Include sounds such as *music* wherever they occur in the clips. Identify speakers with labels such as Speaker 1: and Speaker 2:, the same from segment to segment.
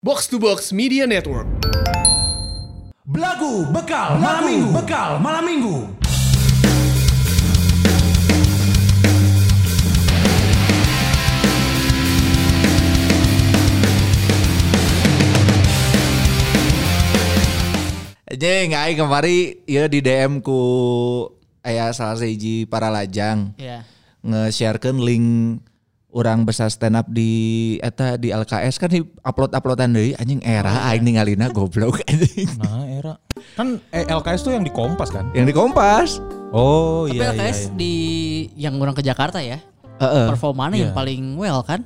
Speaker 1: Box to Box Media Network.
Speaker 2: Belagu bekal malam minggu bekal malam minggu.
Speaker 3: Jeng, aing kemari ya di DM ku aya salah seji para lajang
Speaker 4: Iya.
Speaker 3: nge-sharekeun link orang besar stand up di eta di LKS kan di upload-uploadan deui anjing
Speaker 4: Oh,
Speaker 3: era aing ningalina goblok anjing. *laughs*
Speaker 2: Nah era kan eh, LKS tuh yang di Kompas kan?
Speaker 3: Yang di Kompas.
Speaker 2: Oh
Speaker 4: Tapi
Speaker 2: iya iya.
Speaker 4: LKS di yang orang ke Jakarta ya.
Speaker 3: Heeh.
Speaker 4: Performanya yang
Speaker 2: Iya.
Speaker 4: paling well kan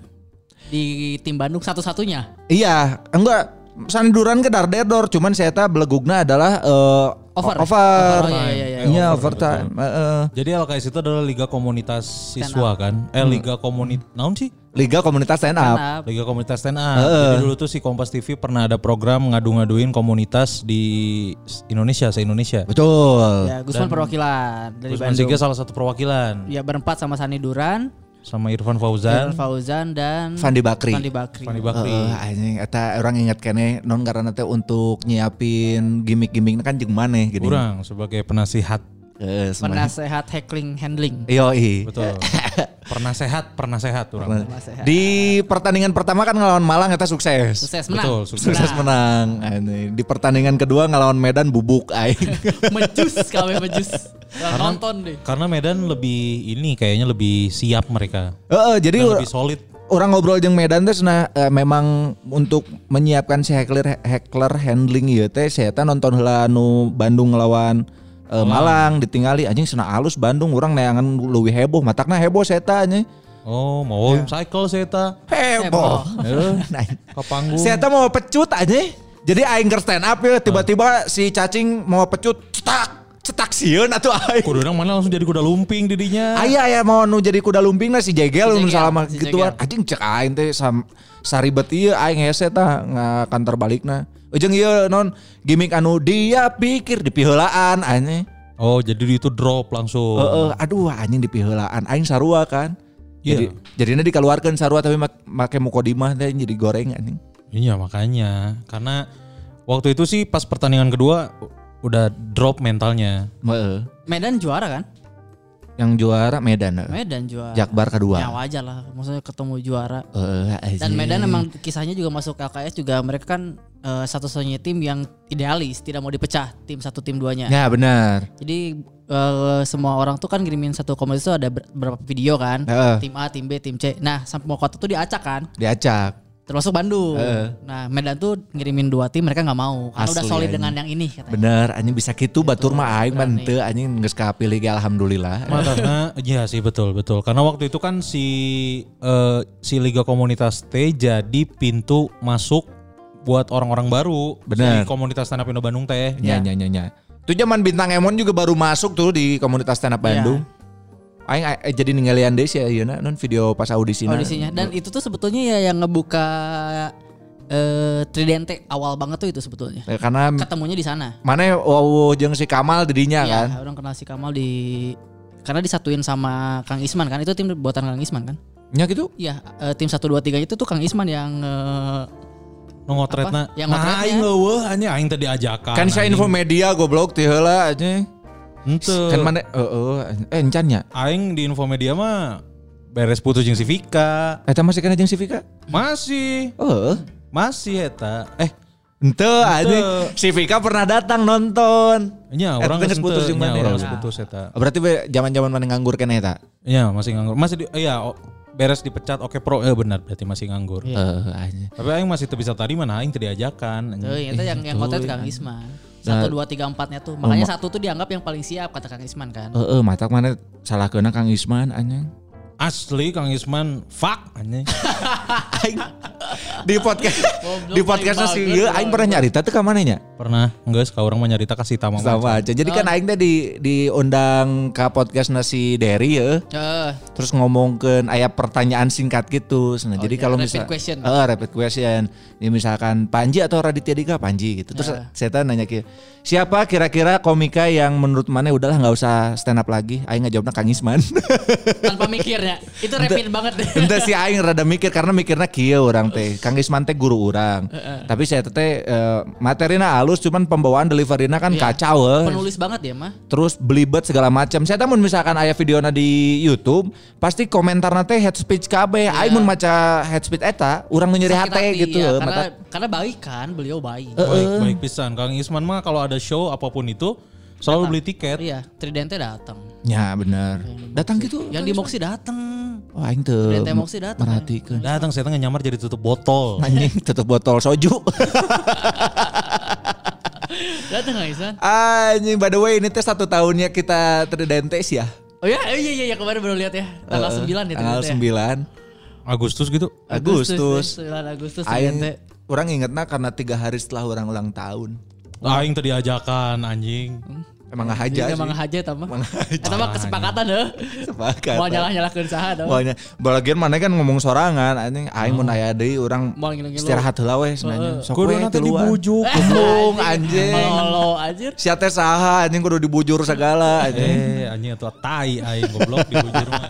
Speaker 4: di tim Bandung satu-satunya.
Speaker 3: Iya, enggak sanduran ke Dardedor cuman saya eta belegugna adalah eh,
Speaker 4: Over.
Speaker 3: Over.
Speaker 4: Oh, iya, iya, iya.
Speaker 3: Iya,
Speaker 2: Over,
Speaker 3: overtime. Heeh.
Speaker 2: Jadi LKS itu adalah Liga Komunitas Siswa kan? Eh Liga Komunitas naon sih?
Speaker 3: Liga Komunitas Stand Up.
Speaker 4: Karena
Speaker 2: Liga Komunitas Stand Up. Jadi dulu tuh si Kompas TV pernah ada program ngadu-ngaduin komunitas di s- Indonesia, se-Indonesia.
Speaker 3: Betul.
Speaker 4: ya Gusman perwakilan dari
Speaker 2: Terus
Speaker 4: Bandung.
Speaker 2: Mandiga salah satu perwakilan
Speaker 4: Ya berempat sama Sani Duran,
Speaker 2: sama Irfan
Speaker 4: Dan
Speaker 2: Fauzan,
Speaker 4: Fauzan dan
Speaker 3: Fandi Bakri.
Speaker 4: Fandi Bakri.
Speaker 2: Fani Bakri.
Speaker 3: Heeh, anjing eta orang ingat kene non karena teh untuk nyiapin gimmick-gimmick kan jeung maneh gini.
Speaker 2: Kurang sebagai penasihat.
Speaker 3: Heeh, semuanya.
Speaker 4: Penasehat heckling handling.
Speaker 3: Yoi.
Speaker 4: *laughs*
Speaker 2: Betul. pernah sehat, pernah sehat orang.
Speaker 4: Penasehat.
Speaker 3: Di pertandingan pertama kan ngelawan Malang eta sukses.
Speaker 4: Sukses menang. Nah,
Speaker 2: Betul,
Speaker 3: Sukses menang. Anjing. Di pertandingan kedua ngelawan Medan bubuk aing.
Speaker 4: *laughs* Mejus kami mejus. Udah Nonton deh.
Speaker 2: Karena Medan lebih ini kayaknya lebih siap mereka.
Speaker 3: Heeh, jadi
Speaker 2: Dan
Speaker 3: ur-
Speaker 2: lebih solid.
Speaker 3: orang ngobrol jeung Medan teh cenah, eh, memang untuk menyiapkan si heckler heckler handling ieu teh saya teh nonton heula nu Bandung ngelawan eh, Malang ditingali anjing cenah alus Bandung urang neangan leuwih heboh matakna heboh saya teh anjing.
Speaker 2: Oh, mau
Speaker 3: Ya.
Speaker 2: cycle seta.
Speaker 3: heboh.
Speaker 2: Ke panggung.
Speaker 3: Saya tuh mau pecut aja. Jadi aing ker stand up ya tiba-tiba si cacing mau pecut cetak cetak sieun atuh aing.
Speaker 2: Kudunang mana langsung jadi kuda lumping didinya.
Speaker 3: Aya aya mau nu jadi kuda lumping lah si jegel nu
Speaker 4: Si Jegel,
Speaker 3: salama
Speaker 4: si
Speaker 3: gituan.
Speaker 4: Jegel.
Speaker 3: Anjing cek aing teh sam saribet ieu aing hese tah kantor balikna. Ujung ieu non gimmick anu dia pikir di piheulaan anjing.
Speaker 2: Oh, jadi itu drop langsung.
Speaker 3: Heeh, aduh anjing di piheulaan aing sarua kan. Jadi
Speaker 2: Iya.
Speaker 3: jadinya dikeluarkan sarua tapi mak- make mukodimah teh jadi goreng anjing.
Speaker 2: Iya, makanya. Karena waktu itu sih pas pertandingan kedua u- udah drop mentalnya.
Speaker 3: Heeh.
Speaker 4: Medan juara kan?
Speaker 3: Yang juara Medan. heeh.
Speaker 4: Medan juara.
Speaker 3: Jakbar kedua.
Speaker 4: Ya wajar lah. Maksudnya ketemu juara.
Speaker 3: Eh, anjing.
Speaker 4: Dan Medan emang kisahnya juga masuk LKS juga mereka kan eh, satu-satunya tim yang idealis, tidak mau dipecah tim satu tim duanya.
Speaker 3: Ya benar.
Speaker 4: Jadi eh, semua orang tuh kan ngirimin satu komunitas tuh ada ber- berapa video kan,
Speaker 3: Heeh.
Speaker 4: tim A, tim B, tim C. Nah sampai mau kota tuh diacak kan,
Speaker 3: Diacak.
Speaker 4: termasuk Bandung.
Speaker 3: Heeh.
Speaker 4: Nah Medan tuh ngirimin dua tim mereka nggak mau, karena udah
Speaker 3: Asli,
Speaker 4: solid
Speaker 3: anjing.
Speaker 4: dengan yang ini katanya.
Speaker 3: Bener, anjing bisa gitu batur mah aing mah
Speaker 4: berani.
Speaker 3: henteu anjing geus kapilih ge alhamdulillah.
Speaker 2: Mah, karena
Speaker 3: *laughs*
Speaker 2: iya sih betul betul. Karena waktu itu kan si eh, si Liga Komunitas T jadi pintu masuk buat orang-orang baru
Speaker 3: Bener.
Speaker 2: si komunitas stand up Indo Bandung teh.
Speaker 3: Ya ya ya ya. Itu zaman bintang Emon juga baru masuk tuh di komunitas stand up Bandung. Aing a- jadi ninggalian deui sih ayeuna non video pas audisi
Speaker 4: Audisinya. Dan itu tuh sebetulnya ya yang ngebuka eh, Tridente awal banget tuh itu sebetulnya.
Speaker 3: Eh, Karena
Speaker 4: Ketemunya di sana.
Speaker 3: mana ya, wow jeung si Kamal didinya
Speaker 4: Iya,
Speaker 3: kan.
Speaker 4: orang kenal si Kamal di karena disatuin sama Kang Isman kan itu tim buatan Kang Isman kan
Speaker 3: Ya gitu.
Speaker 4: iya eh, tim 1, 2, 3 itu tuh Kang Isman yang eh,
Speaker 2: Nu ngotretna.
Speaker 4: Apa? Yang
Speaker 2: Nah,
Speaker 4: ngotretnya.
Speaker 2: aing leuweuh anjing aing tadi ajakan.
Speaker 3: Kan saya info media goblok ti heula anjing.
Speaker 2: Henteu.
Speaker 3: Kan mana heeh eh encan nya.
Speaker 2: aing di info media mah beres putus jeung si Vika.
Speaker 3: Eta masih kana jeung si Vika?
Speaker 2: Masih,
Speaker 3: Heeh.
Speaker 2: masih eta. Eh,
Speaker 3: Ente anjing si Vika pernah datang nonton.
Speaker 2: nya
Speaker 3: Eh,
Speaker 2: orang
Speaker 3: tengah
Speaker 2: geus henteu,
Speaker 3: putus jeung
Speaker 2: nya
Speaker 3: mana ya?
Speaker 2: orang geus putus eta.
Speaker 3: Berarti be- zaman-zaman mana nganggur kene eta.
Speaker 2: Nya masih nganggur. Masih di, iya o- beres dipecat oke pro. Eh benar berarti masih nganggur.
Speaker 4: Iya.
Speaker 3: Heeh, anjing.
Speaker 2: Tapi aing masih teu bisa tadi mana aing teu diajakan.
Speaker 3: Hmm,
Speaker 4: tuh,
Speaker 2: anjing.
Speaker 4: yang itu yang
Speaker 3: iya,
Speaker 4: yang kontrak Kang Isman
Speaker 3: Nah,
Speaker 4: 1, 2, 3, 4 nya
Speaker 3: oh,
Speaker 4: tuh makanya satu tuh dianggap yang paling siap kata Kang Isman kan
Speaker 3: Heeh, Eh, matak mana salah kena Kang Isman anjing.
Speaker 2: Asli Kang Isman fuck anjing. *laughs*
Speaker 3: Di podcast
Speaker 4: Goblok,
Speaker 3: di podcastnya si
Speaker 4: paling
Speaker 3: ieu
Speaker 4: bagus,
Speaker 3: aing pernah nyarita teh ka mananya?
Speaker 2: Pernah geus ka urang mah nyarita ka si Tama.
Speaker 3: Sama aja. Jadi kan aing teh di diundang ka podcastnya si Derry ya.
Speaker 4: Eh,
Speaker 3: Terus ngomongkeun aya pertanyaan singkat gitu. Nah, jadi
Speaker 4: iya,
Speaker 3: kalau
Speaker 4: rapid
Speaker 3: misal
Speaker 4: question.
Speaker 3: Heeh, rapid question. Ya, misalkan Panji atau Raditya Dika Panji gitu. Terus saya teh nanya ke siapa kira-kira komika yang menurut mana udahlah nggak usah stand up lagi. Aing ngejawabnya Kang Isman. *laughs*
Speaker 4: tanpa mikirnya itu rapid banget deh
Speaker 3: Entah si aing rada mikir karena mikirnya kieu orang teh. teh. Kang Isman teh guru orang. Tapi saya teh eh, materina halus cuman pembawaan deliverina kan
Speaker 4: Iya.
Speaker 3: kacau eh.
Speaker 4: Penulis banget ya mah.
Speaker 3: Terus belibet segala macam. Saya tamun misalkan aya videona di YouTube, pasti komentarna teh head speech KB. Aing mun maca head speech eta, urang nu nyeri
Speaker 4: Iya. Sakit
Speaker 3: hate
Speaker 4: hati,
Speaker 3: gitu.
Speaker 4: ya,
Speaker 3: eh,
Speaker 4: karena,
Speaker 3: mata- Eh.
Speaker 4: karena baik kan beliau baik.
Speaker 2: Baik, baik pisan. Kang Isman mah kalau ada show apapun itu selalu beli tiket.
Speaker 4: Iya, Tridente datang.
Speaker 3: Ya benar. Datang gitu.
Speaker 4: Yang di Moxie datang.
Speaker 3: Wah, aing teu
Speaker 4: Dari Temoksi Ya. datang, ya.
Speaker 3: merhatikan.
Speaker 2: Datang saya tengah nyamar jadi tutup
Speaker 4: Nah.
Speaker 2: botol.
Speaker 3: Anjing tutup botol soju. *laughs*
Speaker 4: Datang nggak Isan?
Speaker 3: Anjing by the way ini teh satu tahunnya kita tridentes ya.
Speaker 4: Oh ya, iya iya iya kemarin baru lihat ya. Tanggal
Speaker 3: Eh,
Speaker 4: 9 ya
Speaker 3: Tanggal
Speaker 4: Tridente.
Speaker 3: 9
Speaker 2: Agustus gitu.
Speaker 4: ya.
Speaker 3: Agustus.
Speaker 4: 9 Agustus
Speaker 3: Aing
Speaker 4: Tridente.
Speaker 3: orang ingetna karena tiga hari setelah orang ulang tahun.
Speaker 2: Aing tadi ajakan anjing.
Speaker 3: Emang
Speaker 4: Jadi
Speaker 3: ngahaja ya sih.
Speaker 4: Iya, emang haja eta mah.
Speaker 3: Ngahaja.
Speaker 4: Eta mah kesepakatan heuh.
Speaker 3: Sepakat.
Speaker 4: Mau nyalah-nyalahkeun saha eta mah.
Speaker 3: Pokoknya bagian mana kan ngomong sorangan anjing aing mun aya deui urang
Speaker 4: Hmm. Mau ngilu-ngilu.
Speaker 3: istirahat heula we sebenarnya. Sok
Speaker 2: Kudu
Speaker 3: we
Speaker 2: nanti
Speaker 3: tiluan.
Speaker 2: dibujuk.
Speaker 4: *laughs*
Speaker 3: Bung, anjing.
Speaker 4: Lolo anjir.
Speaker 3: Sia teh saha anjing kudu dibujur segala anjing.
Speaker 2: Eh, anjing atau tai aing goblok dibujur mah.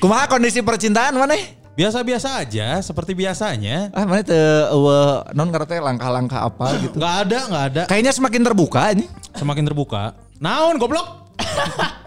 Speaker 3: Kumaha kondisi percintaan maneh?
Speaker 2: Biasa-biasa aja seperti biasanya.
Speaker 3: Ah mana teu eueuh, non karena teh langkah-langkah apa gitu.
Speaker 4: *laughs*
Speaker 2: Gak ada, gak ada.
Speaker 3: Kayaknya semakin terbuka anjing.
Speaker 2: Semakin terbuka. Naon goblok?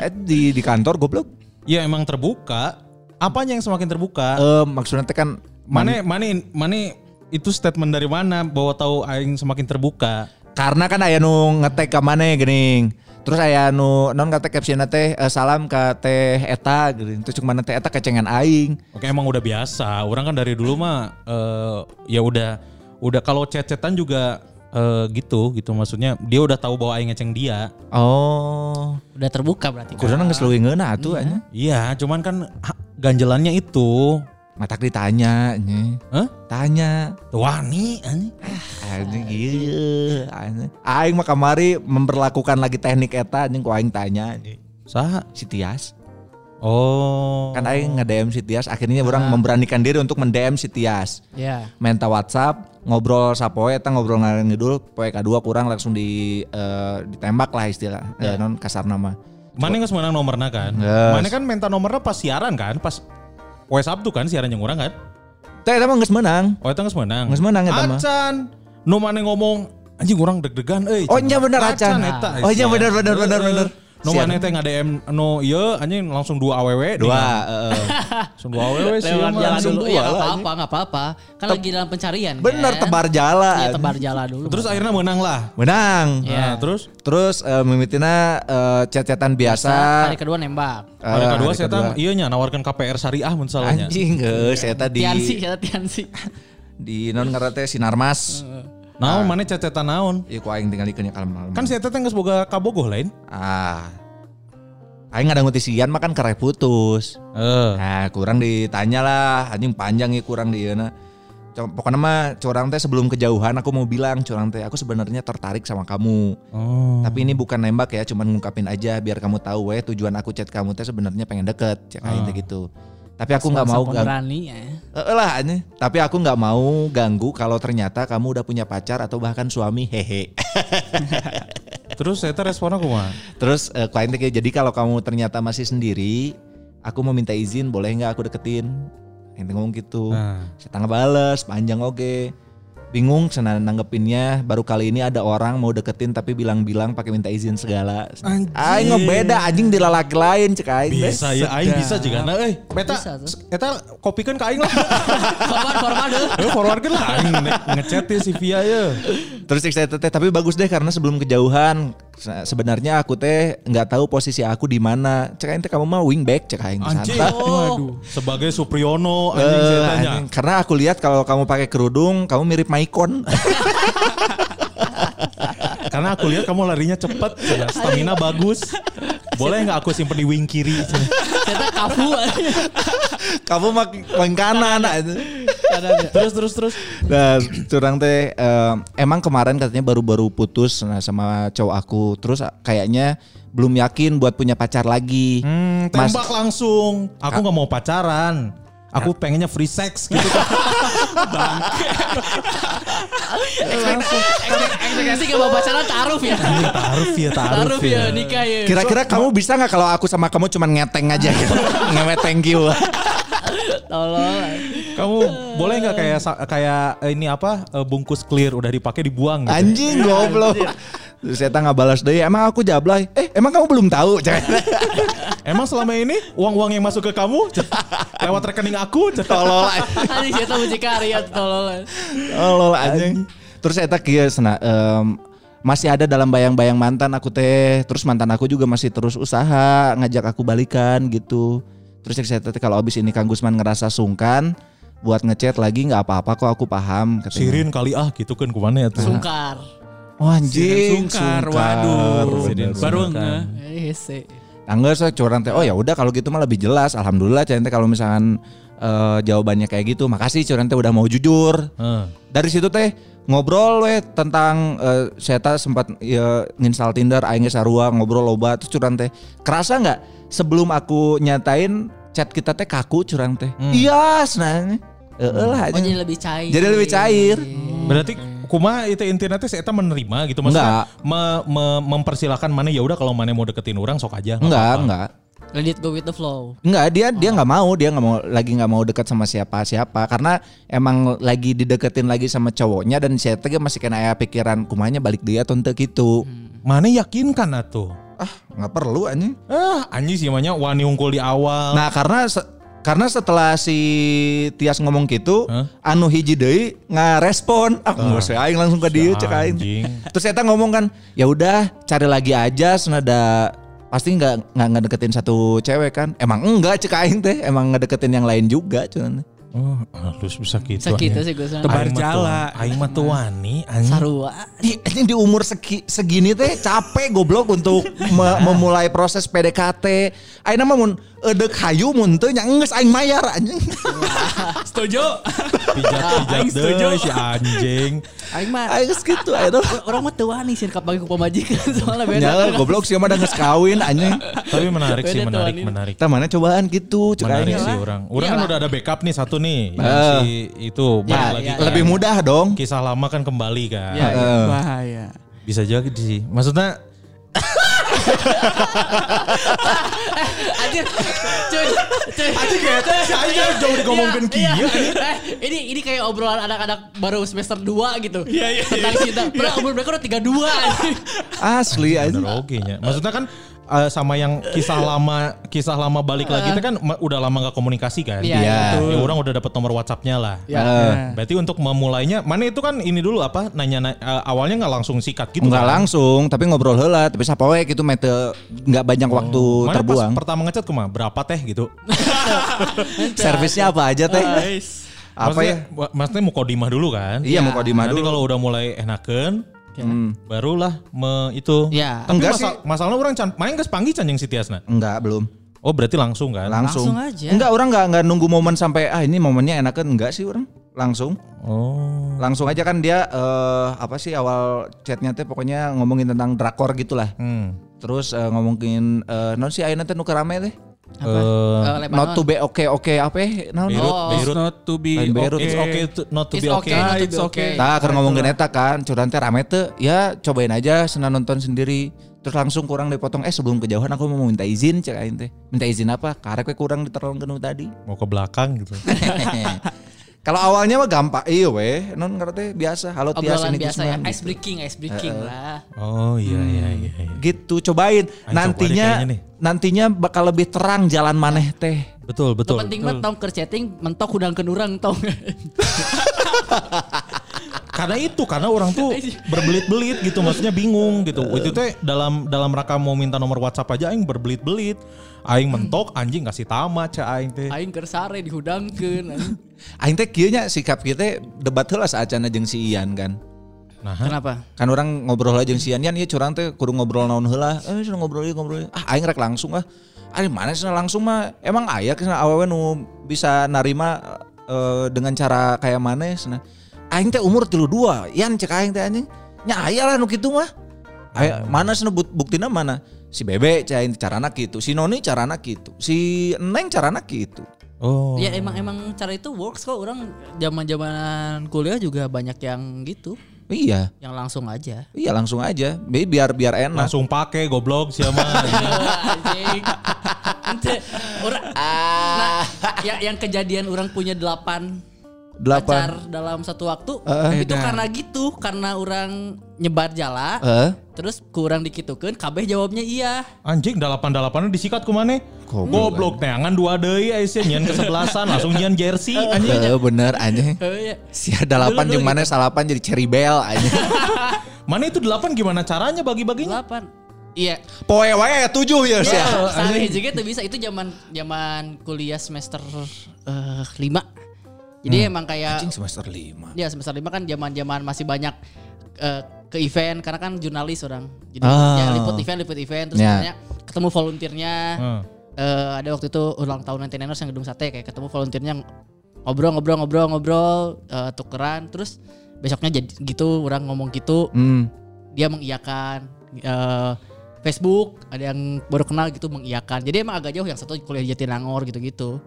Speaker 3: Eh di di kantor goblok.
Speaker 2: Ya emang terbuka. Apanya yang semakin terbuka?
Speaker 3: Eh maksudnya teh kan
Speaker 2: Mane, mane, mane itu statement dari mana bahwa tahu aing semakin terbuka?
Speaker 3: karena kan aya nu ngetek ka mana geuning. Terus aya nu non kata captionnya teh eh, salam ka teh eta geuning. Terus cuma teh eta kecengan aing.
Speaker 2: Oke emang udah biasa. Orang kan dari dulu mah eh, ya udah udah kalau cecetan juga eh, gitu gitu maksudnya dia udah tahu bahwa aing ngeceng dia.
Speaker 3: Oh.
Speaker 4: Udah terbuka berarti. kan?
Speaker 3: Kuduna geus leuwih ngeuna atuh anjing.
Speaker 2: Iya, cuman kan ha- ganjelannya itu,
Speaker 3: Matak ditanya nya.
Speaker 2: Hah?
Speaker 3: Tanya.
Speaker 2: Wani anjing.
Speaker 3: Anjing ieu anjing. Aing mah kamari memperlakukan lagi teknik eta anjing ku aing tanya anjing.
Speaker 2: Saha?
Speaker 3: Si Tias.
Speaker 2: Oh.
Speaker 3: Kan aing nge-DM si Tias, akhirnya orang memberanikan diri untuk mendm si Tias.
Speaker 4: Ya.
Speaker 3: Minta WhatsApp, ngobrol sapoe eta ngobrol ngarang ngidul, poe kadua kurang langsung di eh, ditembak lah istilah. Eh, non kasar nama.
Speaker 2: Mana nggak menang nomornya kan?
Speaker 3: Yes.
Speaker 2: Mana kan minta nomornya pas siaran kan? Pas Poe Sabtu kan siaran yang orang kan?
Speaker 3: Teh eta mah geus menang.
Speaker 2: Oh itu nggak menang.
Speaker 3: Nggak menang eta mah.
Speaker 2: Acan, nu mana ngomong anjing orang deg-degan euy.
Speaker 3: Oh, nya bener, Acan.
Speaker 2: eta.
Speaker 3: Oh, nya bener, bener, bener,
Speaker 2: Heeh.
Speaker 3: bener.
Speaker 2: Nu
Speaker 3: Siap.
Speaker 2: mana teh ngadm nu ieu anjing langsung dua AWW.
Speaker 3: Dua,
Speaker 2: nih,
Speaker 3: heeh.
Speaker 2: kan? Langsung dua AWW sih.
Speaker 4: Lewat
Speaker 2: emang.
Speaker 4: jalan
Speaker 2: Langsung
Speaker 4: dulu
Speaker 2: dua
Speaker 4: ya nggak
Speaker 2: lah,
Speaker 4: apa-apa, nggak apa-apa. Kan lagi dalam pencarian.
Speaker 3: *laughs* Bener
Speaker 4: kan?
Speaker 3: tebar
Speaker 4: Iya,
Speaker 3: jala.
Speaker 4: tebar jalan dulu.
Speaker 2: anjing. Terus akhirnya menang lah.
Speaker 3: Menang.
Speaker 2: Nah,
Speaker 4: Ya.
Speaker 2: terus
Speaker 3: Terus eh, mimitina eh, chat-chatan biasa.
Speaker 4: hari kedua nembak.
Speaker 3: Eh,
Speaker 2: hari kedua
Speaker 3: hari
Speaker 2: saya tang ieu nya nawarkan KPR syariah mun salahnya.
Speaker 3: Anjing geus eta di
Speaker 4: Tiansi, kata Tiansi.
Speaker 3: di non karate sinarmas.
Speaker 4: Eh.
Speaker 2: Naon mana cacetan naon?
Speaker 3: Ieu ku aing tinggal dikeun kalem-kalem.
Speaker 2: Kan saya teh geus boga kabogoh lain.
Speaker 3: Ah. Aing ada ngutisian mah kan karek putus.
Speaker 2: Eh,
Speaker 3: Nah, kurang ditanya lah, anjing panjang ya kurang di ieu Pokoknya mah curang teh sebelum kejauhan aku mau bilang curang teh aku sebenarnya tertarik sama kamu.
Speaker 2: Oh.
Speaker 3: Tapi ini bukan nembak ya, cuman ngungkapin aja biar kamu tahu we tujuan aku chat kamu teh sebenarnya pengen deket, cek aing teh gitu. Tapi aku nggak mau
Speaker 4: Sampai
Speaker 3: gak,
Speaker 4: berani ya.
Speaker 3: Eh lah anjing. Tapi aku nggak mau ganggu kalau ternyata kamu udah punya pacar atau bahkan suami hehe.
Speaker 2: Terus saya teh responnya kumaha?
Speaker 3: Terus eh, klien teh kayak, jadi kalau kamu ternyata masih sendiri, aku mau minta izin boleh nggak aku deketin? Yang ngomong gitu.
Speaker 2: Nah.
Speaker 3: Saya tangga bales panjang oke. Bingung sana nanggepinnya. Baru kali ini ada orang mau deketin tapi bilang-bilang pakai minta izin segala.
Speaker 2: Anjing.
Speaker 3: Aing ngebeda anjing di lalaki lain cek aing. teh.
Speaker 2: Bisa ya, aing bisa juga. Nah, eh, beta,
Speaker 4: Bisa tuh.
Speaker 2: eta kopikeun ka aing lah. *laughs*
Speaker 4: Kapan formal deh.
Speaker 2: Eh, forwardkeun lah aing ne- ngechat ya si Via ya.
Speaker 3: Terus cek saya teteh, tapi bagus deh karena sebelum kejauhan se- sebenarnya aku teh nggak tahu posisi aku di mana. Cek aing teh kamu mah wingback cek aing
Speaker 2: Anjing.
Speaker 3: santai.
Speaker 2: Waduh. Sebagai Supriyono anjing saya
Speaker 3: Eh,
Speaker 2: tanya.
Speaker 3: anjing. karena aku lihat kalau kamu pakai kerudung, kamu mirip Maicon. *laughs*
Speaker 2: Karena aku lihat kamu larinya cepet, saya, stamina *laughs* bagus. Boleh nggak aku simpen di wing kiri?
Speaker 4: Ternyata kafu. *laughs*
Speaker 3: kamu mah wing
Speaker 2: *laughs*
Speaker 3: kanan. anjing.
Speaker 2: terus terus terus.
Speaker 3: Nah, curang teh eh, emang kemarin katanya baru-baru putus nah, sama cowok aku. Terus ah, kayaknya belum yakin buat punya pacar lagi.
Speaker 2: Hmm,
Speaker 3: Mas-
Speaker 2: tembak langsung. Aku nggak mau pacaran. Aku pengennya free sex gitu
Speaker 3: *laughs*
Speaker 2: kan.
Speaker 4: Ekspektasi gak bawa pacaran taruh ya.
Speaker 2: Taruh ya,
Speaker 4: Taruh
Speaker 2: taruh
Speaker 4: ya
Speaker 2: ya.
Speaker 4: nikah ya.
Speaker 2: *laughs*
Speaker 3: Kira-kira kamu bisa nggak kalau aku sama kamu cuman ngeteng aja gitu. Ngeweteng kieu.
Speaker 4: Tolol.
Speaker 2: Kamu boleh nggak kayak sa- kayak eh, ini apa eh, bungkus clear udah dipakai dibuang gitu.
Speaker 3: Anjing goblok. Terus saya nggak balas deh. Emang aku jablay. Eh emang kamu belum tahu? *laughs*
Speaker 2: Emang selama ini uang-uang yang masuk ke kamu lewat rekening aku
Speaker 3: Tolol.
Speaker 4: *laughs* Tadi saya tahu mucikari ya tolol.
Speaker 3: Tolol anjing. Terus saya kieu cenah em, masih ada dalam bayang-bayang mantan aku teh. Terus mantan aku juga masih terus usaha ngajak aku balikan gitu. Terus saya teh kalau abis ini Kang Gusman ngerasa sungkan buat ngechat lagi nggak apa-apa kok aku paham katanya.
Speaker 2: Sirin kali ah gitu kan kumana ya tuh.
Speaker 4: Sungkar.
Speaker 3: Oh anjing.
Speaker 5: Sungkar, waduh.
Speaker 3: Bener.
Speaker 5: Baru nge.
Speaker 4: Eh, sih.
Speaker 3: Angga saya curang teh. Oh ya udah kalau gitu mah lebih jelas. Alhamdulillah Cen, teh kalau misalkan eh, jawabannya kayak gitu. Makasih curang teh udah mau jujur.
Speaker 2: Heeh.
Speaker 3: Dari situ teh ngobrol weh tentang eh, saya teh sempat ya, nginstal Tinder aing geus sarua ngobrol loba terus curang teh. Kerasa nggak sebelum aku nyatain chat kita teh kaku curang teh. Iya, senang. Heeh lah.
Speaker 4: Oh, jadi lebih cair.
Speaker 3: Jadi lebih cair.
Speaker 2: Berarti kuma itu intinya teh si Eta menerima gitu
Speaker 3: Enggak.
Speaker 2: maksudnya me- me- mempersilahkan mana ya udah kalau mana mau deketin orang sok aja. nggak
Speaker 3: Enggak,
Speaker 2: apa-apa.
Speaker 3: enggak.
Speaker 4: Let it go with the flow.
Speaker 3: Enggak, dia dia nggak mau, dia nggak mau lagi nggak mau dekat sama siapa-siapa karena emang lagi dideketin lagi sama cowoknya dan saya teh masih kena aya pikiran kumanya balik dia atau teu gitu.
Speaker 2: Mana yakinkan atuh.
Speaker 3: Ah, nggak perlu anjing.
Speaker 2: Ah, anjing sih namanya wani hungkul di awal.
Speaker 3: Nah, karena se- karena setelah si Tias ngomong gitu,
Speaker 2: Hah?
Speaker 3: anu hiji deui ngarespon. Ah, nggak usah aing langsung ke dia cek aing.
Speaker 2: Anjing.
Speaker 3: Terus saya ngomong kan, ya udah cari lagi aja senada pasti nggak nggak ngedeketin satu cewek kan emang enggak cek aing teh emang ngedeketin yang lain juga cuman
Speaker 2: Oh, halus bisa gitu.
Speaker 4: Sakit
Speaker 2: anjing.
Speaker 4: sih gue sama.
Speaker 2: Aing
Speaker 5: Tebak. Tebar
Speaker 2: mah tuh-
Speaker 5: jala.
Speaker 2: Aing mah tuh wani anjing.
Speaker 4: Sarua.
Speaker 3: di, ini di umur segi- segini teh capek goblok untuk
Speaker 2: *laughs*
Speaker 3: me- memulai proses PDKT. Ayeuna mah mun eudek hayu mun teu nya enggeus aing mayar anjing.
Speaker 5: Setuju?
Speaker 2: Pijat pijat
Speaker 5: Aing setuju.
Speaker 2: deh si anjing.
Speaker 4: *laughs* Aing mah
Speaker 3: Aing geus kitu ayeuna.
Speaker 4: orang mah tua nih sih kapag ku pamajikan *laughs* soalnya beda.
Speaker 3: Nyala goblok sih mah dah geus kawin anjing.
Speaker 2: Tapi menarik sih,
Speaker 4: Beda tuh
Speaker 2: menarik,
Speaker 4: wani.
Speaker 2: menarik.
Speaker 3: Tah mana cobaan gitu cek
Speaker 2: Menarik
Speaker 3: aing.
Speaker 2: sih orang. Orang kan
Speaker 4: Iyalah.
Speaker 2: udah ada backup nih satu nih. yang
Speaker 3: Eh.
Speaker 2: si itu balik
Speaker 4: iya,
Speaker 2: lagi
Speaker 4: iya.
Speaker 2: kan.
Speaker 3: Lebih mudah dong. Eh.
Speaker 2: Kisah lama kan kembali kan.
Speaker 4: Ya, ya.
Speaker 3: Heeh.
Speaker 5: Bahaya.
Speaker 2: Bisa jadi sih. Maksudnya
Speaker 4: Anjir. Cuy. Cuy.
Speaker 2: Anjir, kayaknya si Aing kan jauh digomongin
Speaker 4: Iya,
Speaker 2: kieu.
Speaker 4: iya. Eh, Ini ini kayak obrolan anak-anak baru semester 2 gitu.
Speaker 5: Iya, iya,
Speaker 4: Tentang
Speaker 5: iya.
Speaker 4: cinta. Padahal umur mereka udah 32. anjing.
Speaker 3: Asli anjing.
Speaker 2: Iya, bener oke nya. Maksudnya kan eh, sama yang kisah lama kisah lama balik lagi itu kan ma- udah lama gak komunikasi kan.
Speaker 4: Iya,
Speaker 3: iya,
Speaker 2: Ya, orang udah dapet nomor WhatsApp-nya lah.
Speaker 4: Ya,
Speaker 3: Eh,
Speaker 2: Berarti untuk memulainya, mana itu kan ini dulu apa nanya na- eh, awalnya nggak langsung sikat gitu
Speaker 3: Enggak
Speaker 2: kan?
Speaker 3: langsung, tapi ngobrol heula, tapi sapa wae gitu mete enggak banyak waktu
Speaker 2: Mana
Speaker 3: terbuang.
Speaker 2: pas pertama ngechat kemana? Berapa teh gitu?
Speaker 3: Servisnya apa aja teh?
Speaker 4: iya. Ah,
Speaker 5: Guys.
Speaker 3: Apa
Speaker 2: maksudnya,
Speaker 3: ya?
Speaker 2: wa- Maksudnya mau kodimah dulu kan?
Speaker 3: Iya mau kodimah
Speaker 2: Nanti
Speaker 3: dulu. Hmm.
Speaker 2: kalau udah mulai enakan,
Speaker 4: Ya.
Speaker 2: barulah me itu.
Speaker 4: Ya.
Speaker 2: Tapi
Speaker 3: Enggak
Speaker 2: masa-
Speaker 3: sih.
Speaker 2: masalahnya orang can, main geus panggil can jeung si Tiasna.
Speaker 3: Enggak, belum.
Speaker 2: Oh, berarti langsung kan?
Speaker 3: Langsung.
Speaker 4: Langsung aja.
Speaker 3: Enggak, orang enggak enggak nunggu momen sampai ah ini momennya enakan enggak sih orang. Langsung.
Speaker 2: Oh.
Speaker 3: Langsung aja kan dia eh, apa sih awal chatnya teh pokoknya ngomongin tentang drakor gitulah.
Speaker 2: Hmm.
Speaker 3: Terus eh, ngomongin eh non sih ayeuna teh nu rame teh.
Speaker 4: Apa? Eh, Lebanon.
Speaker 3: Not to be oke oke apa eh, naon?
Speaker 2: Beirut,
Speaker 4: Oh.
Speaker 5: It's
Speaker 2: Beirut.
Speaker 5: not to be
Speaker 3: Lain Beirut,
Speaker 5: okay.
Speaker 2: It's okay to, not to
Speaker 4: It's
Speaker 2: be
Speaker 4: okay,
Speaker 2: okay.
Speaker 4: not
Speaker 5: Ah,
Speaker 4: to
Speaker 5: it's
Speaker 4: be
Speaker 5: okay.
Speaker 4: okay.
Speaker 3: Tah Nah, keur ngomongin eta kan, curang teh rame teh, ya cobain aja senang nonton sendiri. Terus langsung kurang dipotong, eh sebelum kejauhan aku mau minta izin cek aing teh. Minta izin apa? Karek we kurang diterong kenu
Speaker 4: *laughs*
Speaker 3: tadi.
Speaker 2: Mau ke belakang gitu.
Speaker 3: Kalau awalnya mah gampang, iya weh, non ngerti biasa. Halo Tias ini
Speaker 4: Obrolan biasa ya,
Speaker 3: Gusman.
Speaker 4: ice breaking, ice breaking lah.
Speaker 2: Oh iya iya
Speaker 4: Hmm.
Speaker 2: iya. iya.
Speaker 3: Gitu cobain.
Speaker 2: Aing
Speaker 3: nantinya
Speaker 2: coba deh kayaknya nih.
Speaker 3: nantinya bakal lebih terang jalan maneh teh.
Speaker 2: Betul betul.
Speaker 4: Itu penting banget tong ke chatting mentok udang kenurang *laughs* tong.
Speaker 2: karena itu karena orang
Speaker 4: *laughs*
Speaker 2: tuh
Speaker 4: Iya.
Speaker 2: berbelit-belit gitu maksudnya bingung gitu itu teh dalam dalam rangka mau minta nomor WhatsApp aja aing berbelit-belit aing mentok anjing kasih tama cah aing teh
Speaker 4: Hmm. Aing kersare dihudangkeun.
Speaker 3: Aing teh kieu nya sikap kieu teh debat heula saacana jeung si Ian kan.
Speaker 2: nah hah?
Speaker 4: Kenapa?
Speaker 3: kan orang ngobrol aja jeung si Ian Ian ieu curang teh kudu ngobrol naon heula eh cenah ngobrol ieu ngobrol ieu ah aing rek langsung ah ari mana cenah langsung mah emang aya cenah awewe nu bisa narima eh, dengan cara kayak mana cenah aing teh umur 32 Ian cek aing teh anjing nya aya lah nu kitu mah aya mana cenah but- buktina mana si Bebe cek aing teh carana kitu si Noni carana kitu si Neng carana kitu
Speaker 2: oh
Speaker 4: Ya emang emang cara itu works kok orang zaman-zaman kuliah juga banyak yang gitu,
Speaker 3: iya
Speaker 4: yang langsung aja.
Speaker 3: iya langsung aja Bi- biar biar enak
Speaker 4: *laughs*
Speaker 2: langsung pakai goblok siapa
Speaker 4: Anjing. Ente, orang- nah, ya- yang kejadian orang punya delapan pacar
Speaker 3: Delapan.
Speaker 4: dalam satu waktu
Speaker 3: Heeh.
Speaker 4: itu karena gitu karena orang nyebar jala
Speaker 3: Heeh.
Speaker 4: terus kurang dikitukan kabeh jawabnya iya
Speaker 2: Anjing dalapan dalapannya disikat kumane.
Speaker 3: Goblok.
Speaker 2: Goblok teangan dua deui Aisyah nyian kesebelasan langsung nyian
Speaker 4: *laughs*
Speaker 2: jersey anjing.
Speaker 3: Eh, bener anjing.
Speaker 4: Eh, iya.
Speaker 3: Si delapan
Speaker 4: Dulu-dulu
Speaker 3: yang mana salapan jadi cherry bell anjing.
Speaker 2: Mana itu delapan gimana caranya bagi-baginya?
Speaker 4: delapan iya
Speaker 3: *laughs* Poe wae tujuh ya sih.
Speaker 4: Ya, sehari juga tuh bisa itu zaman zaman kuliah semester eh, lima jadi emang kayak
Speaker 3: Anjing semester lima.
Speaker 4: Ya semester lima kan zaman-zaman masih banyak eh, ke event karena kan jurnalis orang. Jadi
Speaker 3: Ah.
Speaker 4: ya liput event, liput event terus
Speaker 3: Ya.
Speaker 4: katanya ketemu volunteernya.
Speaker 2: Hmm.
Speaker 4: Eh, ada waktu itu ulang tahun 99ers yang gedung sate kayak ketemu volunteernya ngobrol ngobrol ngobrol ngobrol eh, tukeran terus besoknya jadi gitu orang ngomong gitu
Speaker 3: Hmm.
Speaker 4: dia mengiyakan eh, Facebook ada yang baru kenal gitu mengiyakan jadi emang agak jauh yang satu kuliah di Jatinangor gitu-gitu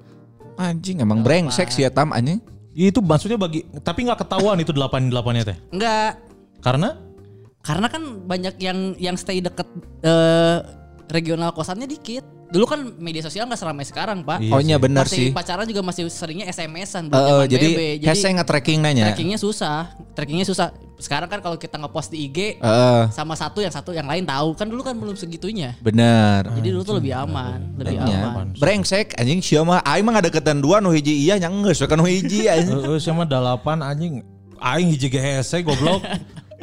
Speaker 3: Anjing emang brengsek sih ya tam anjing.
Speaker 2: Itu maksudnya bagi tapi nggak ketahuan itu delapan delapannya teh.
Speaker 4: enggak
Speaker 2: Karena
Speaker 4: Karena kan banyak yang yang stay deket eh, regional kosannya dikit. Dulu kan media sosial nggak seramai sekarang, Pak.
Speaker 2: Iya
Speaker 3: Oh iya benar sih.
Speaker 4: masih pacaran juga masih seringnya
Speaker 3: Eh,
Speaker 4: SMS-an
Speaker 3: eh,
Speaker 4: belum zaman
Speaker 3: jadi
Speaker 4: BB.
Speaker 3: hese nge-tracking nanya.
Speaker 4: trackingnya susah. Trackingnya susah. Sekarang kan kalau kita ngepost di IG
Speaker 3: Heeh.
Speaker 4: sama satu yang satu yang lain tahu. Kan dulu kan belum segitunya.
Speaker 3: Bener.
Speaker 4: Jadi dulu tuh lebih aman, lebih
Speaker 3: Ya.
Speaker 4: Iya, aman.
Speaker 3: Brengsek anjing sia mah aing mah ngadeketan dua nu hiji iya nya geus we kan nu hiji anjing.
Speaker 2: Heeh, sama Eh, dalapan anjing. Aing hiji GHC goblok.
Speaker 3: *laughs*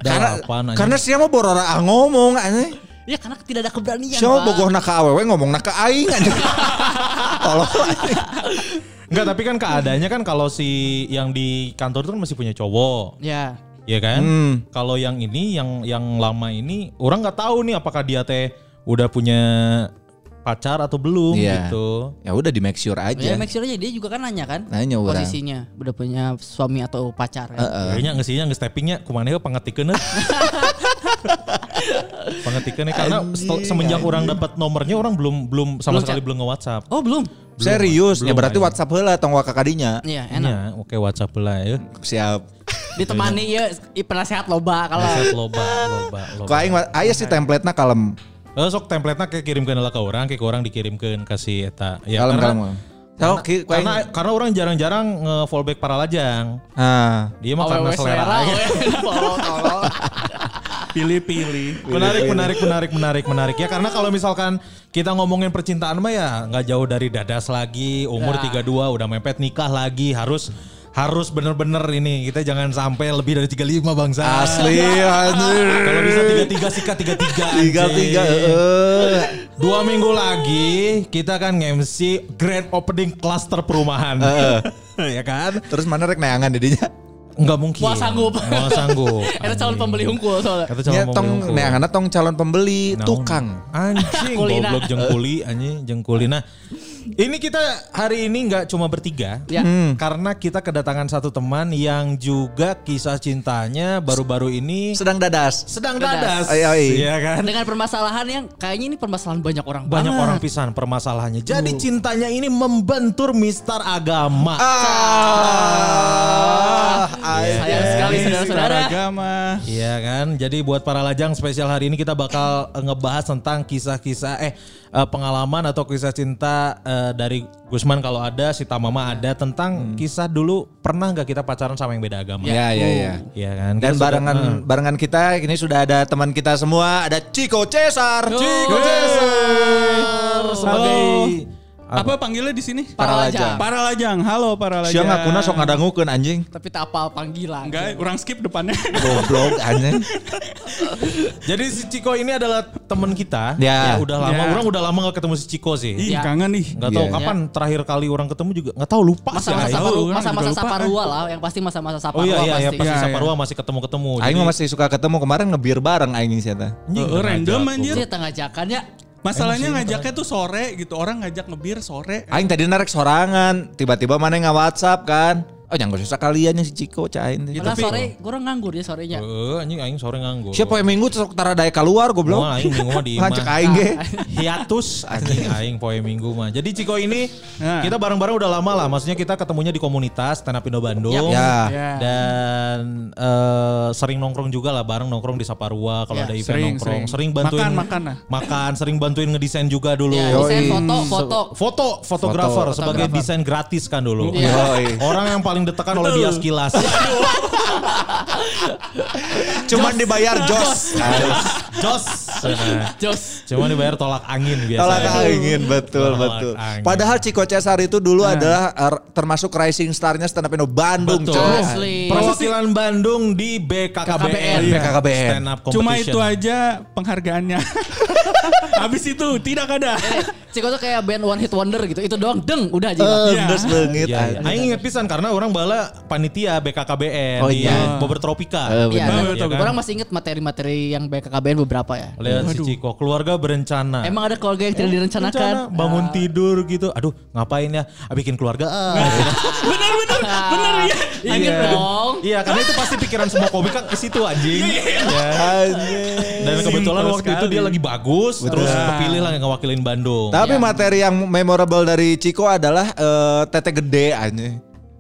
Speaker 3: Karena
Speaker 2: Dalapan anjing.
Speaker 3: karena sia mah borora ngomong anjing.
Speaker 4: Ya karena tidak ada keberanian,
Speaker 3: Sia mah
Speaker 4: Pak.
Speaker 3: bogoh ka awewe ngomong ka aing anjing. *laughs* Tolong anjing.
Speaker 2: Enggak, tapi kan keadaannya kan kalau si yang di kantor itu kan masih punya cowok.
Speaker 4: Ya.
Speaker 2: Iya kan?
Speaker 3: Hmm.
Speaker 2: Kalau yang ini yang yang lama ini orang nggak tahu nih apakah dia teh udah punya pacar atau belum
Speaker 3: Iya.
Speaker 2: gitu.
Speaker 3: Ya udah di make sure
Speaker 4: Ya
Speaker 3: aja.
Speaker 4: make sure aja dia juga kan nanya kan
Speaker 3: Nanya orang.
Speaker 4: posisinya udah punya suami atau pacar kan.
Speaker 3: Eh.
Speaker 2: Kayaknya ngesinya nge steppingnya kumane
Speaker 3: *laughs*
Speaker 2: ke pengetikeun Pengetikeun karena setel- semenjak orang dapat nomornya orang belum belum sama
Speaker 4: Belum
Speaker 2: sekali
Speaker 4: chat.
Speaker 2: belum nge-WhatsApp.
Speaker 4: Oh, belum.
Speaker 3: Serius, ya
Speaker 2: belum
Speaker 3: berarti
Speaker 2: aing.
Speaker 3: WhatsApp heula tong wa kakadinya.
Speaker 4: Iya, enak.
Speaker 2: Ya, oke WhatsApp lah ya.
Speaker 3: Siap.
Speaker 4: ditemani
Speaker 2: Iya.
Speaker 4: ya i- penasehat loba kalau
Speaker 2: Set loba, loba, loba.
Speaker 3: Kok aing wa- aya sih template-na kalem.
Speaker 2: Eh, sok template-na kayak kirimkeun lah ke orang, kayak ke orang dikirimkeun kasih eta. Ya
Speaker 3: Kalem
Speaker 2: karena
Speaker 3: kalem. Tahu ki- ku aing-
Speaker 2: karena karena orang jarang-jarang nge-fallback para lajang.
Speaker 3: Ah.
Speaker 2: Dia mah karena Oh,
Speaker 4: Awewe
Speaker 2: selera. aja.
Speaker 4: tolong.
Speaker 5: Pilih-pilih.
Speaker 2: *laughs* Menarik, menarik, menarik, menarik, menarik ya. Karena kalau misalkan kita ngomongin percintaan mah ya nggak jauh dari dadas lagi, umur 32 udah mepet nikah lagi, harus harus bener-bener ini kita jangan sampai lebih dari 35 bangsa.
Speaker 3: Asli anjir.
Speaker 2: Kalau bisa 33 sikat 33.
Speaker 3: Tiga
Speaker 2: anjing.
Speaker 3: tiga. eh.
Speaker 2: Dua minggu lagi kita kan nge-MC grand opening cluster perumahan. *laughs* ya kan?
Speaker 3: Terus mana rek neangan didinya?
Speaker 2: Enggak mungkin.
Speaker 4: Wah, sanggup.
Speaker 2: Wah, *laughs* sanggup.
Speaker 4: Ada calon pembeli unggul soalnya.
Speaker 2: Kata calon
Speaker 3: Ya
Speaker 2: pembeli
Speaker 3: tong
Speaker 2: unggul.
Speaker 3: neanganna tong calon pembeli,
Speaker 2: Naon?
Speaker 3: tukang.
Speaker 2: Anjing
Speaker 4: Kulina.
Speaker 2: goblok jengkuli nah. anjing jengkuli. Nah, ini kita hari ini nggak cuma bertiga.
Speaker 4: *laughs* Ya.
Speaker 3: Hmm.
Speaker 2: Karena kita kedatangan satu teman yang juga kisah cintanya baru-baru ini
Speaker 3: Sedang dadas.
Speaker 2: sedang dadas.
Speaker 4: Dadas.
Speaker 3: Ay, ay.
Speaker 2: Iya kan?
Speaker 4: Dengan permasalahan yang kayaknya ini permasalahan banyak orang
Speaker 2: Banyak
Speaker 4: banget.
Speaker 2: orang pisan permasalahannya. Jadi cintanya ini membentur mistar agama.
Speaker 3: Ah, ay.
Speaker 4: Sayang sekali saudara-saudara.
Speaker 5: agama.
Speaker 2: Iya kan, jadi buat para lajang spesial hari ini kita bakal eh, ngebahas tentang kisah-kisah eh eh, pengalaman atau kisah cinta eh, dari Gusman kalau ada, si Tamama ada tentang kisah dulu pernah nggak kita pacaran sama yang beda agama?
Speaker 3: Ya ya ya.
Speaker 2: Iya kan.
Speaker 3: Dan
Speaker 2: Kita sudah- eh,
Speaker 3: barengan barengan kita ini sudah ada teman kita semua, ada Chico Cesar.
Speaker 2: Chico Cesar sebagai
Speaker 5: Apa panggilnya di sini?
Speaker 4: Para lajang.
Speaker 5: Para lajang. Halo para lajang.
Speaker 3: Siang ngakuna sok ngadangukeun anjing.
Speaker 4: Tapi tak apal panggilan.
Speaker 5: Enggak, orang skip depannya.
Speaker 3: Goblok anjing.
Speaker 2: Jadi si Ciko ini adalah teman kita.
Speaker 3: Ya.
Speaker 2: udah lama,
Speaker 5: Ya.
Speaker 2: orang udah lama nggak ketemu si Ciko sih.
Speaker 5: Ih,
Speaker 4: Ya.
Speaker 5: kangen nih.
Speaker 2: Nggak tahu
Speaker 3: Iya.
Speaker 2: kapan terakhir kali orang ketemu juga nggak tahu lupa sih,
Speaker 4: Masa-masa
Speaker 2: Aing.
Speaker 5: Ayo,
Speaker 4: Saparua,
Speaker 5: orang
Speaker 4: masa-masa
Speaker 5: juga lupa.
Speaker 4: Saparua lah yang pasti masa-masa
Speaker 2: kan, Oh
Speaker 4: Saparua
Speaker 2: iya iya, iya
Speaker 4: pasti.
Speaker 2: pasti
Speaker 5: Iya, iya.
Speaker 2: Saparwa masih ketemu-ketemu.
Speaker 3: Aing
Speaker 2: Jadi- Eh,
Speaker 3: mah masih suka ketemu kemarin ngebir bareng anjing siapa?
Speaker 2: Anjing,
Speaker 5: Heeh, random,
Speaker 2: ngajak,
Speaker 5: anjir.
Speaker 2: goblok.
Speaker 4: Dia tengah jakan ya.
Speaker 5: Masalahnya
Speaker 2: Emosi
Speaker 5: ngajaknya tuh sore gitu. Orang ngajak ngebir sore.
Speaker 3: Aing tadi narik sorangan, tiba-tiba mana nggak WhatsApp kan? Oh jangan gosok sekaliannya si Ciko cain teh.
Speaker 2: Gitu,
Speaker 4: Malah sore gue nganggur ya sorenya.
Speaker 2: Heeh, Eh, anjing aing sore nganggur.
Speaker 3: Siapa yang minggu sok tara daya keluar
Speaker 2: Mau
Speaker 3: goblok.
Speaker 2: aing minggu mah di
Speaker 3: Ngancek
Speaker 2: imah.
Speaker 3: aing ge.
Speaker 2: Nah. hiatus anjing aing poe minggu mah. Jadi Ciko ini
Speaker 5: Nah.
Speaker 2: kita bareng-bareng udah lama lah. Maksudnya kita ketemunya di komunitas Stand Up Indo Bandung.
Speaker 3: Yap. Ya.
Speaker 5: Ya.
Speaker 2: Dan eh, sering nongkrong juga lah bareng nongkrong di Saparua kalau
Speaker 4: Ya,
Speaker 2: ada event
Speaker 5: sering,
Speaker 2: nongkrong.
Speaker 5: sering.
Speaker 2: Sering bantuin
Speaker 5: Makan, makan lah.
Speaker 2: Makan, sering bantuin ngedesain juga dulu.
Speaker 3: Yoi.
Speaker 4: Ya, desain foto, foto.
Speaker 2: Foto, fotografer sebagai
Speaker 4: Fotografer.
Speaker 2: desain gratis kan dulu.
Speaker 4: Iya.
Speaker 3: Yoi.
Speaker 2: Orang yang paling ditekan oleh dia sekilas.
Speaker 3: Cuman dibayar jos.
Speaker 2: Jos. Nah.
Speaker 4: Jos.
Speaker 2: Cuma dibayar tolak angin biasanya.
Speaker 3: Tolak angin Iya, betul
Speaker 2: Tolak
Speaker 3: betul.
Speaker 2: angin.
Speaker 3: Padahal Ciko Cesar itu dulu adalah er, termasuk rising starnya stand up Indo Bandung.
Speaker 2: Betul. Iya.
Speaker 3: coy.
Speaker 4: Asli.
Speaker 2: Perwakilan Bandung di BKKBN.
Speaker 4: Iya.
Speaker 3: BKKBN.
Speaker 2: Stand up competition.
Speaker 5: Cuma itu aja
Speaker 2: *laughs*
Speaker 5: penghargaannya. Habis itu tidak ada.
Speaker 2: Eh,
Speaker 4: Ciko tuh kayak band one hit wonder gitu. Itu doang deng udah aja.
Speaker 3: Eh,
Speaker 5: Iya.
Speaker 3: Endes banget.
Speaker 2: Iya, iya. Aing inget pisan karena orang bala panitia BKKBN
Speaker 3: Oh,
Speaker 2: di
Speaker 3: iya.
Speaker 2: Bogor Tropika.
Speaker 3: Eh,
Speaker 4: Iya.
Speaker 5: Betul,
Speaker 4: dan
Speaker 5: betul,
Speaker 2: kan?
Speaker 5: betul.
Speaker 4: Orang masih inget materi-materi yang BKKBN beberapa ya.
Speaker 2: Lihat si Ciko, keluarga berencana.
Speaker 4: Emang ada keluarga yang tidak direncanakan?
Speaker 2: Nah.
Speaker 4: Ah.
Speaker 2: Rencana, bangun tidur gitu. Aduh, ngapain ya? Ah, Bikin keluarga.
Speaker 3: *laughs*
Speaker 2: ah.
Speaker 5: bener bener bener ya.
Speaker 4: Ingat
Speaker 2: Iya.
Speaker 4: dong.
Speaker 2: Iya, karena itu pasti pikiran semua komika ke situ anjing. Iya.
Speaker 3: Nah,
Speaker 2: Dan kebetulan
Speaker 5: Simple
Speaker 2: waktu itu dia
Speaker 5: sekali.
Speaker 2: lagi bagus, terus
Speaker 5: Betul.
Speaker 2: kepilih lah ngewakilin Bandung.
Speaker 3: Tapi materi yang memorable dari Ciko adalah eh, tete gede aja.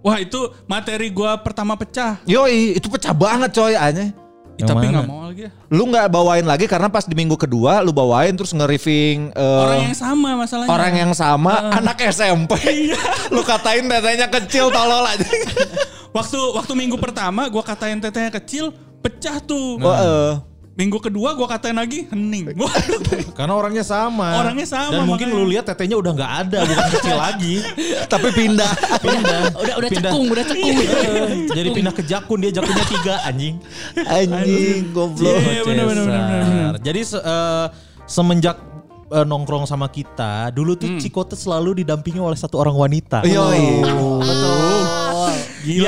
Speaker 5: Wah itu materi gua pertama pecah.
Speaker 3: Yoi, itu pecah banget coy aja.
Speaker 5: Ih,
Speaker 2: Yang
Speaker 5: tapi
Speaker 2: mana?
Speaker 5: nggak mau lagi. ya.
Speaker 3: Lu nggak bawain lagi karena pas di minggu kedua lu bawain terus nge-riffing eh,
Speaker 5: Orang yang sama masalahnya.
Speaker 3: orang yang sama anak SMP. lu katain tetenya kecil tolol aja.
Speaker 5: waktu waktu minggu pertama gua katain tetenya kecil pecah tuh.
Speaker 2: Nah. eh.
Speaker 3: Heeh.
Speaker 5: Minggu kedua gua katain lagi
Speaker 2: *laughs*
Speaker 5: hening. Waduh.
Speaker 2: Karena orangnya sama.
Speaker 5: Orangnya
Speaker 2: Dan
Speaker 5: sama,
Speaker 2: mungkin
Speaker 5: makanya.
Speaker 2: lu lihat tetenya udah nggak ada, bukan kecil *laughs* lagi.
Speaker 3: Tapi pindah.
Speaker 2: Pindah.
Speaker 4: Udah udah cekung, udah cekung.
Speaker 2: Eh, Jadi pindah ke jakun dia jakunnya tiga anjing.
Speaker 3: Anjing goblok.
Speaker 5: Iya, bener, bener, bener, bener, bener.
Speaker 2: Cesar. Jadi se- eh, semenjak eh, nongkrong sama kita, dulu tuh Ciko tuh selalu didampingi oleh satu orang wanita.
Speaker 3: Yoi.
Speaker 5: Gila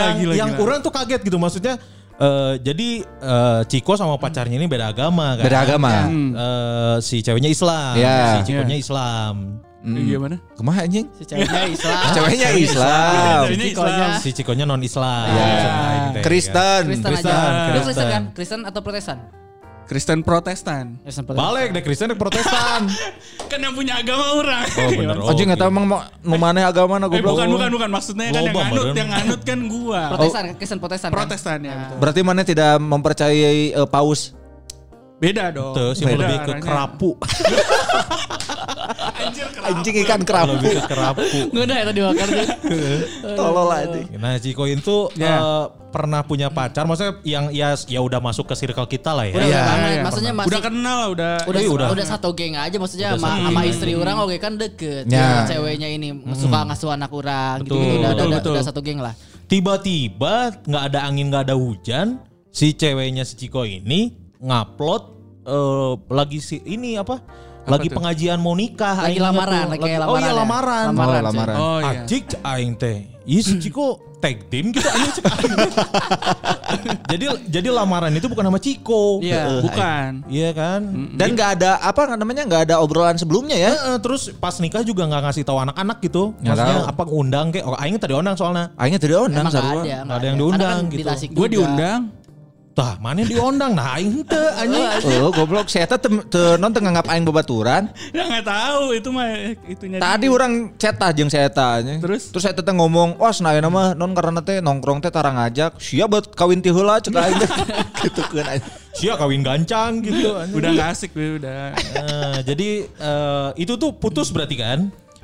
Speaker 2: yang
Speaker 5: gila
Speaker 2: yang
Speaker 5: gila.
Speaker 2: orang tuh kaget gitu maksudnya. eh, jadi eh, Ciko sama pacarnya ini beda agama kan?
Speaker 3: Beda agama.
Speaker 2: Eh, si ceweknya Islam,
Speaker 3: Ya.
Speaker 2: si Cikonya Islam, Hmm.
Speaker 5: Eh, Gimana?
Speaker 3: Kemah anjing?
Speaker 4: Si ceweknya Islam.
Speaker 3: Ceweknya Nah,
Speaker 2: Iya.
Speaker 3: Islam.
Speaker 5: Ini
Speaker 4: Cikonya.
Speaker 5: Islam.
Speaker 2: si Cikonya gitu non Islam.
Speaker 3: Ya.
Speaker 2: ya.
Speaker 3: Kristen.
Speaker 4: Kristen aja.
Speaker 2: Kristen,
Speaker 4: Lu Kristen
Speaker 2: Kristen.
Speaker 4: kan? Kristen atau Protestan?
Speaker 5: Kristen Protestan.
Speaker 4: Kristen Protestan.
Speaker 2: Balik deh Kristen deh Protestan.
Speaker 5: Kan yang punya agama orang.
Speaker 2: oh bener.
Speaker 3: Oh, Anjing nggak tahu emang mau nu mana agama na
Speaker 2: Oh,
Speaker 5: *laughs* Eh,
Speaker 3: goblok.
Speaker 5: bukan bukan bukan maksudnya kan yang
Speaker 2: Loba,
Speaker 5: nganut
Speaker 2: Badan.
Speaker 5: yang nganut kan gua.
Speaker 2: Oh.
Speaker 4: Protestan, Kristen Protestan. kan?
Speaker 5: Protestan ya. betul.
Speaker 3: Berarti mana tidak mempercayai eh, paus?
Speaker 5: Beda dong.
Speaker 2: Tuh, sih
Speaker 5: Beda
Speaker 2: lebih ke
Speaker 5: arahnya.
Speaker 2: kerapu.
Speaker 3: Anjing ikan kerapu.
Speaker 2: lebih ke kerapu.
Speaker 4: Nggak ada ya tadi
Speaker 2: *laughs*
Speaker 4: makan tuh.
Speaker 3: Tolol anjing.
Speaker 2: Nah, Ciko itu
Speaker 5: Ya.
Speaker 2: eh, pernah punya pacar, maksudnya yang ya ya udah masuk ke circle kita lah ya.
Speaker 4: Udah
Speaker 3: Iya,
Speaker 4: banget.
Speaker 5: iya,
Speaker 4: Maksudnya masih
Speaker 5: Udah kenal lah udah.
Speaker 4: udah,
Speaker 2: Iya, udah.
Speaker 4: udah satu geng aja maksudnya
Speaker 2: Udah
Speaker 4: sama,
Speaker 2: satu
Speaker 4: sama
Speaker 2: geng.
Speaker 4: istri orang oke kan deket
Speaker 3: Ya.
Speaker 4: Ya, ceweknya ini suka ngasuh anak orang gitu,
Speaker 2: Betul,
Speaker 4: udah,
Speaker 5: betul,
Speaker 4: udah,
Speaker 5: betul.
Speaker 4: udah satu geng lah
Speaker 2: Tiba-tiba nggak ada angin, nggak ada hujan, si ceweknya si Ciko ini ngupload eh, lagi si ini apa? lagi pengajian mau nikah aing
Speaker 4: lagi
Speaker 2: ingat
Speaker 4: lamaran
Speaker 2: tuh.
Speaker 4: lagi
Speaker 2: Lagi- oh
Speaker 4: kayak
Speaker 2: iya
Speaker 4: lamaran ya.
Speaker 2: lamaran,
Speaker 4: lamaran,
Speaker 3: Oh,
Speaker 4: cuy.
Speaker 3: lamaran.
Speaker 5: Oh iya.
Speaker 2: Ajik aing teh. Ih si Ciko tag team gitu aing cek aing. *laughs* jadi jadi lamaran itu bukan sama Ciko.
Speaker 4: Iya.
Speaker 5: Bukan.
Speaker 2: Iya kan?
Speaker 3: Dan nggak ada apa namanya nggak ada obrolan sebelumnya ya?
Speaker 2: Eh, eh, terus pas nikah juga nggak ngasih tahu anak-anak gitu.
Speaker 3: Nggak
Speaker 2: Maksudnya
Speaker 3: tahu.
Speaker 2: apa ngundang kek? Oh, aing tadi undang soalnya.
Speaker 3: Akhirnya tidak onang
Speaker 4: Emang nggak
Speaker 3: sarua.
Speaker 4: ada, nggak
Speaker 2: ada yang diundang
Speaker 4: Karena kan di
Speaker 2: gitu.
Speaker 4: Tasik
Speaker 5: Gue
Speaker 4: juga.
Speaker 5: diundang.
Speaker 2: Tah, mana yang diundang? Nah, aing teu anjing.
Speaker 3: Oh goblok, saya teh tem- teu non teu nganggap aing bebaturan.
Speaker 5: Ya nggak tahu itu mah itunya.
Speaker 3: Tadi orang cetah jeung saya tanya.
Speaker 5: Terus?
Speaker 3: terus saya teh ngomong, "Oh, senayan mah non karena teh nongkrong teh tarang ngajak. Sia buat kawin ti heula cek aing." teh. Gitu kan aing.
Speaker 2: Sia kawin gancang gitu anjing.
Speaker 5: udah nggak asik gue udah.
Speaker 2: Eh, jadi eh, itu tuh putus berarti kan?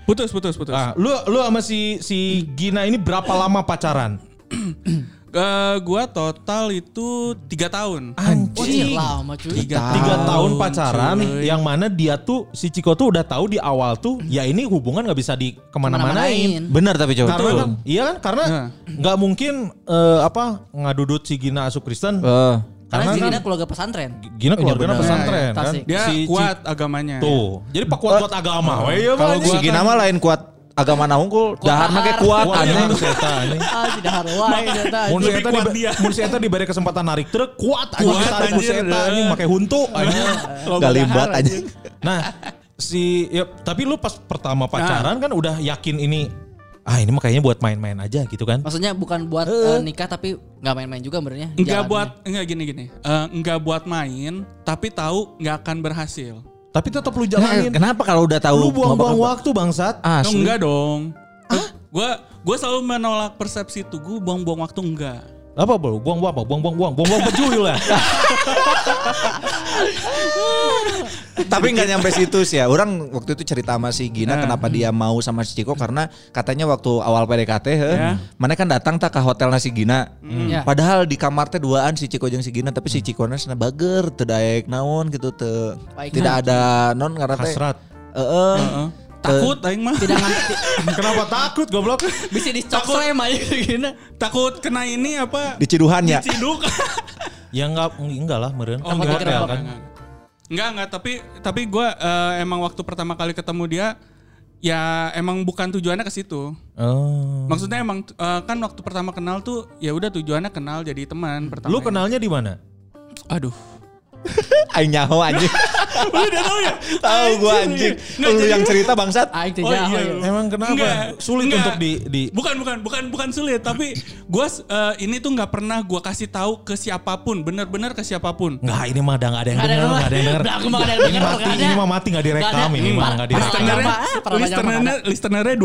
Speaker 5: Putus putus putus.
Speaker 2: Ah, lu lu sama si si Gina ini berapa lama pacaran?
Speaker 5: Eh, gua total itu tiga tahun.
Speaker 4: Wah,
Speaker 2: Anjing.
Speaker 4: lama cuy
Speaker 2: Tiga tahun pacaran, yang mana dia tuh si Ciko tuh udah tahu di awal tuh, ya ini hubungan nggak bisa di kemana-manain.
Speaker 4: Kemana-manain.
Speaker 3: Benar tapi coba.
Speaker 2: Karena kan, iya kan, karena
Speaker 5: Nah.
Speaker 2: nggak mungkin eh, apa ngadudut si Gina Asu Kristen.
Speaker 3: Heeh.
Speaker 4: Karena
Speaker 2: Karena
Speaker 4: si
Speaker 2: kan
Speaker 4: Gina keluarga pesantren
Speaker 2: Gina keluarga pesantren kan.
Speaker 4: Tasik.
Speaker 5: Dia
Speaker 2: Si-
Speaker 5: iya, kuat agamanya.
Speaker 2: Tuh, jadi pak kuat-kuat agama. Wah, iya,
Speaker 3: Kalau
Speaker 2: Pak.
Speaker 3: si Gina mah lain kuat agama na unggul, dahar mah ge kuat
Speaker 2: Kuat yang
Speaker 3: aneh.
Speaker 2: harus eta, aneh.
Speaker 4: ah tidak harwai
Speaker 2: Mun si
Speaker 5: Lebih
Speaker 2: eta
Speaker 5: kuat
Speaker 2: dibe-
Speaker 4: *laughs*
Speaker 5: dia.
Speaker 2: mun si eta diberi kesempatan narik truk kuat anjing
Speaker 5: Kuat,
Speaker 2: tarik mun si
Speaker 5: anjir.
Speaker 2: eta anjing make
Speaker 4: *laughs*
Speaker 2: huntu anjing.
Speaker 3: Galibat anjing.
Speaker 2: Nah,
Speaker 4: Nah.
Speaker 2: si ya, tapi lu pas pertama pacaran kan udah yakin ini ah ini mah kayaknya buat main-main aja gitu kan.
Speaker 4: Maksudnya bukan buat eh, nikah tapi nggak main-main juga benernya.
Speaker 5: Enggak
Speaker 4: jalannya.
Speaker 5: buat enggak gini gini. Eh, enggak buat main tapi tahu enggak akan berhasil.
Speaker 2: Tapi tetap lu
Speaker 3: Eh,
Speaker 2: jalanin.
Speaker 3: kenapa kalau udah tahu Ah.
Speaker 2: Lu buang-buang
Speaker 3: kenapa-
Speaker 2: waktu bangsat.
Speaker 5: No,
Speaker 3: Asli.
Speaker 5: enggak dong. Gue gue selalu menolak persepsi itu. Gue buang-buang waktu enggak.
Speaker 2: Apa bro? Buang-buang apa? Buang-buang uang. Buang-buang ya? pejuyul
Speaker 3: *laughs*
Speaker 2: lah.
Speaker 3: Tapi nggak nyampe situ sih ya. Orang waktu itu cerita sama si Gina
Speaker 2: Eh.
Speaker 3: kenapa dia mau sama si Ciko karena katanya waktu awal PDKT, heh,
Speaker 5: Ya.
Speaker 3: mana kan datang tak ke hotel nasi Gina.
Speaker 2: Hmm.
Speaker 4: Ya.
Speaker 3: Padahal di kamar teh duaan si Ciko jeung si Gina, tapi si Ciko na cenah bager, teu daek naon gitu teu.
Speaker 4: Baik.
Speaker 3: Tidak ada non karena teh.
Speaker 2: Hasrat.
Speaker 3: Heeh.
Speaker 5: Heeh. Takut aing mah.
Speaker 4: Tidak
Speaker 5: *laughs*
Speaker 4: nganti.
Speaker 2: Kenapa takut goblok?
Speaker 4: Bisa dicok saya mah *laughs* gini.
Speaker 5: Takut kena ini apa?
Speaker 3: Di Ciduhan ya.
Speaker 5: Diciduk. *laughs*
Speaker 2: Ya enggak enggak lah meren.
Speaker 5: Oh,
Speaker 2: Kan di hotel
Speaker 5: enggak, enggak,
Speaker 2: kan.
Speaker 5: enggak, enggak. Enggak, enggak, tapi tapi gue emang waktu pertama kali ketemu dia ya emang bukan tujuannya ke situ.
Speaker 2: Oh.
Speaker 5: Maksudnya emang eh, kan waktu pertama kenal tuh ya udah tujuannya kenal jadi teman pertama.
Speaker 2: Lu
Speaker 5: ya.
Speaker 2: kenalnya di mana?
Speaker 5: Aduh.
Speaker 3: Aing nyaho *laughs* anjing.
Speaker 5: *laughs* Lu udah tahu ya?
Speaker 3: Tahu gua anjing.
Speaker 5: Nggak,
Speaker 3: Lu
Speaker 5: jadi
Speaker 3: yang
Speaker 5: gua-
Speaker 3: cerita bangsat.
Speaker 4: Aing teh
Speaker 5: Oh
Speaker 4: jahat,
Speaker 5: iya.
Speaker 4: ya.
Speaker 5: lu.
Speaker 2: Emang kenapa? Sulit untuk di- di-
Speaker 5: Bukan bukan bukan bukan sulit tapi gua eh, ini tuh nggak pernah gua kasih tahu ke siapapun, bener-bener ke siapapun.
Speaker 2: Enggak, ini mah ada enggak ada yang
Speaker 4: Nggak
Speaker 2: denger,
Speaker 4: ada yang
Speaker 2: enggak ada yang
Speaker 4: denger.
Speaker 2: denger.
Speaker 4: Belakang mah nggak ada yang
Speaker 2: Ini
Speaker 4: denger,
Speaker 2: mati,
Speaker 4: nggak ada.
Speaker 2: ini mah mati enggak direkam
Speaker 4: Nggak ada.
Speaker 2: ini mah
Speaker 4: Parah.
Speaker 2: enggak
Speaker 4: Parah.
Speaker 2: direkam.
Speaker 5: Listenernya,
Speaker 4: apa? Pertanyaan
Speaker 5: listenernya, listenernya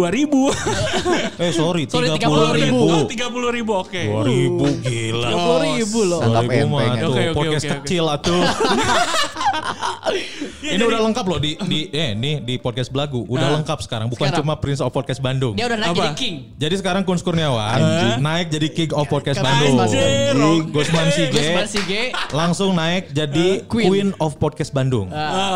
Speaker 5: 2000.
Speaker 2: Eh sorry,
Speaker 4: Sorry,
Speaker 2: 30
Speaker 4: 30.000.
Speaker 2: ribu.
Speaker 5: Oh, 30 ribu, oke.
Speaker 2: 2000 ribu gila.
Speaker 4: 30.000 loh.
Speaker 3: Anggap
Speaker 2: 2000 mah
Speaker 3: enteng,
Speaker 2: tuh,
Speaker 5: Oke, oke,
Speaker 2: podcast
Speaker 5: oke, oke.
Speaker 2: kecil
Speaker 4: *laughs*
Speaker 2: atuh.
Speaker 5: Ya,
Speaker 2: Ini
Speaker 5: jadi-
Speaker 2: udah lengkap loh di di eh nih di podcast Belagu udah lengkap sekarang bukan
Speaker 4: Nah,
Speaker 2: cuma
Speaker 4: Sekarang.
Speaker 2: Prince of Podcast Bandung.
Speaker 4: Dia udah naik
Speaker 5: Apa?
Speaker 4: jadi king.
Speaker 2: Jadi sekarang Kun Kurniawan naik jadi King of Podcast
Speaker 4: Keren,
Speaker 2: Bandung.
Speaker 4: Mas.
Speaker 5: Anjing.
Speaker 2: Gusman
Speaker 4: Gus
Speaker 2: Sige *laughs*
Speaker 4: Barsige.
Speaker 2: langsung naik jadi
Speaker 4: Eh, Queen. Ah.
Speaker 2: Queen. of Podcast Bandung.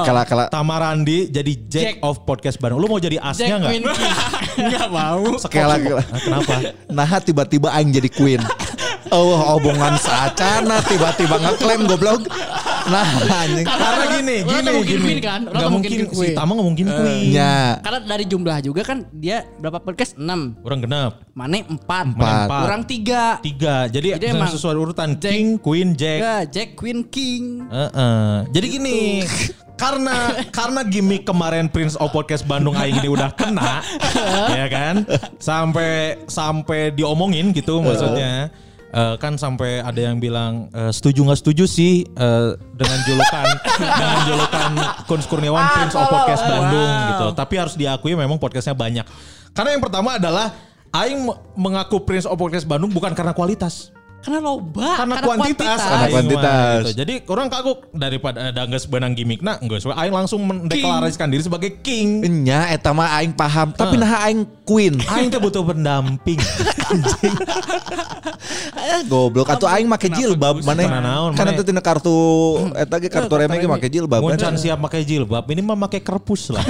Speaker 3: Kala kala
Speaker 2: Tamarandi jadi Jack,
Speaker 4: Jack.
Speaker 2: of Podcast Bandung. Lu mau jadi
Speaker 4: Jack
Speaker 2: asnya Iya
Speaker 4: Queen
Speaker 2: *laughs* nggak?
Speaker 4: King.
Speaker 5: Enggak mau.
Speaker 2: Sekop,
Speaker 3: kala
Speaker 2: sekop.
Speaker 3: kala.
Speaker 2: Nah, kenapa?
Speaker 3: Nah tiba-tiba Aing jadi queen Oh obongan sacana tiba-tiba ngeklaim goblok Nah anjing
Speaker 2: Karena gini, gini,
Speaker 4: Orang nggak mungkin
Speaker 2: gini.
Speaker 4: Queen kan? Orang
Speaker 2: Nggak
Speaker 4: nggak
Speaker 2: mungkin,
Speaker 4: mungkin Queen. Eh.
Speaker 2: si Tama nggak mungkin Queen.
Speaker 3: Ya
Speaker 4: Karena dari jumlah juga kan dia berapa podcast? 6.
Speaker 2: Orang genap.
Speaker 4: Mane 4.
Speaker 3: Mane
Speaker 2: empat.
Speaker 4: Kurang 3.
Speaker 2: Tiga. Jadi,
Speaker 4: Jadi
Speaker 2: emang
Speaker 4: emang
Speaker 2: sesuai urutan
Speaker 4: Jack-
Speaker 2: King, Queen, Jack.
Speaker 4: Ya, Jack Queen King.
Speaker 2: Heeh. Jadi gini, karena karena gimmick kemarin Prince of Podcast Bandung Aing ini udah kena, ya kan? Sampai sampai diomongin gitu maksudnya. Eh, kan sampai ada yang bilang eh, setuju nggak setuju sih eh, dengan julukan dengan julukan Kun Kurniawan Prince of Podcast Bandung gitu. Tapi harus diakui memang podcastnya banyak. Karena yang pertama adalah Aing mengaku Prince of Podcast Bandung bukan karena kualitas
Speaker 4: Karena loba,
Speaker 2: karena kuantitas,
Speaker 3: Karena
Speaker 2: aing
Speaker 3: kuantitas.
Speaker 2: mah, gitu. Jadi orang kagok daripada ada geus benang gimmick nah geus we aing langsung mendeklarasikan diri sebagai king.
Speaker 3: Nya eta mah aing paham Tapi nah aing queen
Speaker 2: Aing teh butuh pendamping. *laughs*
Speaker 3: Eh, Goblok Atau aing make jilbab mana
Speaker 2: Mana naon,
Speaker 3: Karena
Speaker 2: mana?
Speaker 3: itu tina kartu Eta ge kartu reme ge make jilbab
Speaker 2: Muncan
Speaker 3: kan
Speaker 2: siap pakai jilbab, ini mah pakai kerpus lah.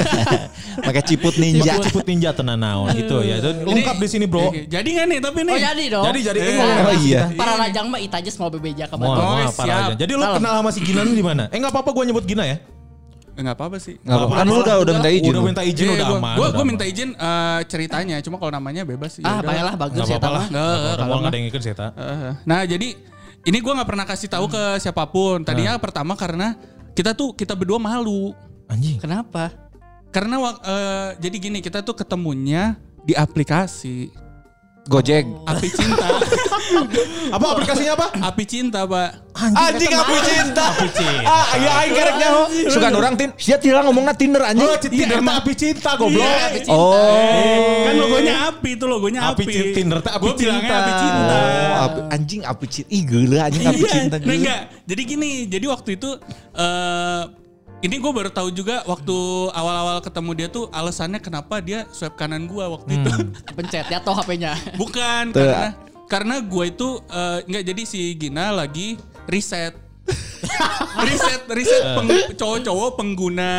Speaker 3: Make ciput ninja
Speaker 2: Ciput ninja tenan naon gitu ya. Itu lengkap di sini, Bro.
Speaker 5: Oke, jadi nggak nih tapi nih?
Speaker 4: Oh jadi dong.
Speaker 2: Jadi jadi ini
Speaker 5: Eh.
Speaker 2: ngomong
Speaker 3: Oh
Speaker 2: keras
Speaker 3: iya.
Speaker 2: kita.
Speaker 4: Para lajang mah itaja semua bebeja
Speaker 2: Mual,
Speaker 4: kabar.
Speaker 5: Wah.
Speaker 2: mual,
Speaker 5: Oke,
Speaker 2: parah
Speaker 5: siap.
Speaker 2: aja. Jadi lu kenal sama si Gina di mana? Eh enggak apa-apa gua nyebut Gina ya.
Speaker 5: Enggak Eh, apa-apa sih. Iya,
Speaker 3: Nggak apa-apa, Kan lu udah udah minta izin
Speaker 2: Udah
Speaker 3: lu.
Speaker 2: minta izin udah aman.
Speaker 5: Gue
Speaker 2: udah
Speaker 5: gue
Speaker 2: aman.
Speaker 5: minta izin eh, ceritanya, cuma kalau namanya bebas sih.
Speaker 4: Ah,
Speaker 5: yaudah.
Speaker 4: baiklah bagus
Speaker 2: Nggak
Speaker 4: ya
Speaker 2: apa-apa
Speaker 4: tahu.
Speaker 2: lah.
Speaker 5: Nggak,
Speaker 2: Nggak
Speaker 5: kalau
Speaker 2: apa-apa, nggak
Speaker 5: mah.
Speaker 2: ada yang ngikut Zeta.
Speaker 5: Eh, nah jadi ini gue nggak pernah kasih tahu ke siapapun. Tadinya pertama karena kita tuh kita berdua malu.
Speaker 2: Anjing.
Speaker 4: Kenapa?
Speaker 5: Karena wak- eh, jadi gini kita tuh ketemunya di aplikasi
Speaker 3: Gojek
Speaker 5: Api Cinta.
Speaker 2: Apa aplikasinya apa?
Speaker 5: Api Cinta, Pak.
Speaker 3: Anjing aku cinta
Speaker 2: Api
Speaker 3: *laughs*
Speaker 2: cinta.
Speaker 3: Ah iya aing kerek nyaho Suka orang tin Sia tilang ngomongna Tinder
Speaker 2: Oh,
Speaker 3: anjing
Speaker 2: Tinder teh api cinta
Speaker 5: Iya,
Speaker 2: goblok.
Speaker 5: Api Cinta.
Speaker 3: Oh
Speaker 2: Eh,
Speaker 5: Kan logonya api itu logonya api.
Speaker 2: Api Cinta, Tinder teh api
Speaker 5: Gua bilangnya
Speaker 2: cinta.
Speaker 5: Api Cinta.
Speaker 3: Oh, api- anjing api cinta. Ih gila anjing api
Speaker 5: Iya,
Speaker 3: cinta.
Speaker 5: nah
Speaker 3: gila.
Speaker 5: enggak. Jadi gini, jadi waktu itu eh ini gue baru tahu juga waktu awal-awal ketemu dia tuh alasannya kenapa dia swipe kanan gue waktu itu.
Speaker 4: Pencet ya toh HP-nya.
Speaker 5: Bukan
Speaker 3: Tuh.
Speaker 5: karena karena gue itu eh, enggak jadi si Gina lagi riset *laughs* riset riset peng- cowok-cowok pengguna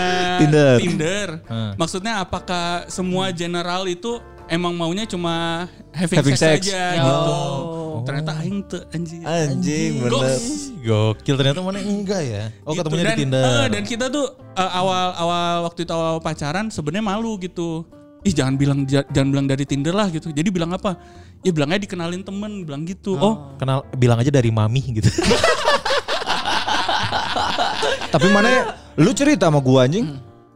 Speaker 3: Eh. Tinder. Eh. Hmm.
Speaker 2: Hmm.
Speaker 5: Maksudnya apakah semua general itu emang maunya cuma having,
Speaker 3: Having
Speaker 5: sex,
Speaker 3: sex.
Speaker 5: aja
Speaker 4: Oh.
Speaker 5: gitu. Ternyata aing tuh anjir.
Speaker 3: Anjing bener.
Speaker 2: Gokil ternyata mana enggak ya? Oh
Speaker 5: Gitu.
Speaker 2: ketemunya
Speaker 5: dan,
Speaker 2: di Tinder.
Speaker 5: eh, dan kita tuh eh, awal awal waktu itu awal pacaran sebenarnya malu gitu. Ih jangan bilang ja- jangan bilang dari Tinder lah gitu. Jadi bilang apa? Ya bilangnya dikenalin temen, bilang gitu. Oh,
Speaker 2: Kenal bilang aja dari mami gitu.
Speaker 3: ya,
Speaker 5: Hmm.
Speaker 3: Tapi mana lu cerita sama gua anjing?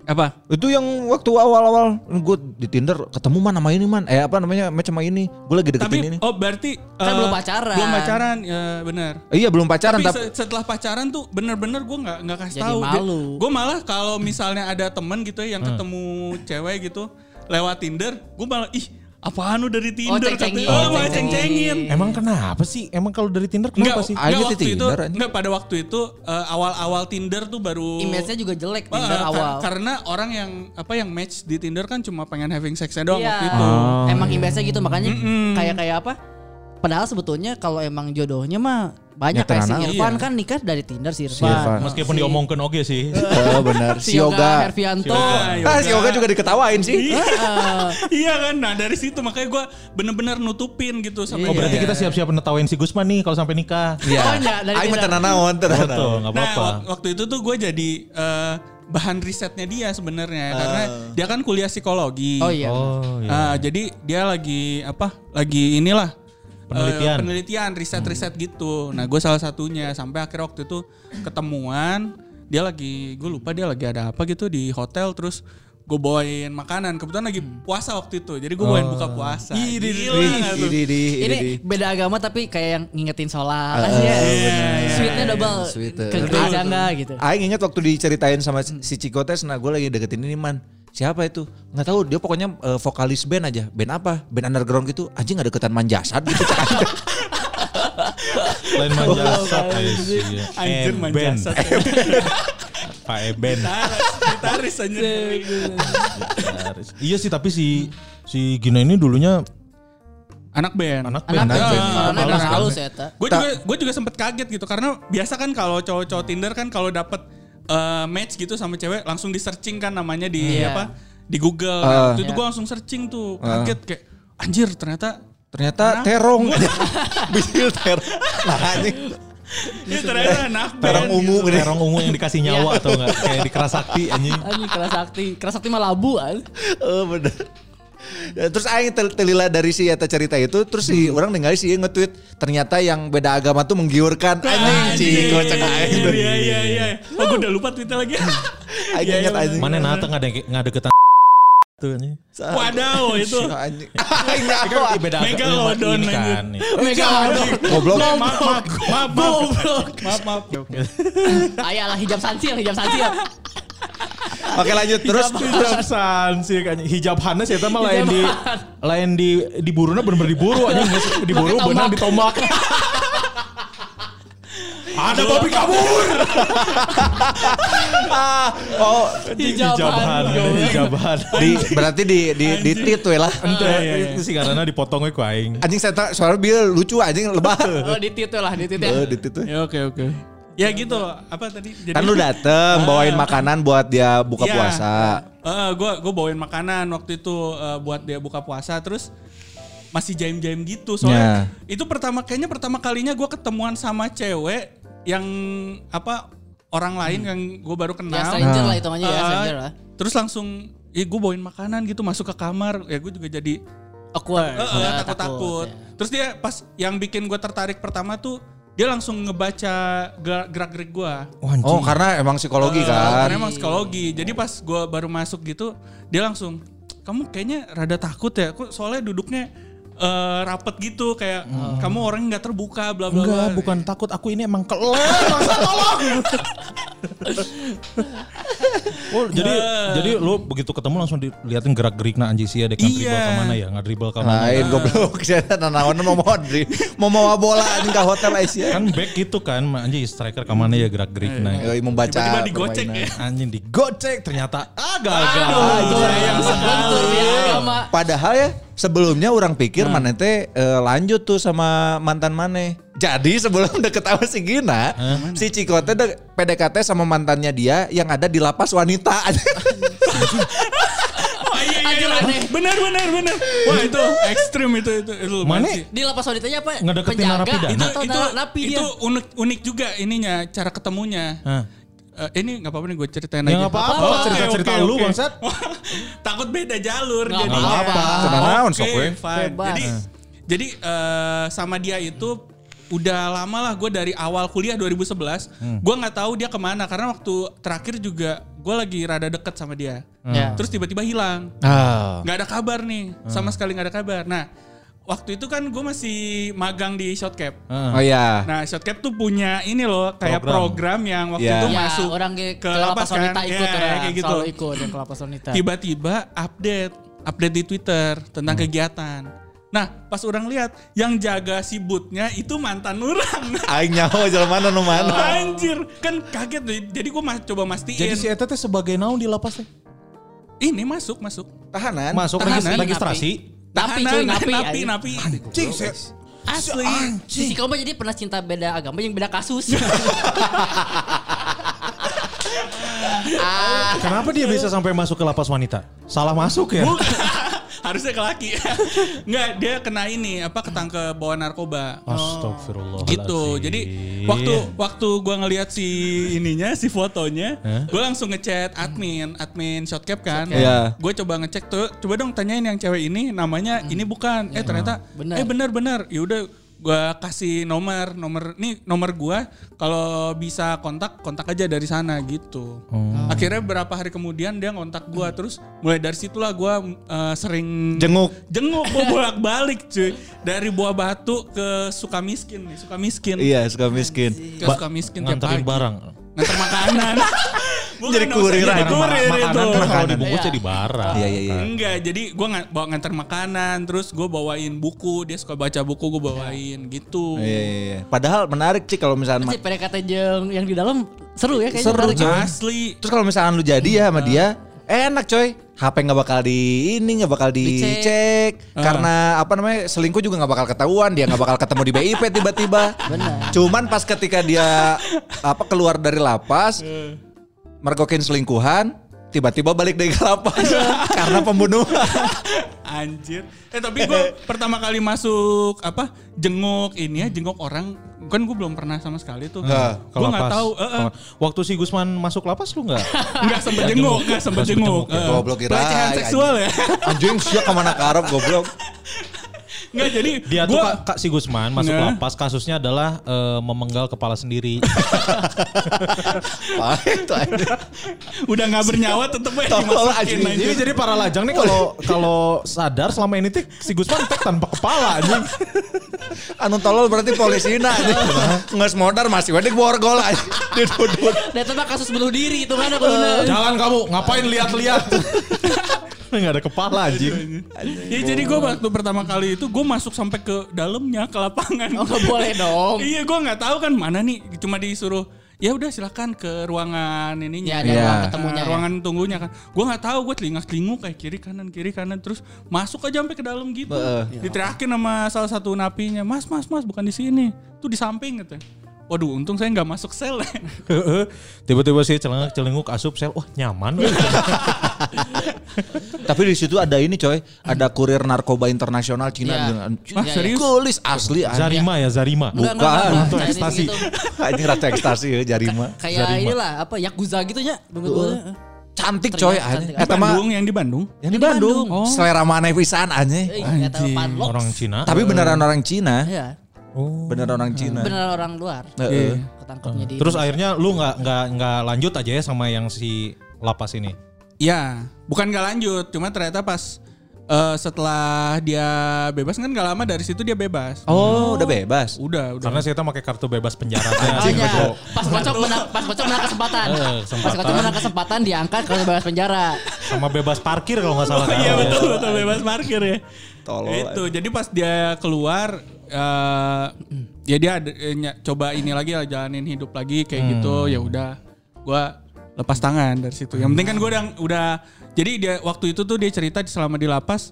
Speaker 5: Apa?
Speaker 3: Itu yang waktu awal-awal gue di Tinder ketemu man sama ini man. Eh apa namanya match sama ini. Gue lagi deketin
Speaker 5: Tapi
Speaker 3: ini.
Speaker 5: oh berarti
Speaker 4: Kan
Speaker 5: eh,
Speaker 4: belum pacaran.
Speaker 5: Belum pacaran, ya benar.
Speaker 3: Iya belum pacaran
Speaker 5: Tapi
Speaker 3: tapi,
Speaker 5: se- setelah pacaran tuh bener-bener gue nggak nggak kasih
Speaker 4: Jadi
Speaker 5: tahu.
Speaker 4: malu.
Speaker 5: Gue malah kalau misalnya ada temen gitu ya yang
Speaker 2: Hmm.
Speaker 5: ketemu cewek gitu lewat Tinder, gue malah ih apaan lu dari Tinder?
Speaker 4: ceng-cengin.
Speaker 5: katanya. Oh, malah
Speaker 4: Oh,
Speaker 5: cengin.
Speaker 4: ceng-cengin.
Speaker 2: Emang kenapa sih? Emang kalau dari Tinder kenapa
Speaker 5: Enggak,
Speaker 2: sih?
Speaker 3: Aja di
Speaker 5: waktu itu,
Speaker 3: Tinder,
Speaker 5: *laughs*
Speaker 3: anjing.
Speaker 5: enggak pada waktu itu eh, awal-awal Tinder tuh baru
Speaker 4: Image-nya juga jelek
Speaker 5: Eh,
Speaker 4: Tinder
Speaker 5: kar-
Speaker 4: awal.
Speaker 5: Karena orang yang apa yang match di Tinder kan cuma pengen having sex doang
Speaker 4: Iya.
Speaker 2: Ah.
Speaker 5: waktu itu. Oh,
Speaker 4: Emang image-nya gitu makanya kayak kayak apa? Padahal sebetulnya kalau emang jodohnya mah banyak
Speaker 3: Ya,
Speaker 4: kayak si
Speaker 3: teranau.
Speaker 4: Irfan
Speaker 5: Iya.
Speaker 4: kan nikah dari Tinder si Irfan.
Speaker 3: Irfan.
Speaker 2: Meskipun diomongkan oke sih.
Speaker 3: Oh benar.
Speaker 4: Si Yoga Hervianto.
Speaker 3: Ah si Yoga juga diketawain sih.
Speaker 5: Iya. Iya kan, nah dari situ makanya gue bener-bener nutupin gitu sama
Speaker 2: *laughs* Oh berarti
Speaker 5: dia.
Speaker 2: kita siap-siap ngetawain si Gusman nih kalau sampai nikah.
Speaker 3: Iya.
Speaker 4: Oh, iya, dari
Speaker 3: Aing mah
Speaker 4: Tinder.
Speaker 3: tenan naon tenan naon.
Speaker 2: *laughs* Betul, nggak
Speaker 5: Nah
Speaker 2: apa-apa.
Speaker 5: wak- waktu itu tuh gue jadi eh, bahan risetnya dia sebenarnya
Speaker 2: Ah.
Speaker 5: karena dia kan kuliah psikologi.
Speaker 4: Oh iya.
Speaker 2: Oh iya.
Speaker 5: Ah, jadi dia lagi apa? Lagi inilah
Speaker 2: Penelitian. Hmm.
Speaker 5: eh, penelitian, riset-riset gitu. Nah, gue salah satunya sampai akhir waktu itu ketemuan. Dia lagi, gue lupa dia lagi ada apa gitu di hotel. Terus gue bawain makanan. Kebetulan lagi
Speaker 2: Hmm.
Speaker 5: puasa waktu itu. Jadi gue bawain
Speaker 2: Oh.
Speaker 5: buka puasa. Gila nggak tuh?
Speaker 3: Ini di
Speaker 4: Ini beda agama tapi kayak yang ngingetin sholat. Iya. Sweetnya double.
Speaker 3: Sweet.
Speaker 4: Ke gereja enggak gitu.
Speaker 3: Aing ingat waktu diceritain sama si Ciko tes, nah gue lagi deketin ini man. Siapa itu? Nggak tahu dia pokoknya eh, vokalis band aja. Band apa? Band underground gitu. Anjing nggak deketan manjasat gitu. Cak.
Speaker 2: Lain manjasat ya sih.
Speaker 5: Anjir
Speaker 2: Eben. Eh,
Speaker 5: manjasat.
Speaker 2: Pak Eben.
Speaker 5: Gitaris, gitaris anjir.
Speaker 2: *laughs* Gitaris. iya sih tapi si si Gina ini dulunya
Speaker 5: Anak band.
Speaker 2: anak band.
Speaker 4: Anak
Speaker 5: band.
Speaker 4: band. Anak
Speaker 5: Ah, halus
Speaker 4: band
Speaker 5: kan.
Speaker 4: halus ya Eta.
Speaker 5: Gue juga gue juga sempet kaget gitu karena biasa kan kalau cowok-cowok Tinder kan kalau dapet eh, match gitu sama cewek langsung di searching kan namanya di
Speaker 4: Iya.
Speaker 5: apa di Google. Nah, waktu itu
Speaker 4: Iya.
Speaker 5: gue langsung searching tuh kaget kayak anjir ternyata
Speaker 3: Ternyata terong. *laughs* Bisil terong. Nah anjing.
Speaker 5: ya ternyata anak
Speaker 2: Terong
Speaker 5: band.
Speaker 2: ungu, Iya. terong ungu yang dikasih nyawa atau enggak kayak di kerasakti anjing.
Speaker 4: Anjing keras sakti. Keras sakti mah labu an.
Speaker 3: Eh bener. Ya, terus aing tel- telila dari si eta cerita itu terus si orang ningali si Ieu nge-tweet ternyata yang beda agama tuh menggiurkan anjing Ciko cek aing. tuh.
Speaker 5: Iya iya iya. Oh gue udah lupa Twitter lagi.
Speaker 3: Aing
Speaker 5: Iya, iya,
Speaker 3: ingat anjing.
Speaker 2: Mana nata enggak ada enggak ada ketan tuh anjing.
Speaker 5: Wadaw itu.
Speaker 3: Si anjing. *laughs* Aing nyaho,
Speaker 2: Kan
Speaker 3: anjing.
Speaker 2: beda
Speaker 5: Megalodon,
Speaker 2: ini
Speaker 5: anjing.
Speaker 2: kan. nih.
Speaker 4: Mega waduh.
Speaker 3: Goblok.
Speaker 5: Maaf maaf maaf maaf maaf maaf.
Speaker 4: Ayalah hijab sansil, hijab *laughs* sansil.
Speaker 3: Oke lanjut terus
Speaker 2: Terus hijab sansil kan hijab hanes ya mah lain di lain di diburuna bener-bener diburu anjing diburu
Speaker 4: Pakai
Speaker 2: bener
Speaker 4: tombak.
Speaker 2: ditombak. Ada babi kabur.
Speaker 3: ah, oh
Speaker 4: Hijab
Speaker 2: Hijaban, hijaban.
Speaker 3: di berarti di di di tweet we lah.
Speaker 2: Ente itu sih karena dipotong ku aing.
Speaker 3: Anjing saya tak- soalnya dia lucu anjing lebah.
Speaker 4: Oh di titu lah, di titu.
Speaker 3: Eh di tweet we.
Speaker 5: Ya oke oke. Ya gitu loh. Apa tadi? Jadi-
Speaker 3: Kan lu dateng bawain makanan buat dia buka
Speaker 5: Ah. Iya.
Speaker 3: puasa.
Speaker 5: Heeh, gue gue bawain makanan waktu itu eh, buat dia buka puasa terus masih jaim-jaim gitu soalnya
Speaker 3: Iya.
Speaker 5: itu pertama kayaknya pertama kalinya gue ketemuan sama cewek yang apa orang lain yang gue baru kenal.
Speaker 4: Ya stranger
Speaker 3: Hmm. Nah.
Speaker 4: lah hitungannya ya,
Speaker 5: Eh,
Speaker 4: stranger lah.
Speaker 5: Terus langsung ya gue bawain makanan gitu masuk ke kamar ya gue juga jadi
Speaker 4: Awkward.
Speaker 5: eh, eh,
Speaker 4: Ya,
Speaker 5: takut-takut.
Speaker 4: ya.
Speaker 5: Terus dia pas yang bikin gue tertarik pertama tuh dia langsung ngebaca gerak- gerak-gerik gue.
Speaker 3: Oh karena emang psikologi
Speaker 5: Eh,
Speaker 3: kan.
Speaker 5: Karena emang psikologi. Jadi pas gue baru masuk gitu, dia langsung, kamu kayaknya rada takut ya. Kok soalnya duduknya eh, rapet gitu, kayak
Speaker 2: Hmm.
Speaker 5: kamu orang nggak terbuka, bla bla bla.
Speaker 2: Enggak, bukan takut. Aku ini emang keler. Masa tolong. Oh, jadi jadi lu begitu ketemu langsung diliatin gerak-gerik nah anjing sia dek kan dribble
Speaker 5: Iya.
Speaker 2: ke mana ya? Enggak dribble ke mana.
Speaker 3: Lain goblok *laughs* saya nanaon mau mau dri- mau bawa bola anjing ke hotel Aisyah.
Speaker 2: Kan back gitu kan anjing striker ke mana ya gerak-gerik nah.
Speaker 3: Yoi membaca
Speaker 5: Tiba-tiba digocek
Speaker 3: permainan.
Speaker 5: ya.
Speaker 2: Anjing digocek ternyata agak-agak.
Speaker 4: ya,
Speaker 5: sayang
Speaker 4: Kultur
Speaker 5: sekali.
Speaker 4: di agama.
Speaker 5: Iya,
Speaker 3: Padahal ya sebelumnya orang pikir mana teh eh, lanjut tuh sama mantan mana. Jadi sebelum deket sama si Gina, si Ciko teh de- PDKT sama mantannya dia yang ada di lapas wanita. *laughs*
Speaker 5: Wah, iya, iya,
Speaker 4: Anjir,
Speaker 5: iya.
Speaker 4: aneh.
Speaker 5: Benar benar benar. Wah itu ekstrim itu itu. itu lumayan
Speaker 2: Mana?
Speaker 5: sih.
Speaker 4: Di lapas wanitanya apa?
Speaker 2: Ngedeketin narapidana.
Speaker 4: itu,
Speaker 5: Itu
Speaker 4: atau
Speaker 5: itu
Speaker 4: napi dia?
Speaker 5: itu unik unik juga ininya cara ketemunya.
Speaker 2: Hah.
Speaker 5: Eh, ini nggak apa-apa nih gue ceritain
Speaker 2: Ya,
Speaker 5: aja.
Speaker 2: nggak apa-apa,
Speaker 3: Oh,
Speaker 5: Oke,
Speaker 2: cerita-cerita
Speaker 5: oke,
Speaker 2: lu,
Speaker 5: oke.
Speaker 2: bangsat.
Speaker 5: *laughs* Takut beda jalur
Speaker 4: Nggak
Speaker 5: jadinya.
Speaker 4: apa-apa.
Speaker 3: Tenang naon,
Speaker 5: Oke,
Speaker 3: sok we.
Speaker 5: fine.
Speaker 4: Bebas.
Speaker 5: Jadi jadi eh, sama dia itu udah lama lah gue dari awal kuliah 2011 gue nggak tahu dia kemana karena waktu terakhir juga gue lagi rada deket sama dia.
Speaker 4: Ya.
Speaker 5: Terus tiba-tiba hilang.
Speaker 2: Ah.
Speaker 5: nggak ada kabar nih sama sekali nggak ada kabar nah waktu itu kan gue masih magang di shotcap
Speaker 3: Oh iya.
Speaker 5: nah shotcap tuh punya ini loh kayak program, yang waktu
Speaker 3: Ya.
Speaker 5: itu
Speaker 4: Ya,
Speaker 5: masuk
Speaker 4: orang ke, ke
Speaker 5: ke lapas
Speaker 4: lapas
Speaker 5: kan?
Speaker 4: wanita ikut
Speaker 5: Ya,
Speaker 4: orang
Speaker 5: kayak gitu.
Speaker 4: selalu ikut yang ke lapas wanita.
Speaker 5: tiba-tiba update update di twitter
Speaker 4: Hmm.
Speaker 5: tentang kegiatan nah pas orang lihat yang jaga si butnya itu mantan
Speaker 4: *laughs*
Speaker 5: orang
Speaker 3: Aing nyaho jalan mana nu
Speaker 4: Oh.
Speaker 3: mana.
Speaker 5: Anjir, kan kaget deh. Jadi gue coba mastiin.
Speaker 2: Jadi si Eta teh sebagai naon di lapas teh?
Speaker 5: ini masuk, masuk.
Speaker 3: Tahanan.
Speaker 2: Masuk
Speaker 5: Tahanan,
Speaker 2: regis-
Speaker 5: napi.
Speaker 2: registrasi.
Speaker 4: Napi,
Speaker 5: Tahanan,
Speaker 4: cuy, napi,
Speaker 5: napi,
Speaker 4: anjing.
Speaker 5: napi.
Speaker 2: Cing, saya
Speaker 5: Asli.
Speaker 4: Sisi kamu jadi pernah cinta beda agama yang beda kasus.
Speaker 2: Kenapa dia bisa sampai masuk ke lapas wanita? Salah masuk ya?
Speaker 5: *laughs* Harusnya ke laki. *laughs* Nggak, dia kena ini apa ketangkep bawa narkoba.
Speaker 4: Oh,
Speaker 5: Oh,
Speaker 2: Astagfirullah.
Speaker 5: Gitu. Jadi waktu
Speaker 3: Iya.
Speaker 5: waktu gua ngelihat si ininya, si fotonya, gua langsung ngechat admin, admin Shotcap kan.
Speaker 3: Iya. Hmm.
Speaker 5: Gue coba ngecek tuh, coba dong tanyain yang cewek ini namanya ini bukan.
Speaker 3: Iya.
Speaker 5: Eh ternyata
Speaker 3: Ah,
Speaker 4: Bener.
Speaker 5: eh benar benar. Ya udah gua kasih nomor, nomor nih nomor gua kalau bisa kontak kontak aja dari sana gitu.
Speaker 3: Oh.
Speaker 5: Akhirnya berapa hari kemudian dia ngontak gua terus mulai dari situlah gua eh, sering
Speaker 3: Hmm. Jenguk.
Speaker 5: Jenguk gue bolak-balik cuy. Dari Buah Batu ke Sukamiskin nih, Sukamiskin.
Speaker 3: Iya, suka miskin.
Speaker 5: Ke Sukamiskin tiap
Speaker 2: nganterin
Speaker 5: pagi.
Speaker 2: barang.
Speaker 5: Nganter
Speaker 3: *laughs*
Speaker 5: makanan. Bukan,
Speaker 3: Jadi
Speaker 5: nggak usah
Speaker 3: kurir,
Speaker 5: jadi
Speaker 3: makanan-
Speaker 5: kurir itu.
Speaker 2: Makanan kan kalau
Speaker 3: Makanan.
Speaker 2: dibungkus
Speaker 4: Iya.
Speaker 2: jadi barang.
Speaker 3: Iya, iya, iya.
Speaker 5: Enggak, jadi gue bawa nganter makanan, terus gue bawain buku, dia suka baca buku, gue bawain gitu.
Speaker 3: Iya, iya, iya. Padahal menarik sih kalau misalnya
Speaker 4: si PDKT yang yang di dalam seru ya kayaknya.
Speaker 3: Seru,
Speaker 4: menarik ya.
Speaker 5: Asli.
Speaker 3: Terus kalau misalkan lu jadi ya sama dia, enak coy. HP nggak bakal di ini nggak bakal dicek karena apa namanya selingkuh juga nggak bakal ketahuan dia nggak bakal ketemu di BIP tiba-tiba.
Speaker 4: Benar.
Speaker 3: Cuman pas ketika dia apa keluar dari lapas, mergokin selingkuhan, tiba-tiba balik dari lapas karena pembunuhan.
Speaker 5: Anjir. Eh tapi
Speaker 3: *laughs*
Speaker 5: gue pertama kali masuk apa jenguk ini ya, jenguk orang kan gue belum pernah sama sekali tuh.
Speaker 2: Ke
Speaker 5: Gue
Speaker 2: lapas.
Speaker 5: nggak tahu. eh, eh.
Speaker 2: Kalau- Waktu si Gusman masuk lapas lu nggak?
Speaker 5: Enggak sempet jenguk, enggak sempet jenguk. Eh,
Speaker 3: Goblok, kirain.
Speaker 5: Pelecehan seksual ya.
Speaker 3: Anjing siapa kemana karep goblok.
Speaker 5: Enggak jadi
Speaker 2: Dia tuh
Speaker 5: gua
Speaker 2: Kak, Kak si Gusman masuk
Speaker 5: Nah.
Speaker 2: lapas kasusnya adalah eh, memenggal kepala sendiri.
Speaker 3: Wah, itu anjing.
Speaker 5: udah enggak bernyawa tetep aja
Speaker 3: Tolol,
Speaker 5: dimasukin
Speaker 3: anjing.
Speaker 5: anjir.
Speaker 2: Jadi jadi para lajang nih kalau kalau sadar selama ini tuh si Gusman tek tanpa kepala anjing.
Speaker 3: Anu tolol berarti polisi nah. Nges modar masih wae borgol anjing. Didudut.
Speaker 4: Dan itu mah kasus bunuh diri itu kan aku bener.
Speaker 2: Jalan kamu ngapain *laughs* lihat-lihat? Nggak ada kepala anjing.
Speaker 5: Ya jadi gue waktu pertama kali itu gue masuk sampai ke dalamnya ke lapangan.
Speaker 4: Oh nggak boleh dong.
Speaker 5: Iya gue nggak tahu kan mana nih cuma disuruh ya udah silakan ke ruangan
Speaker 4: Ya
Speaker 5: ininya.
Speaker 4: ada
Speaker 3: Iya.
Speaker 4: ruang
Speaker 5: Nah,
Speaker 4: ketemunya. ya.
Speaker 5: ruangan tunggunya kan gue nggak tahu gue telinga telingu kayak kiri kanan kiri kanan terus masuk aja sampai ke dalam gitu diteriakin sama salah satu napinya mas mas mas bukan di sini tuh di samping gitu waduh untung saya nggak masuk sel ya.
Speaker 2: Tiba-tiba sih celengak celenguk asup sel. Wah, nyaman.
Speaker 3: Tapi di situ ada ini coy, ada kurir narkoba internasional Cina.
Speaker 4: Iya.
Speaker 3: Anjing,
Speaker 5: Wah,
Speaker 4: Iya,
Speaker 5: serius?
Speaker 3: Kulis asli anjing.
Speaker 2: Zarima ya, Zarima.
Speaker 4: Enggak, enggak,
Speaker 3: Bukan,
Speaker 4: enggak.
Speaker 2: itu
Speaker 4: Nah, ini
Speaker 2: ekstasi.
Speaker 4: gitu.
Speaker 3: *laughs* Anjing rasa ekstasi ya jarima.
Speaker 4: Kayak
Speaker 2: Zarima.
Speaker 4: inilah apa Yakuza gitu ya. Menurut gue.
Speaker 3: Cantik coy
Speaker 4: Ternyata
Speaker 3: anjing. Oh.
Speaker 4: cantik.
Speaker 3: Eta mah
Speaker 5: Bandung yang di Bandung
Speaker 3: yang di Bandung.
Speaker 4: Bandung.
Speaker 3: Selera maneh pisan anjing. Eh.
Speaker 4: Eh, nggak tahu
Speaker 5: Anjing,
Speaker 4: panlok.
Speaker 2: Oh. Orang Cina.
Speaker 3: Tapi beneran orang Cina.
Speaker 4: Iya.
Speaker 3: Beneran orang Cina.
Speaker 5: Nah.
Speaker 4: Beneran orang luar.
Speaker 3: Heeh.
Speaker 4: Ketangkepnya di.
Speaker 2: Terus akhirnya lu nggak nggak nggak lanjut aja ya sama yang si lapas ini.
Speaker 5: Ya, bukan gak lanjut, cuma ternyata pas eh, setelah dia bebas kan gak lama dari situ dia bebas.
Speaker 3: Oh, udah bebas.
Speaker 5: Udah, udah.
Speaker 2: Karena saya pakai kartu bebas penjara.
Speaker 4: *laughs* Makanya,
Speaker 2: Bego.
Speaker 4: pas kocok menang, pas kocok menang kesempatan.
Speaker 2: Eh,
Speaker 4: Pas
Speaker 2: kesempatan.
Speaker 4: kocok menang kesempatan diangkat kalau bebas penjara.
Speaker 2: sama bebas parkir kalau nggak salah. kan?
Speaker 5: *laughs* Iya betul betul bebas parkir ya.
Speaker 3: Tolol.
Speaker 5: Itu. Jadi pas dia keluar eh ya dia ada- eh, ny- coba ini lagi lah jalanin hidup lagi kayak gitu ya udah gua lepas tangan dari situ. Yang penting kan gua udah udah jadi dia waktu itu tuh dia cerita selama di lapas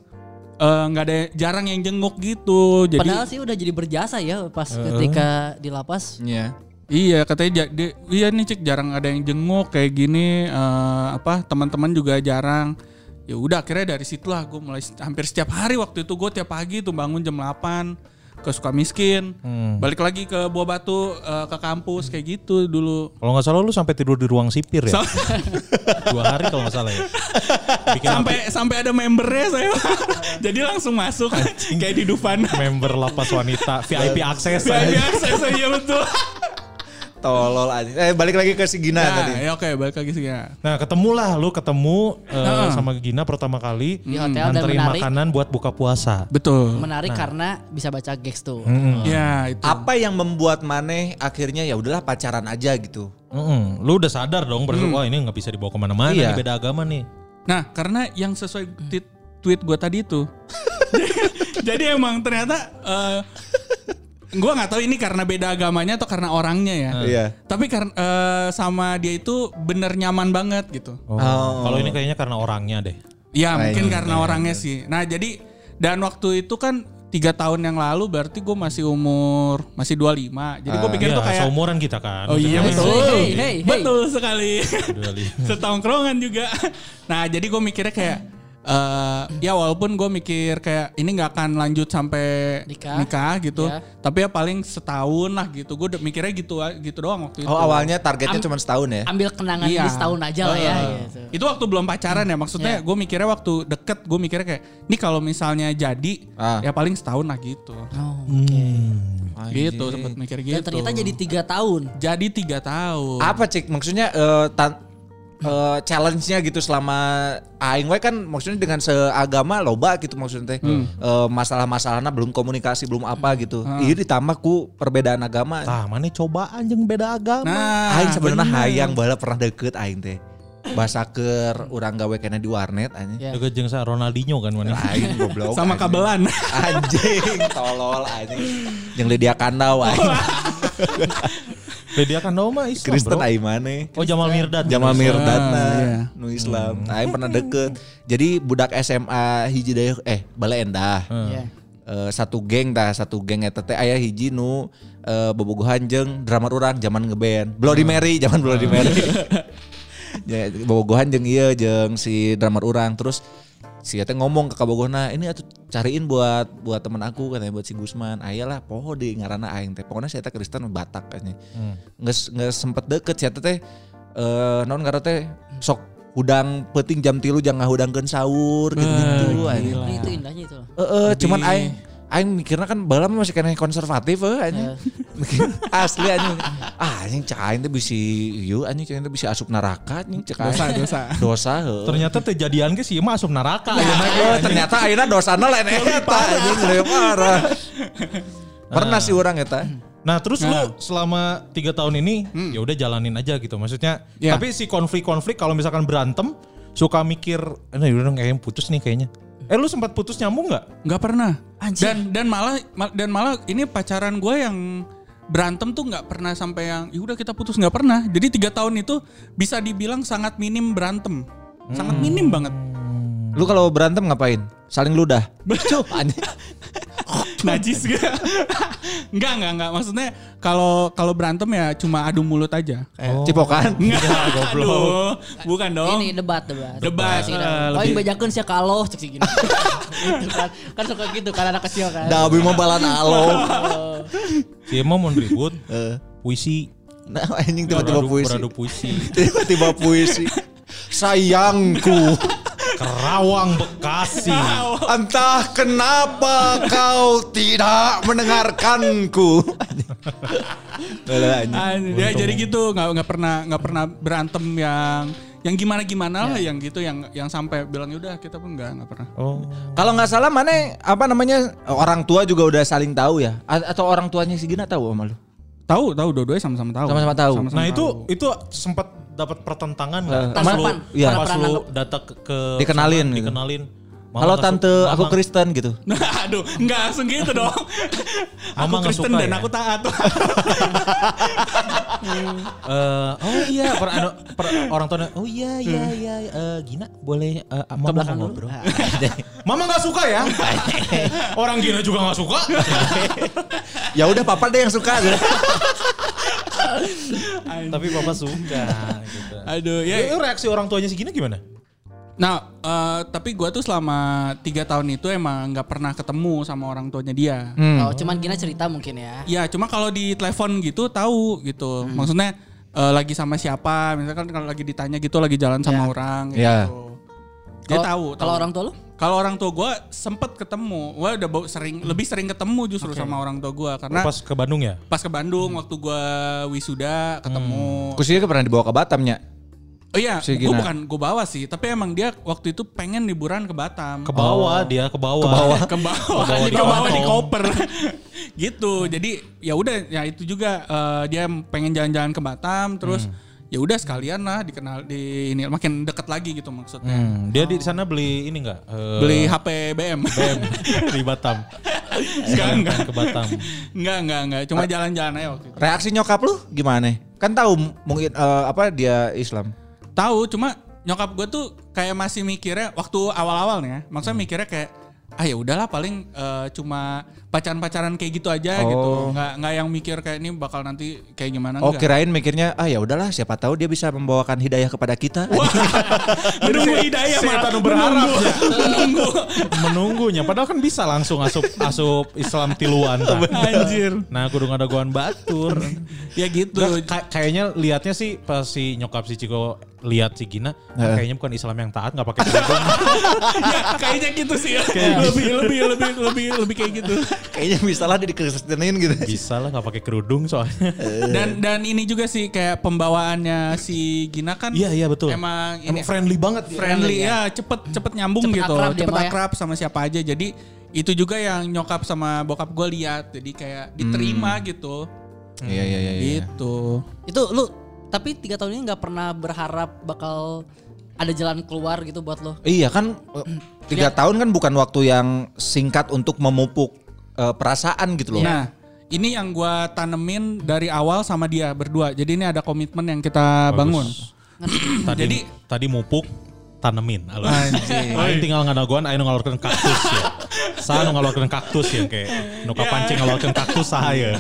Speaker 5: eh, nggak ada jarang yang jenguk gitu. Jadi
Speaker 4: Padahal sih udah jadi berjasa ya pas ketika di lapas.
Speaker 3: Iya.
Speaker 5: Iya katanya ja- dia- iya nih cek jarang ada yang jenguk kayak gini eh, apa teman-teman juga jarang ya udah akhirnya dari situlah gue mulai se- hampir setiap hari waktu itu gue tiap pagi tuh bangun jam 8 ke Sukamiskin balik lagi ke Buah Batu eh, ke kampus kayak gitu dulu
Speaker 2: Kalau nggak salah lu sampai tidur di ruang sipir ya.
Speaker 5: Sam-
Speaker 2: *laughs* Dua hari kalau nggak salah ya. Bikin
Speaker 5: sampai sampai ada membernya saya jadi langsung masuk kayak di Dufan
Speaker 2: member lapas wanita VIP akses.
Speaker 5: saya biasa saya iya betul
Speaker 3: Tolol aja. Eh balik lagi ke si Gina
Speaker 5: Nah,
Speaker 3: tadi.
Speaker 5: ya oke balik lagi sih ya.
Speaker 2: Nah ketemulah lu ketemu eh, sama Gina pertama kali
Speaker 4: Di hotel dan
Speaker 2: nganterin
Speaker 4: menarik.
Speaker 2: makanan buat buka puasa.
Speaker 5: Betul.
Speaker 4: Menarik karena bisa baca gigs tuh.
Speaker 5: Ya itu.
Speaker 3: Apa yang membuat Maneh akhirnya ya udahlah pacaran aja gitu.
Speaker 2: Mm-mm. Lu udah sadar dong berarti wah ini nggak bisa dibawa kemana-mana
Speaker 3: Iya.
Speaker 2: nih, beda agama nih.
Speaker 5: Nah, karena yang sesuai tweet, tweet gue tadi itu. *laughs* Jadi emang ternyata eh gue nggak tahu ini karena beda agamanya atau karena orangnya ya.
Speaker 3: Iya.
Speaker 5: Tapi karena sama dia itu bener nyaman banget gitu.
Speaker 2: Oh. Kalau ini kayaknya karena orangnya deh.
Speaker 5: Ya mungkin karena orangnya sih. Nah jadi dan waktu itu kan tiga tahun yang lalu berarti gue masih umur masih 25. Jadi gue pikir
Speaker 2: Iya,
Speaker 5: tuh kayak
Speaker 2: seumuran kita kan.
Speaker 5: Oh iya
Speaker 4: Hey,
Speaker 5: betul.
Speaker 4: hey, hey, hey.
Speaker 5: Betul sekali.
Speaker 2: Dua
Speaker 5: *laughs*
Speaker 2: lima.
Speaker 5: Setongkrongan juga. Nah, jadi gue mikirnya kayak eh, ya walaupun gue mikir kayak ini nggak akan lanjut sampai
Speaker 4: Nikah.
Speaker 5: nikah, gitu,
Speaker 4: Ya.
Speaker 5: tapi ya paling setahun lah gitu. Gue mikirnya gitu gitu doang waktu itu.
Speaker 3: Oh awalnya targetnya
Speaker 4: Am-
Speaker 3: cuma setahun ya.
Speaker 4: Ambil kenangan
Speaker 5: Iya.
Speaker 4: di setahun aja lah ya.
Speaker 5: Heeh.
Speaker 4: gitu. Iya.
Speaker 5: Itu waktu belum pacaran ya maksudnya. Gue mikirnya waktu deket, gue mikirnya kayak ini kalau misalnya jadi
Speaker 3: Ah.
Speaker 5: ya paling setahun lah gitu.
Speaker 4: Oh.
Speaker 2: hmm,
Speaker 5: Gitu sempet mikir gitu.
Speaker 4: Dan ternyata jadi tiga tahun.
Speaker 5: jadi tiga tahun.
Speaker 3: Apa cik maksudnya eh, tan- eh, challenge-nya gitu selama aing we kan maksudnya dengan seagama loba gitu maksudnya teh. Eh, masalah-masalahnya belum komunikasi belum apa gitu. Ini ditambah ku perbedaan agama.
Speaker 2: Tah, mana cobaan yang beda agama.
Speaker 5: Nah,
Speaker 3: aing sebenarnya
Speaker 5: bener.
Speaker 3: hayang bala pernah deket aing teh. Basaker urang gawe kena di warnet anjing.
Speaker 4: Ya.
Speaker 2: Juga jeung sa Ronaldinho kan mana.
Speaker 3: Aing goblok.
Speaker 5: sama
Speaker 3: anjing.
Speaker 5: kabelan.
Speaker 3: anjing tolol anjing. Yang Lydia Kandau anjing.
Speaker 2: Beda kan Noma Islam
Speaker 3: Kristen
Speaker 2: bro.
Speaker 3: aing maneh.
Speaker 2: Oh Jamal Mirdad.
Speaker 3: Jamal Mirdad nah,
Speaker 5: iya.
Speaker 3: nu Islam. Aing pernah deket. Jadi budak SMA hiji daya eh bala endah.
Speaker 4: Ya.
Speaker 3: Eh, satu geng tah, satu geng eta teh aya hiji nu eh, bobogohan jeung drummer urang zaman ngeband. Bloody Mary, zaman Bloody Mary. ya, bobogohan jeung ieu jeung si drummer urang terus si eta ngomong ke kabogohna ini atuh cariin buat buat temen aku katanya buat si Gusman ayalah poho di ngaranna aing teh pokoknya si eta Kristen Batak kayaknya nggak nggak sempet deket si eta teh eh non karena teh sok hudang peting jam tilu jangan hudangkeun sahur gitu gitu anjing.
Speaker 4: Ini itu indahnya itu. loh.
Speaker 3: Eh, eh,
Speaker 5: Lebih-
Speaker 3: cuman aing aing mikirnya kan bala mah masih kena konservatif eh anjing. *laughs* Asli anjing. Ah anjing cek aing teh bisi ieu anjing cek aing teh bisi asup neraka anjing cek aing.
Speaker 5: dosa dosa.
Speaker 3: Dosa heuh.
Speaker 2: Ternyata kejadian ke sih masuk
Speaker 5: Nah.
Speaker 2: neraka. ya, ayeuna ge.
Speaker 3: Eh, ternyata ayeuna dosana lain eta anjing leuwih parah. Pernah sih orang eta.
Speaker 2: Nah terus lu selama tiga tahun ini ya udah jalanin aja gitu maksudnya.
Speaker 5: Hmm. Ya.
Speaker 2: Tapi si konflik-konflik kalau misalkan berantem suka mikir, nah udah kayaknya putus nih kayaknya. Eh lu sempat putus nyambung nggak?
Speaker 5: Nggak pernah.
Speaker 4: Anjing.
Speaker 5: Dan dan malah ma- dan malah ini pacaran gue yang berantem tuh nggak pernah sampai yang "Ih, udah kita putus nggak pernah. Jadi tiga tahun itu bisa dibilang sangat minim berantem, sangat
Speaker 4: Hmm.
Speaker 5: minim banget.
Speaker 3: Lu kalau berantem ngapain? Saling ludah. Cuk *laughs* anjing.
Speaker 5: Najis gak? *laughs* nggak nggak nggak. Maksudnya kalau kalau berantem ya cuma adu mulut
Speaker 4: *laughs*
Speaker 5: aja. Kayak,
Speaker 3: Cipokan.
Speaker 5: Nggak, aduh, bukan dong.
Speaker 4: Iya, Ini debat debat.
Speaker 5: Oh. Debat,
Speaker 4: Sih,
Speaker 5: eh,
Speaker 4: nah. Oh,
Speaker 5: lebih-
Speaker 4: yang bajakan sih kalau cek sih
Speaker 5: *laughs*
Speaker 4: gini. gitu kan. kan suka gitu kan anak kecil kan. *laughs*
Speaker 3: Da abi mah balan alo.
Speaker 2: Si Emma mau ribut,
Speaker 3: *laughs* Eh,
Speaker 2: puisi,
Speaker 3: Nah, anjing tiba-tiba
Speaker 2: beradu-
Speaker 3: puisi.
Speaker 2: beradu puisi,
Speaker 3: *laughs* Tiba-tiba puisi. Sayangku.
Speaker 2: Kerawang Bekasi.
Speaker 3: Entah kenapa kau tidak mendengarkanku. Anjing.
Speaker 5: Ah, ya jadi gitu nggak nggak pernah nggak pernah berantem yang yang gimana gimana lah
Speaker 4: Iya.
Speaker 5: yang gitu yang yang sampai bilang "Ya udah kita pun nggak nggak pernah
Speaker 2: Oh.
Speaker 3: Kalau nggak salah mana apa namanya orang tua juga udah saling tahu ya? A- atau orang tuanya si Gina tahu sama lu?
Speaker 5: tahu tahu dua-duanya sama-sama tahu
Speaker 3: Sama-sama tahu.
Speaker 2: Nah itu itu sempat dapat pertentangan nggak?
Speaker 3: Tanpa-
Speaker 2: lu,
Speaker 3: iya.
Speaker 2: pas
Speaker 4: Tanpa
Speaker 2: lu
Speaker 4: peran-
Speaker 2: datang ke, ke
Speaker 3: Dikenalin
Speaker 2: sana,
Speaker 3: gitu.
Speaker 2: dikenalin. Mama
Speaker 3: Halo
Speaker 2: nggak
Speaker 3: tante,
Speaker 2: suka-
Speaker 3: aku
Speaker 2: Mama-
Speaker 3: Kristen gitu.
Speaker 5: Nah, aduh nggak langsung gitu *laughs* dong aku
Speaker 2: Mama nggak
Speaker 5: Kristen
Speaker 2: suka
Speaker 5: dan
Speaker 2: ya?
Speaker 5: aku taat
Speaker 2: Eh, oh iya, per, anu- per- orang tua oh iya iya
Speaker 3: Hmm.
Speaker 2: iya eh, Gina boleh eh, mama
Speaker 4: belakang
Speaker 2: mau
Speaker 4: dulu.
Speaker 2: ngobrol.
Speaker 3: Ah.
Speaker 2: *laughs* mama nggak suka ya? orang Gina juga nggak suka.
Speaker 3: *laughs* ya udah papa deh yang suka. gitu.
Speaker 2: Tapi papa suka gitu.
Speaker 5: aduh ya
Speaker 2: Eh, reaksi orang tuanya si Gina gimana?
Speaker 5: nah eh, tapi gua tuh selama tiga tahun itu emang nggak pernah ketemu sama orang tuanya dia
Speaker 4: Oh, cuman gini cerita mungkin ya.
Speaker 5: ya cuma kalau di telepon gitu tahu gitu maksudnya eh, lagi sama kan siapa misalkan kalau lagi ditanya gitu lagi jalan sama orang gitu
Speaker 3: Ya.
Speaker 5: dia
Speaker 4: Kalau-
Speaker 5: tahu
Speaker 4: Kalau
Speaker 5: tahu.
Speaker 4: orang tua lu?
Speaker 5: Kalau Kalau orang tua gue sempet ketemu, gue udah bau- sering lebih sering ketemu justru sama orang tua gue karena pas,
Speaker 2: Pas ke Bandung ya?
Speaker 5: ke Bandung waktu gue wisuda ketemu.
Speaker 3: Kusinya pernah dibawa ke Batamnya.
Speaker 5: Oh iya,
Speaker 3: Si
Speaker 5: gue
Speaker 3: Gina.
Speaker 5: bukan gue bawa sih, tapi emang dia waktu itu pengen liburan ke Batam.
Speaker 2: Ke bawah dia, ke bawah. Ke bawah.
Speaker 5: ke bawah,
Speaker 2: Ke Oh. bawah di
Speaker 5: ke bawah *laughs* di
Speaker 2: kantong.
Speaker 5: koper *laughs* gitu jadi ya udah ya itu juga eh, dia pengen jalan-jalan ke Batam terus
Speaker 2: Hmm.
Speaker 5: ya udah sekalian lah dikenal di ini makin deket lagi gitu maksudnya
Speaker 2: Hmm, dia di sana beli ini enggak? *laughs*
Speaker 5: beli HP BM *laughs*
Speaker 2: BM di Batam.
Speaker 5: enggak enggak
Speaker 2: Ke
Speaker 5: *laughs*
Speaker 2: Batam. Ah.
Speaker 5: enggak enggak enggak cuma jalan-jalan aja waktu itu
Speaker 3: Reaksi nyokap lu gimana? Kan tahu m- mungkin eh, apa dia Islam.
Speaker 5: tahu cuma nyokap gue tuh kayak masih mikirnya waktu awal-awal nih ya maksudnya mikirnya kayak ah ya udahlah paling eh, cuma pacaran-pacaran kayak gitu aja gitu nggak nggak yang mikir kayak ini bakal nanti kayak gimana
Speaker 3: Oh
Speaker 5: *laughs* enggak.
Speaker 3: kirain mikirnya ah ya udahlah siapa tahu dia bisa membawakan hidayah kepada kita.
Speaker 5: menunggu hidayah
Speaker 2: setan
Speaker 5: mah
Speaker 2: berharap
Speaker 5: menunggu
Speaker 2: ya.
Speaker 5: menunggu
Speaker 2: Menunggunya padahal kan bisa langsung asup asup Islam tiluan. tah.
Speaker 5: *laughs* anjir
Speaker 2: Nah, kudu ada goan batur.
Speaker 5: ya gitu
Speaker 2: Nggak, kay- kayaknya liatnya sih pas si nyokap si Ciko lihat si Gina, "Ah,
Speaker 3: Heeh.
Speaker 2: kayaknya bukan Islam yang taat nggak pakai
Speaker 5: *laughs*
Speaker 2: kerudung.
Speaker 5: *laughs* ya, kayaknya gitu sih ya. lebih lebih lebih lebih lebih kayak gitu
Speaker 3: *laughs* Kayaknya misalnya dia dikristenin gitu.
Speaker 2: Bisa lah nggak pakai kerudung soalnya.
Speaker 5: dan dan ini juga sih kayak pembawaannya si Gina kan
Speaker 2: Iya iya betul.
Speaker 5: emang ini kan
Speaker 2: Emang friendly banget. ya.
Speaker 5: friendly ya cepet cepet nyambung
Speaker 4: Cepet
Speaker 5: gitu
Speaker 4: akrab dia
Speaker 5: cepet
Speaker 4: mah ya.
Speaker 5: akrab sama siapa aja jadi itu juga yang nyokap sama bokap gue lihat jadi kayak diterima
Speaker 2: Hmm.
Speaker 5: gitu
Speaker 3: Iya iya iya. iya.
Speaker 5: gitu
Speaker 4: Itu lu tapi tiga tahun ini nggak pernah berharap bakal ada jalan keluar gitu buat lo.
Speaker 3: Iya *clears throat* kan eh, tiga tahun kan bukan waktu yang singkat untuk memupuk eh, perasaan gitu
Speaker 4: Iya.
Speaker 3: loh.
Speaker 5: Nah, ini yang gua tanemin dari awal sama dia berdua. Jadi ini ada komitmen yang kita
Speaker 2: Bagus.
Speaker 5: bangun.
Speaker 2: Tadi,
Speaker 5: Jadi
Speaker 2: tadi mupuk tanemin alus. *laughs*
Speaker 5: Anjing.
Speaker 2: Aing tinggal ngadaguan aing nu ngalorkeun kaktus ya. Saya nu ngalorkeun kaktus ya kayak nu kapancing ngalorkeun kaktus ya. saya.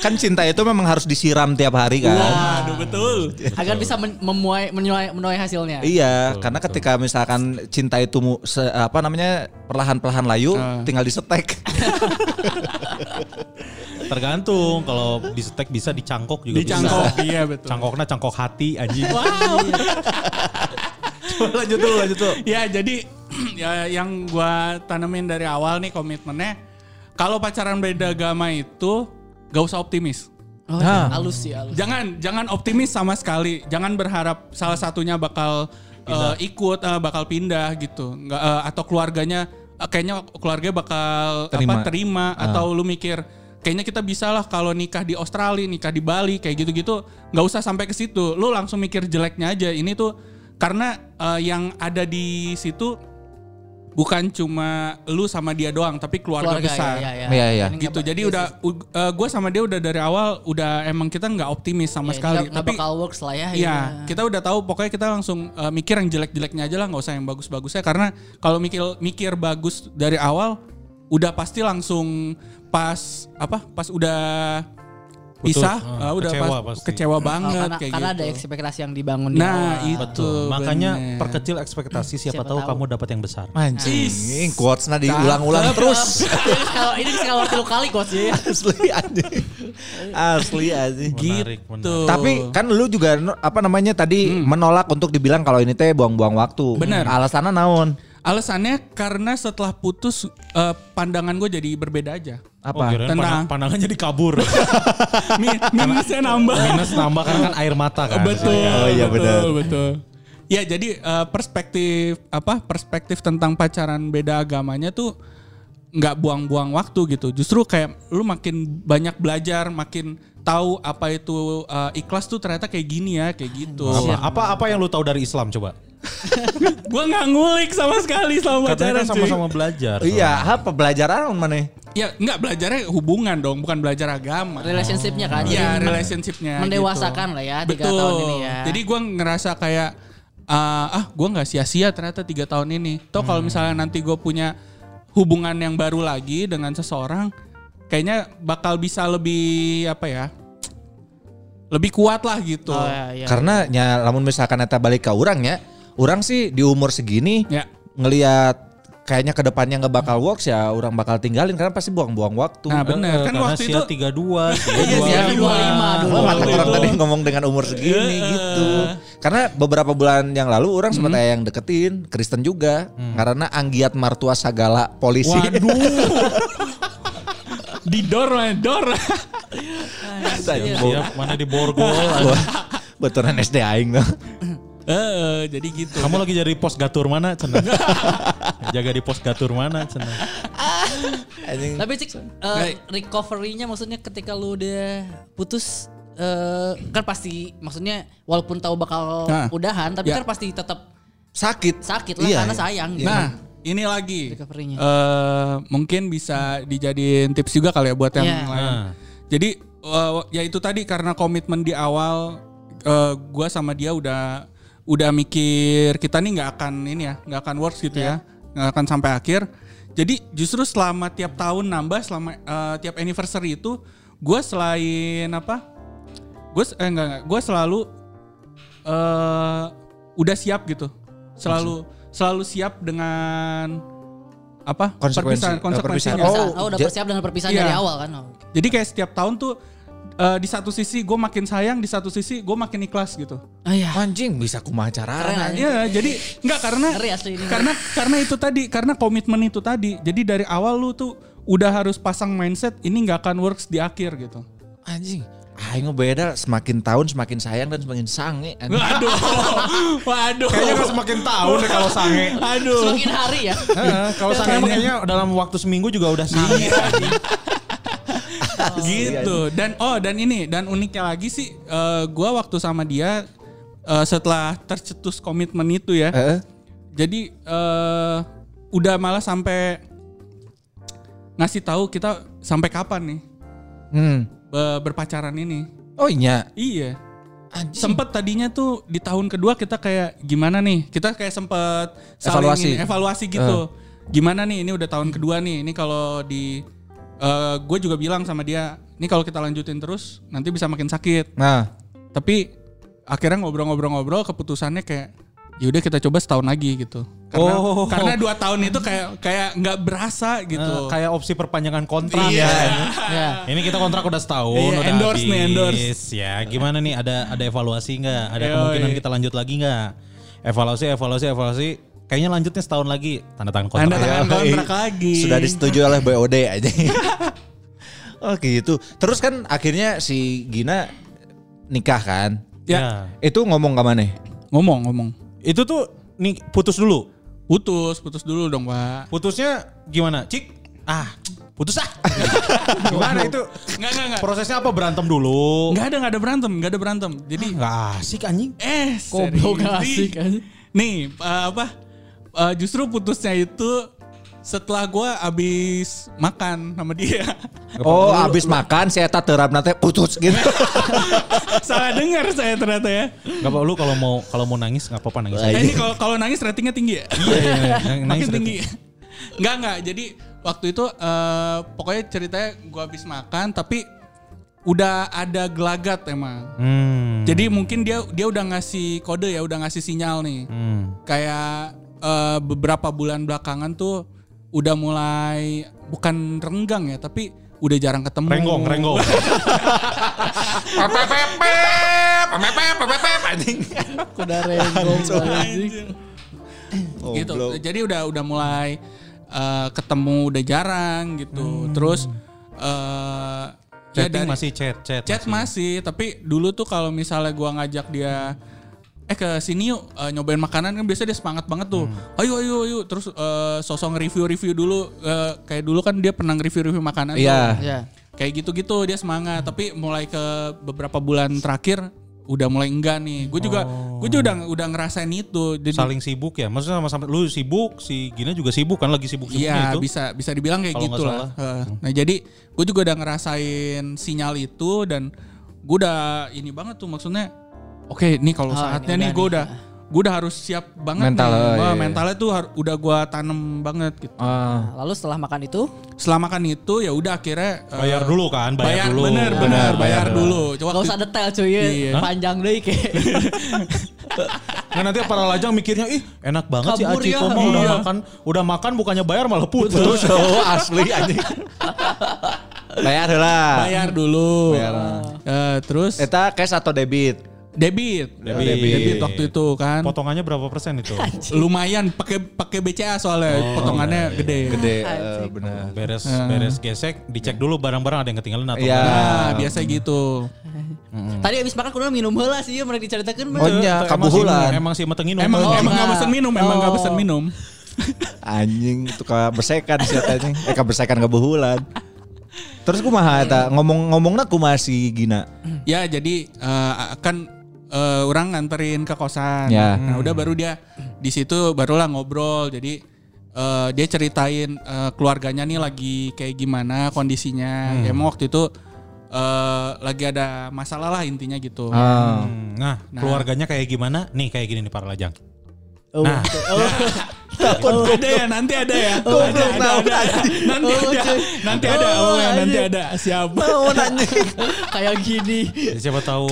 Speaker 3: Kan cinta itu memang harus disiram tiap hari kan.
Speaker 5: Aduh betul.
Speaker 4: Agar bisa men- memuai menuai, menuai hasilnya.
Speaker 3: Iya, karena ketika misalkan cinta itu mu- se- apa namanya perlahan-perlahan layu, tinggal disetek.
Speaker 2: Tergantung kalau di steak bisa dicangkok juga
Speaker 5: Dicangkok.
Speaker 2: bisa.
Speaker 5: Iya betul.
Speaker 2: Cangkoknya cangkok hati anjing.
Speaker 3: *laughs*
Speaker 5: *laughs*
Speaker 3: lanjut dulu, lanjut dulu.
Speaker 5: ya jadi *clears throat* ya yang gua tanemin dari awal nih komitmennya kalau pacaran beda agama itu gak usah optimis.
Speaker 4: Oh,
Speaker 5: Nah.
Speaker 4: iya, halus sih halus.
Speaker 5: Jangan jangan optimis sama sekali. Jangan berharap salah satunya bakal eh, ikut eh, bakal pindah gitu. Nggak eh, atau keluarganya eh, kayaknya keluarga bakal
Speaker 3: Terima.
Speaker 5: apa terima
Speaker 4: Ah.
Speaker 5: atau lu mikir kayaknya kita bisa lah kalau nikah di Australia, nikah di Bali kayak gitu-gitu. nggak usah sampai ke situ. Lu langsung mikir jeleknya aja. Ini tuh karena eh, yang ada di situ bukan cuma lu sama dia doang, tapi keluarga, besar
Speaker 4: ya, ya,
Speaker 3: Iya, iya.
Speaker 4: Ini nggak
Speaker 5: gitu
Speaker 4: bak-
Speaker 5: jadi
Speaker 4: iya
Speaker 5: udah
Speaker 4: sih.
Speaker 5: gue sama dia udah dari awal udah emang kita nggak optimis sama
Speaker 4: Iya,
Speaker 5: sekali
Speaker 4: nggak- nggak
Speaker 5: tapi
Speaker 4: bakal works lah ya.
Speaker 5: ya
Speaker 4: iya.
Speaker 5: kita udah tahu pokoknya kita langsung eh, mikir yang jelek-jeleknya aja lah nggak usah yang bagus-bagusnya karena kalau mikir mikir bagus dari awal udah pasti langsung pas apa pas udah
Speaker 2: Putus,
Speaker 5: pisah
Speaker 2: eh,
Speaker 5: eh, udah
Speaker 2: kecewa
Speaker 5: pas-
Speaker 2: pasti.
Speaker 5: kecewa
Speaker 4: Oh,
Speaker 5: banget
Speaker 4: karena,
Speaker 5: kayak
Speaker 4: karena
Speaker 5: gitu.
Speaker 4: ada ekspektasi yang dibangun di
Speaker 5: nah
Speaker 4: *laughs* awal.
Speaker 5: itu
Speaker 2: Makanya
Speaker 5: bener.
Speaker 2: perkecil ekspektasi siapa,
Speaker 4: Siapa
Speaker 2: tahu,
Speaker 4: tahu.
Speaker 2: kamu dapat yang besar.
Speaker 3: Anjing, quotes-nya diulang-ulang terus.
Speaker 4: Kalau *laughs* ini sekali waktu kali coach ya.
Speaker 3: *laughs* Asli anjing. Asli anjing.
Speaker 2: Menarik, menarik.
Speaker 5: Tuh.
Speaker 3: Tapi kan lu juga no- apa namanya tadi menolak untuk dibilang kalau ini teh buang-buang waktu.
Speaker 5: Bener.
Speaker 3: Alasannya naon?
Speaker 5: alasannya karena setelah putus eh, pandangan gue jadi berbeda aja *laughs*
Speaker 2: Oh,
Speaker 3: Apa?
Speaker 2: kirain
Speaker 5: Tentang-
Speaker 2: pandang- pandangannya dikabur.
Speaker 5: Min- minusnya nambah
Speaker 2: Minus nambah karena kan air mata kan.
Speaker 5: betul
Speaker 2: Jadi,
Speaker 3: Oh, iya, benar.
Speaker 5: betul betul ya jadi eh, perspektif apa perspektif tentang pacaran beda agamanya tuh nggak buang-buang waktu gitu justru kayak lu makin banyak belajar makin tahu apa itu eh, ikhlas tuh ternyata kayak gini ya kayak gitu
Speaker 2: Apa, apa apa yang lu tahu dari Islam coba?
Speaker 5: gua nggak ngulik sama sekali
Speaker 2: Katanya
Speaker 5: sama pacaran
Speaker 2: kan
Speaker 5: cuy.
Speaker 2: sama-sama belajar.
Speaker 3: Iya, apa pelajaran mana?
Speaker 5: ya nggak belajarnya hubungan dong bukan belajar agama
Speaker 4: Relationshipnya kan. jadi
Speaker 5: Iya
Speaker 4: men-
Speaker 5: relationshipnya
Speaker 4: mendewasokan lah ya, tiga
Speaker 5: Betul.
Speaker 4: tahun ini ya.
Speaker 5: Jadi gue ngerasa kayak ah, ah gue nggak sia-sia ternyata tiga tahun ini. Toh
Speaker 4: Hmm.
Speaker 5: kalau misalnya nanti gue punya hubungan yang baru lagi dengan seseorang, kayaknya bakal bisa lebih apa ya? Lebih kuat lah gitu.
Speaker 4: Oh, iya, iya.
Speaker 3: Karena nya ya, lamun misalkan eta balik ke orang ya, orang sih di umur segini
Speaker 5: Ya.
Speaker 3: ngelihat kayaknya kedepannya nggak bakal works ya orang bakal tinggalin karena pasti buang-buang waktu.
Speaker 5: Nah bener kan
Speaker 2: karena
Speaker 5: waktu
Speaker 2: Sia
Speaker 5: itu
Speaker 2: 32, Sia
Speaker 5: Iya, Sia
Speaker 2: 25.
Speaker 4: 25, aduh.
Speaker 3: Wah, mata
Speaker 5: Waktu
Speaker 3: orang
Speaker 5: itu.
Speaker 3: tadi ngomong dengan umur segini gitu. Karena beberapa bulan yang lalu orang sempat ada yang deketin Kristen juga karena Anggiat Martua Sagala polisi.
Speaker 5: Waduh Di dor lah *laughs* dor
Speaker 4: Iya,
Speaker 2: Siap, mana di borgol.
Speaker 3: *laughs* Betulan SD aing tuh.
Speaker 5: Eh, eh, Jadi gitu
Speaker 2: Kamu lagi jadi pos gatur mana, Cenah? Jaga di pos gatur mana, Cenah?
Speaker 3: Anjing.
Speaker 4: Tapi cik, eh, recovery-nya maksudnya ketika lu udah putus eh, kan pasti maksudnya walaupun tahu bakal
Speaker 5: Nah.
Speaker 4: udahan tapi
Speaker 5: Ya.
Speaker 4: kan pasti tetap
Speaker 3: sakit.
Speaker 4: sakit lah
Speaker 3: Iya,
Speaker 4: karena
Speaker 3: iya.
Speaker 4: sayang gitu.
Speaker 5: Nah ini lagi
Speaker 4: Recovery-nya.
Speaker 5: eh Mungkin bisa dijadiin tips juga kali ya buat yang
Speaker 4: Iya.
Speaker 5: lain Jadi eh, ya itu tadi karena komitmen di awal eh, gua sama dia udah udah mikir kita nih nggak akan ini ya nggak akan works gitu ya
Speaker 4: Iya.
Speaker 5: nggak akan sampai akhir. Jadi justru selama tiap tahun nambah selama eh, tiap anniversary itu gua selain apa gue eh, enggak, enggak. gue selalu eh udah siap gitu selalu selalu siap dengan apa
Speaker 3: Konsekuensi.
Speaker 5: perpisahan
Speaker 3: Eh, perpisahan.
Speaker 5: konsekuensinya
Speaker 4: Perpisahan.
Speaker 3: Oh,
Speaker 4: Oh, udah
Speaker 3: ja-
Speaker 4: bersiap dengan perpisahan
Speaker 5: Iya.
Speaker 4: dari awal kan. Oh.
Speaker 5: jadi kayak setiap tahun tuh eh, di satu sisi gue makin sayang, di satu sisi gue makin ikhlas gitu.
Speaker 4: Ah, iya.
Speaker 3: Anjing bisa kumaha carana.
Speaker 4: Keren,
Speaker 5: Iya, jadi nggak karena
Speaker 4: Nah, Ngeri asli ini.
Speaker 5: karena karena itu tadi karena komitmen itu tadi. Jadi dari awal lu tuh udah harus pasang mindset ini nggak akan works di akhir gitu.
Speaker 3: Anjing. Aing beda semakin tahun semakin sayang dan semakin sange. anjing.
Speaker 4: *laughs*
Speaker 5: Waduh, waduh.
Speaker 1: Kayaknya kan semakin tahun deh kalau sange.
Speaker 5: Aduh.
Speaker 4: Semakin hari ya.
Speaker 2: Heeh, kalau sange mah kayaknya dalam waktu seminggu juga udah sange.
Speaker 5: gitu dan oh dan ini dan uniknya lagi sih eh, gua waktu sama dia eh, setelah tercetus komitmen itu ya
Speaker 3: Heeh.
Speaker 5: jadi eh, udah malah sampai ngasih tahu kita sampai kapan nih
Speaker 3: Hmm.
Speaker 5: be- berpacaran ini
Speaker 3: Oh iya.
Speaker 5: iya
Speaker 3: Anjing.
Speaker 5: sempet tadinya tuh di tahun kedua kita kayak gimana nih kita kayak sempet saling
Speaker 3: Evaluasi.
Speaker 5: ini, evaluasi gitu
Speaker 2: Eh.
Speaker 5: gimana nih ini udah tahun kedua nih ini kalau di gue juga bilang sama dia ini kalau kita lanjutin terus nanti bisa makin sakit
Speaker 3: Nah,
Speaker 5: tapi akhirnya ngobrol-ngobrol-ngobrol keputusannya kayak yaudah kita coba setahun lagi gitu karena
Speaker 2: Oh.
Speaker 5: karena dua tahun itu kayak kayak nggak berasa
Speaker 2: Eh,
Speaker 5: gitu
Speaker 2: kayak opsi perpanjangan kontrak.
Speaker 4: Ya.
Speaker 2: Iya. Ini kita kontrak udah setahun,
Speaker 5: Iya,
Speaker 2: udah
Speaker 5: endorse nih, endorse.
Speaker 2: Ya, gimana nih? Ada ada evaluasi nggak? Ada
Speaker 5: Yoi.
Speaker 2: kemungkinan kita lanjut lagi nggak? Evaluasi, evaluasi, evaluasi. Kayaknya lanjutnya setahun lagi. Tanda tangan kontrak.
Speaker 5: tanda tangan
Speaker 3: Yoi.
Speaker 5: kontrak lagi
Speaker 3: Iya. sudah disetujui oleh BOD aja. *laughs* oh gitu. Terus kan akhirnya si Gina nikah kan?
Speaker 2: Ya.
Speaker 5: ya
Speaker 3: Itu ngomong ke mana?
Speaker 5: ngomong ngomong
Speaker 2: Itu tuh nih putus dulu.
Speaker 5: putus putus dulu dong pak
Speaker 2: Putusnya gimana? Cik, ah putus *laughs* ah. gimana itu?
Speaker 5: nggak nggak nggak
Speaker 2: Prosesnya apa berantem dulu?
Speaker 5: Nggak ada, nggak ada berantem, nggak ada berantem. Jadi
Speaker 2: Nggak asik anjing.
Speaker 5: eh
Speaker 4: Goblok
Speaker 5: serius.
Speaker 4: gak asik
Speaker 5: Nih,
Speaker 4: anjing.
Speaker 5: Nih eh, apa? Eh, justru putusnya itu setelah gua abis makan sama dia. *laughs*
Speaker 3: Oh, abis makan saya tak terap nanti putus gitu.
Speaker 5: Salah dengar saya ternyata ya.
Speaker 2: Gak apa lu kalau mau kalau mau nangis nggak apa-apa nangis.
Speaker 5: Eh,
Speaker 2: aja.
Speaker 5: ini kalau kalau nangis ratingnya tinggi ya.
Speaker 2: Nah, Iya, iya,
Speaker 5: *laughs*
Speaker 2: iya. Nang- nangis
Speaker 5: Makin
Speaker 2: udah
Speaker 5: tinggi. Nggak nggak. Jadi waktu itu eh, pokoknya ceritanya gua abis makan tapi udah ada gelagat emang.
Speaker 2: Hmm.
Speaker 5: Jadi mungkin dia dia udah ngasih kode ya, udah ngasih sinyal nih.
Speaker 2: Hmm.
Speaker 5: kayak eh, beberapa bulan belakangan tuh udah mulai bukan renggang ya tapi udah jarang ketemu
Speaker 2: Renggong, renggong.
Speaker 4: *laughs* Kuda renggong anjing.
Speaker 5: gitu jadi udah udah mulai eh, ketemu udah jarang gitu terus eh ya
Speaker 2: Hmm. Chatting
Speaker 5: dari-
Speaker 2: masih chat, chat.
Speaker 5: chat masih tapi dulu tuh kalau misalnya gua ngajak dia eh ke sini yuk eh, nyobain makanan kan biasanya dia semangat banget tuh
Speaker 2: Hmm.
Speaker 5: ayo ayo ayo terus eh, sosok review review dulu Eh, kayak dulu kan dia pernah review review makanan tuh.
Speaker 3: Iya.
Speaker 4: Ya.
Speaker 5: kayak gitu-gitu dia semangat tapi mulai ke beberapa bulan terakhir udah mulai enggak nih gue juga gue juga udah udah ngerasain itu jadi
Speaker 2: Oh. saling sibuk ya. Maksudnya sama-sama lu sibuk, si Gina juga sibuk kan lagi sibuk-sibuknya
Speaker 5: iya
Speaker 2: itu.
Speaker 5: bisa bisa dibilang kayak
Speaker 2: Kalau
Speaker 5: gitu
Speaker 2: nggak Hmm.
Speaker 5: lah Heeh. nah jadi gue juga udah ngerasain sinyal itu dan gue udah ini banget tuh maksudnya oke nih kalau
Speaker 4: Oh,
Speaker 2: Ah,
Speaker 5: saatnya
Speaker 4: ini
Speaker 5: nih
Speaker 4: udah
Speaker 5: gue
Speaker 4: nih.
Speaker 5: udah gue udah harus siap banget
Speaker 3: Mental,
Speaker 5: nih
Speaker 3: oh, iya.
Speaker 5: Wah, mentalnya tuh har- udah gue tanem banget gitu
Speaker 3: Ah.
Speaker 4: Nah, Lalu setelah makan itu
Speaker 5: selama kan itu ya udah akhirnya eh,
Speaker 2: Bayar dulu kan, bayar,
Speaker 5: bayar,
Speaker 2: dulu.
Speaker 5: bener
Speaker 2: Nah,
Speaker 5: bener bayar, dulu
Speaker 4: Gak
Speaker 5: Waktu-
Speaker 4: usah detail cuy ya.
Speaker 5: Iya.
Speaker 4: Panjang deh kayak
Speaker 2: Nah nanti para lajang mikirnya ih enak banget sih
Speaker 4: Kabur
Speaker 2: Aci
Speaker 4: ya.
Speaker 2: Koma udah
Speaker 5: Iya.
Speaker 2: makan udah makan bukannya bayar malah putus. *laughs*
Speaker 3: Oh, asli anjing. Bayar lah.
Speaker 5: Bayar dulu.
Speaker 3: Bayar.
Speaker 5: Eh, terus
Speaker 3: Eta cash atau debit?
Speaker 5: debit.
Speaker 2: Eh, Debit.
Speaker 5: Debit waktu itu kan.
Speaker 1: Potongannya berapa persen itu?
Speaker 5: Lumayan pakai pakai BCA soalnya
Speaker 2: Oh,
Speaker 5: potongannya
Speaker 2: iya,
Speaker 5: gede.
Speaker 3: Gede, eh, benar.
Speaker 2: beres beres gesek dicek dulu barang-barang ada yang ketinggalan atau
Speaker 3: Iya.
Speaker 2: enggak.
Speaker 5: Nah, biasa gitu.
Speaker 4: *laughs* Tadi habis makan kudu minum heula sih, ieu mereka diceritakeun mah.
Speaker 3: Oh, iya.
Speaker 2: Emang si-
Speaker 3: Kabuhulan.
Speaker 2: Emang sih metengin
Speaker 5: Emang
Speaker 4: Oh,
Speaker 5: emang nggak
Speaker 4: enggak.
Speaker 5: pesen minum, emang nggak
Speaker 4: Oh.
Speaker 5: pesen minum.
Speaker 3: Anjing itu bersekan sih anjing. Eh bersekan kebehulan. Terus kumaha eta ngomong-ngomongna kumaha si Gina.
Speaker 5: Ya jadi eh, kan eh, orang nganterin ke kosan.
Speaker 3: Ya.
Speaker 5: Nah udah baru dia di situ barulah ngobrol. Jadi eh, dia ceritain eh, keluarganya nih lagi kayak gimana kondisinya. Ya, Emang waktu itu eh, lagi ada masalah lah intinya gitu.
Speaker 3: Ah.
Speaker 2: Hmm, Nah, keluarganya kayak gimana? Nih kayak gini nih para lajang.
Speaker 4: Oh,
Speaker 2: Nah.
Speaker 4: *laughs* oh,
Speaker 5: Oh, ada ya nanti ada ya. Oh, ada, ada, ada, ada. Nanti
Speaker 4: Oh,
Speaker 5: ada.
Speaker 4: cuy.
Speaker 5: Nanti ada. Oh, ya,
Speaker 4: Oh,
Speaker 5: nanti
Speaker 4: anjing.
Speaker 5: ada. Siap.
Speaker 4: Oh, *laughs* kayak gini.
Speaker 2: Ya, Siapa tahu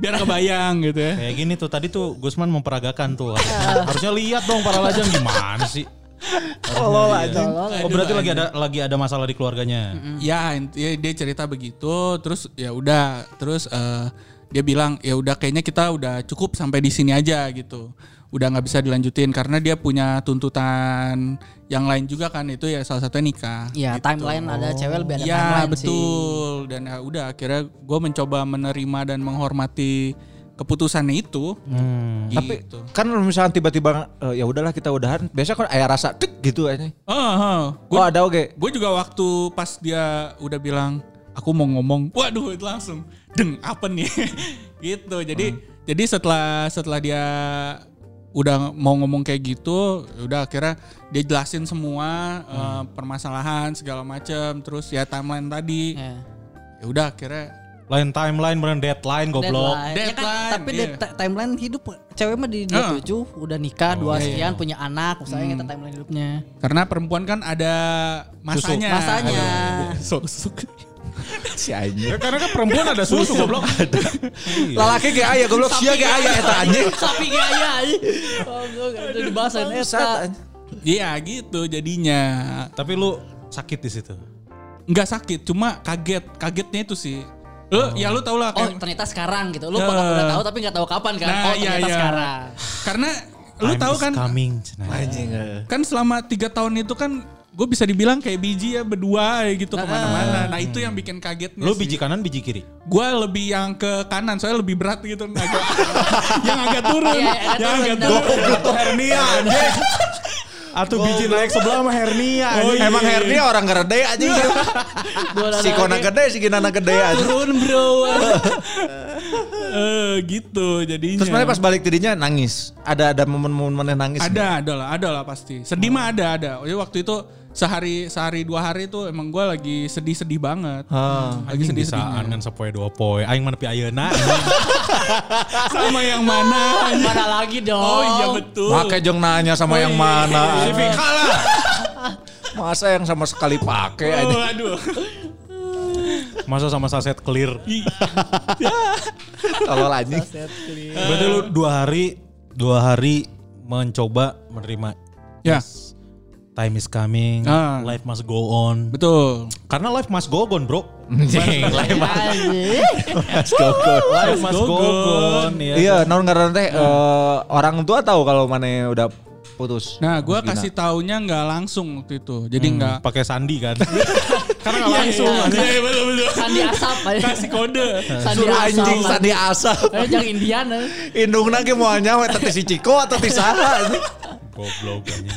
Speaker 5: Biar kebayang gitu ya.
Speaker 2: kayak gini tuh tadi tuh Gusman memperagakan tuh. Harusnya lihat dong para lajang gimana sih?
Speaker 3: Tolol
Speaker 4: Iya,
Speaker 3: anjing.
Speaker 2: Oh berarti lagi ada lagi ada masalah di keluarganya.
Speaker 5: Ya, int- ya, dia cerita begitu, terus ya udah, terus eh, dia bilang ya udah kayaknya kita udah cukup sampai di sini aja gitu. Udah nggak bisa dilanjutin karena dia punya tuntutan yang lain juga kan itu ya salah satunya nikah.
Speaker 4: Ya, timeline ada cewek lebih ada
Speaker 5: Gitu. Ya
Speaker 4: timeline
Speaker 5: betul dan ya udah akhirnya gue mencoba menerima dan menghormati keputusannya itu.
Speaker 4: Hmm.
Speaker 5: Gitu.
Speaker 3: Tapi kan misalnya tiba-tiba eh, ya udahlah kita udahan, biasa kan aya rasa dek gitu anjing.
Speaker 5: gue
Speaker 3: Oh ada
Speaker 5: *laughs*
Speaker 3: oke.
Speaker 5: Gue juga waktu pas dia udah bilang aku mau ngomong, waduh itu langsung deng apa nih *laughs* gitu.
Speaker 4: Hmm.
Speaker 5: Jadi jadi setelah setelah dia udah mau ngomong kayak gitu, udah akhirnya dia jelasin semua
Speaker 4: Hmm.
Speaker 5: eh, permasalahan segala macam, terus ya timeline tadi.
Speaker 4: Ya.
Speaker 5: Ya udah akhirnya
Speaker 2: Lain timeline beneran deadline goblok.
Speaker 4: Deadline. Ya kan,
Speaker 5: Deadline,
Speaker 4: tapi de-
Speaker 5: iya.
Speaker 4: ta- timeline hidup cewek mah di 27 udah nikah,
Speaker 5: Oh,
Speaker 4: dua
Speaker 5: iya.
Speaker 4: sekian, punya anak, misalnya
Speaker 5: Hmm.
Speaker 4: kita timeline hidupnya.
Speaker 5: karena perempuan kan ada masanya.
Speaker 4: Masanya. *laughs*
Speaker 5: Aduh, Sok-sok.
Speaker 3: Si anjing.
Speaker 2: Ya, karena kan perempuan ada susu goblok. Iya.
Speaker 3: Lalaki ge aya Ya, goblok sia ge aya eta anjing.
Speaker 4: *laughs* Sapi kayak aya anjing. Goblok, Itu dibahasain eta.
Speaker 3: Sat, anjing.
Speaker 5: Iya gitu jadinya.
Speaker 2: Tapi lu sakit di situ.
Speaker 5: Nggak sakit, cuma kaget. Kagetnya itu sih. Lu, ya lu tau lah
Speaker 4: Oh,
Speaker 5: kayak-
Speaker 4: ternyata sekarang gitu. Lu
Speaker 5: Ya.
Speaker 4: bakal udah tahu tapi nggak tahu kapan kan.
Speaker 5: Nah,
Speaker 4: oh,
Speaker 5: iya,
Speaker 4: ternyata
Speaker 5: iya.
Speaker 4: sekarang.
Speaker 5: Karena lu
Speaker 2: Time
Speaker 5: tahu
Speaker 2: is
Speaker 5: kan,
Speaker 2: coming. Cenah.
Speaker 5: kan selama tiga tahun itu kan gue bisa dibilang kayak biji ya berdua ya gitu kemana-mana. Nah itu yang bikin kagetnya.
Speaker 2: Lu biji kanan biji kiri.
Speaker 5: Gue lebih yang ke kanan soalnya lebih berat gitu, yang *laughs* agak, yang agak turun,
Speaker 4: Iya, agak
Speaker 5: yang
Speaker 4: turun,
Speaker 5: agak
Speaker 4: benar.
Speaker 5: turun.
Speaker 2: hernia anjing. Atau biji naik sebelah sama hernia. anjing.
Speaker 3: Oh, iya, Emang hernia orang gede anjing.
Speaker 4: Dua
Speaker 3: Si kona
Speaker 4: laki-laki.
Speaker 3: gede, si ginana gede anjing.
Speaker 5: turun bro. Eh gitu jadinya.
Speaker 3: Terus mana pas balik dirinya nangis. Ada ada momen-momen mana nangis.
Speaker 5: ada, ada lah, ada lah pasti. Sedih mah ada, ada. Jadi waktu itu sehari sehari dua hari itu emang gue lagi sedih-sedih banget.
Speaker 2: Lagi sedih bisaan kan sepoe dua poe. Aing mana pi ayeuna. anjing.
Speaker 5: Sama yang mana?
Speaker 4: Mana lagi dong.
Speaker 5: *laughs* Oh iya betul.
Speaker 3: Pakai jong nanya sama yang mana.
Speaker 2: Si Vika lah.
Speaker 3: Masa yang sama sekali pakai anjing.
Speaker 5: Oh, aduh.
Speaker 2: Masa sama saset clear.
Speaker 3: Tolol anjing.
Speaker 2: Berarti lu dua hari dua hari mencoba menerima
Speaker 5: Ya,
Speaker 2: time is coming,
Speaker 5: Ah.
Speaker 2: life must go on.
Speaker 5: betul.
Speaker 2: Karena life must go on, bro.
Speaker 3: Anjing,
Speaker 5: Iya,
Speaker 3: lain banget.
Speaker 4: Iya, Anjing.
Speaker 3: Mas Gogo.
Speaker 2: Life must go on. ya.
Speaker 3: Iya, non karena teh eh, orang tua tahu kalau mana udah putus.
Speaker 5: Nah, gua
Speaker 3: Gina.
Speaker 5: kasih taunya nggak langsung waktu itu. Jadi nggak *laughs*
Speaker 2: Pakai sandi kan. Karena nggak
Speaker 4: Iya,
Speaker 2: langsung.
Speaker 4: iya.
Speaker 2: anjing.
Speaker 5: Iya, betul betul.
Speaker 4: Sandi asap aja.
Speaker 5: Kasih kode.
Speaker 4: Sandi
Speaker 3: Suruh anjing
Speaker 4: asap.
Speaker 3: sadi asap.
Speaker 4: Eh, jangan Indian. eh.
Speaker 3: Indungna ge moal nyawa eta ti si Ciko atau ti saha anjing.
Speaker 2: Goblok anjing.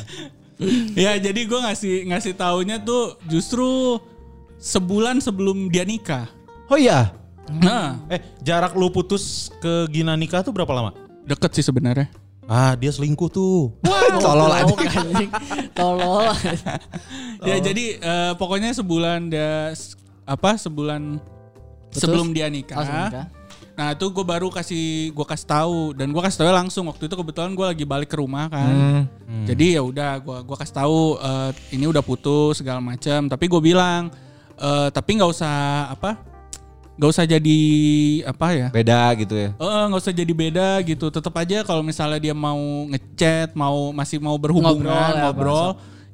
Speaker 5: ya, jadi gua ngasih ngasih taunya tuh justru sebulan sebelum dia nikah.
Speaker 3: Oh iya.
Speaker 5: Nah,
Speaker 2: Eh, jarak lu putus ke Gina nikah tuh berapa lama?
Speaker 5: deket sih sebenarnya.
Speaker 2: Ah, dia selingkuh tuh.
Speaker 3: Tolol anjing.
Speaker 4: Goblok, anjing. Tolol. Oh.
Speaker 5: Ya, jadi eh, pokoknya sebulan dia apa sebulan
Speaker 4: Putus?
Speaker 5: sebelum dia nikah.
Speaker 4: Oh, sebelum nikah.
Speaker 5: Nah itu gue baru kasih gue kasih tahu dan gue kasih tahu langsung waktu itu kebetulan gue lagi balik ke rumah kan.
Speaker 4: Hmm.
Speaker 5: Jadi ya udah gue gua kasih tahu eh, ini udah putus segala macam. Tapi gue bilang eh, tapi nggak usah apa nggak usah jadi apa ya
Speaker 3: Beda gitu ya.
Speaker 5: Eh, eh, nggak usah jadi beda gitu. Tetap aja kalau misalnya dia mau ngechat, mau masih mau berhubungan,
Speaker 4: Ngobrol
Speaker 5: ngobrol,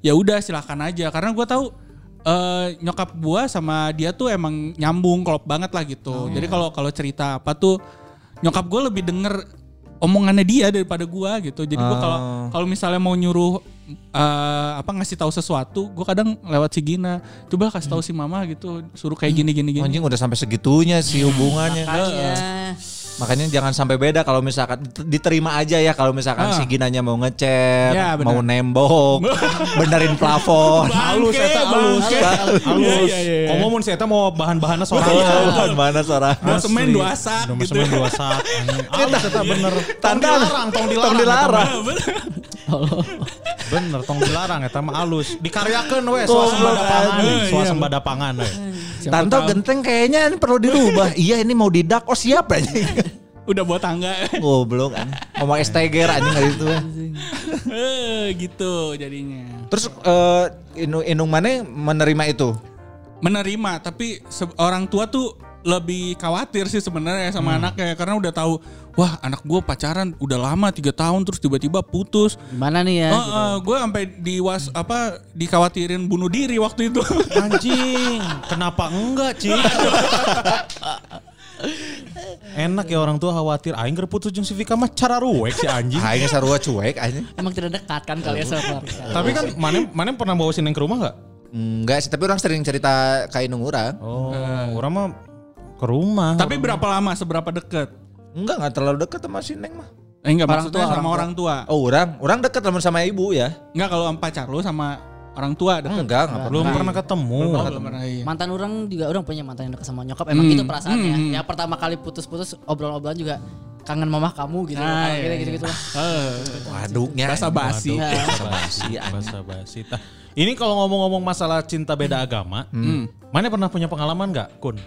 Speaker 4: ya,
Speaker 5: ya udah silakan aja. Karena gue tahu eh, nyokap gue sama dia tuh emang nyambung, klop banget lah gitu. jadi kalau kalau cerita apa tuh nyokap gue lebih denger omongannya dia daripada gue gitu. Jadi gue kalau kalau misalnya mau nyuruh eh, apa ngasih tahu sesuatu, gue kadang lewat si Gina, coba kasih tahu si Mama gitu, suruh kayak gini gini gini.
Speaker 3: Anjing udah sampai segitunya sih hubungannya.
Speaker 4: Makanya.
Speaker 3: Makanya jangan sampai beda kalau misalkan diterima aja ya kalau misalkan
Speaker 5: Ah.
Speaker 3: si Ginanya mau ngechat,
Speaker 5: Ya, benar.
Speaker 3: mau nembok, benerin plafon.
Speaker 2: Halus eta halus.
Speaker 4: bangke.
Speaker 2: Halus.
Speaker 5: Iya, iya, iya.
Speaker 2: Komo mun si eta mau bahan-bahanna sorangan.
Speaker 3: Oh, mana suara?
Speaker 5: Dua semen,
Speaker 2: Asli.
Speaker 5: dua sak
Speaker 2: Dua
Speaker 5: gitu.
Speaker 2: semen dua sak. anjing. Halus eta bener. Tong
Speaker 3: Tanda-
Speaker 2: dilarang, tong dilarang.
Speaker 3: Tong dilarang.
Speaker 2: eta mah. Bener, tong dilarang eta mah halus. Dikaryakeun we
Speaker 3: Goblok,
Speaker 2: swasembada pangan,
Speaker 5: anjing.
Speaker 2: swasembada pangan we.
Speaker 3: Tanto genteng kayaknya ini perlu dirubah. iya ini mau didak. Oh siap aja.
Speaker 5: *laughs* udah buat tangga
Speaker 3: Goblok kan. Ngomong STGR anjing kayak gitu.
Speaker 5: *laughs* Eh, gitu jadinya
Speaker 3: Terus eh Inung, Inung mana menerima itu?
Speaker 5: menerima tapi se- orang tua tuh lebih khawatir sih sebenarnya sama anaknya karena udah tahu wah anak gue pacaran udah lama tiga tahun terus tiba-tiba putus
Speaker 4: Gimana nih ya? gitu.
Speaker 5: gue sampai di was apa dikhawatirin bunuh diri waktu itu
Speaker 2: Oh. Anjing, kenapa enggak, Ci? Enak ya orang tua khawatir aing keur putus jeung si Vika mah cara ruwek si anjing.
Speaker 3: Aing sarua cuek anjing.
Speaker 4: Emang tidak dekat kan kalian sama keluarga?
Speaker 2: Tapi kan mana mana pernah bawa sineng ke rumah enggak?
Speaker 3: Enggak sih, tapi orang sering cerita ke Inung orang.
Speaker 2: Oh, orang mah ke rumah.
Speaker 5: *laughs* tapi berapa lama seberapa deket
Speaker 3: Enggak, enggak terlalu dekat sama si Neng mah.
Speaker 5: eh, enggak
Speaker 4: Orang
Speaker 5: maksudnya
Speaker 4: tua,
Speaker 5: sama
Speaker 4: orang
Speaker 5: orang tua,
Speaker 3: Oh, orang, orang dekat sama sama ibu ya.
Speaker 5: enggak kalau sama pacar lu sama orang tua deket
Speaker 3: Enggak, enggak perlu.
Speaker 2: belum pernah ketemu.
Speaker 5: Oh, belum pernah, iya.
Speaker 4: Mantan orang juga orang punya mantan yang dekat sama nyokap. Emang gitu perasaannya. Ya pertama kali putus-putus obrolan-obrolan juga kangen mamah kamu gitu.
Speaker 5: Ah,
Speaker 4: gitu,
Speaker 5: iya, iya.
Speaker 4: gitu, gitu lah.
Speaker 5: Eh,
Speaker 3: Ah. Waduknya.
Speaker 5: Bahasa basi.
Speaker 2: Bahasa basi, bahasa basi. Tah, Ini kalau ngomong-ngomong masalah cinta beda agama, Hmm. mana pernah punya pengalaman nggak, Kun?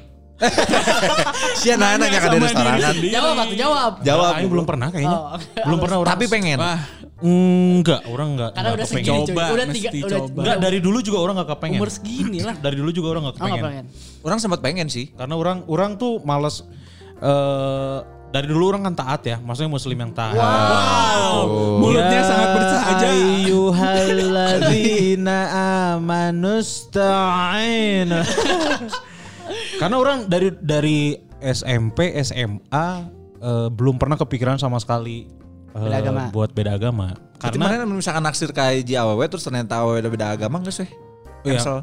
Speaker 3: Si anak-anak yang ada
Speaker 5: Sama
Speaker 3: di nah, restoran.
Speaker 5: diri sendiri.
Speaker 4: Jawab atuh, jawab.
Speaker 3: Jawab.
Speaker 2: Aing belum pernah kayaknya.
Speaker 4: Oh, oke.
Speaker 2: Belum pernah orang.
Speaker 3: Tapi pengen.
Speaker 5: Wah,
Speaker 2: enggak, orang enggak.
Speaker 4: Karena udah segini
Speaker 2: kepengen.
Speaker 4: cuy.
Speaker 5: Coba,
Speaker 4: Udah tiga,
Speaker 5: mesti
Speaker 4: udah
Speaker 5: coba.
Speaker 2: Enggak, dari dulu juga orang enggak kepengen.
Speaker 4: umur segini lah.
Speaker 2: Dari dulu juga orang enggak
Speaker 4: Oh, nggak
Speaker 2: kepengen.
Speaker 4: pengen.
Speaker 3: Orang sempat pengen sih.
Speaker 2: Karena orang orang tuh males eh dari dulu orang kan taat ya, maksudnya muslim yang taat.
Speaker 3: Oh.
Speaker 5: Wow, mulutnya
Speaker 2: Ya
Speaker 5: sangat bersahaja.
Speaker 3: Iya,
Speaker 2: ayyuhalladzina
Speaker 5: *laughs*
Speaker 2: amanusta'inu. Karena orang dari dari SMP, SMA eh, belum pernah kepikiran sama sekali eh,
Speaker 4: Beda agama.
Speaker 2: buat beda agama.
Speaker 3: Karena
Speaker 2: Karena
Speaker 3: misalkan naksir ke hiji awewe terus ternyata awewe beda agama enggak sih?
Speaker 5: Oh,
Speaker 2: Iya.
Speaker 3: Cancel.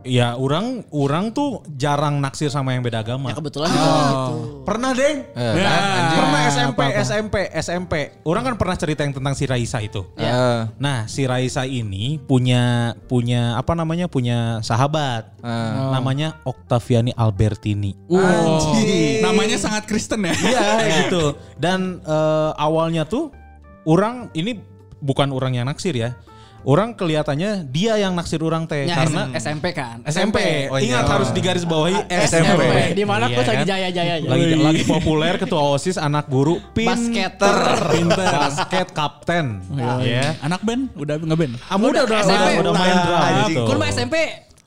Speaker 2: ya orang orang tuh jarang naksir sama yang beda agama.
Speaker 4: Ya kebetulan juga gitu.
Speaker 2: Pernah deng.
Speaker 3: Eh,
Speaker 5: Ya.
Speaker 2: Pernah SMP, SMP, SMP. Orang kan pernah cerita yang tentang si Raisa itu.
Speaker 4: Ya.
Speaker 3: Eh,
Speaker 2: Nah, si Raisa ini punya punya apa namanya? Punya sahabat.
Speaker 3: eh.
Speaker 4: Ah. Oh.
Speaker 2: Namanya Octaviani Albertini.
Speaker 5: Oh, namanya sangat Kristen ya.
Speaker 2: Iya, *laughs* gitu. Dan eh, awalnya tuh orang ini bukan orang yang naksir ya. Orang kelihatannya dia yang naksir orang teh
Speaker 4: Ya,
Speaker 2: karena
Speaker 4: S- SMP kan.
Speaker 2: SMP.
Speaker 3: Oh, iya.
Speaker 2: Ingat harus digaris bawahi
Speaker 4: Ah,
Speaker 3: SMP.
Speaker 2: SMP.
Speaker 4: Di
Speaker 2: Iya
Speaker 4: mana aku lagi
Speaker 2: kan?
Speaker 4: jaya-jaya ya.
Speaker 2: lagi lagi populer ketua OSIS anak guru
Speaker 4: Basketer. Iya.
Speaker 2: pinter basket kapten ya
Speaker 5: Anak band, udah nggak band.
Speaker 2: Amu udah udah,
Speaker 4: SMP.
Speaker 2: udah, udah main drum
Speaker 3: Anjing.
Speaker 2: gitu.
Speaker 4: Kun mah SMP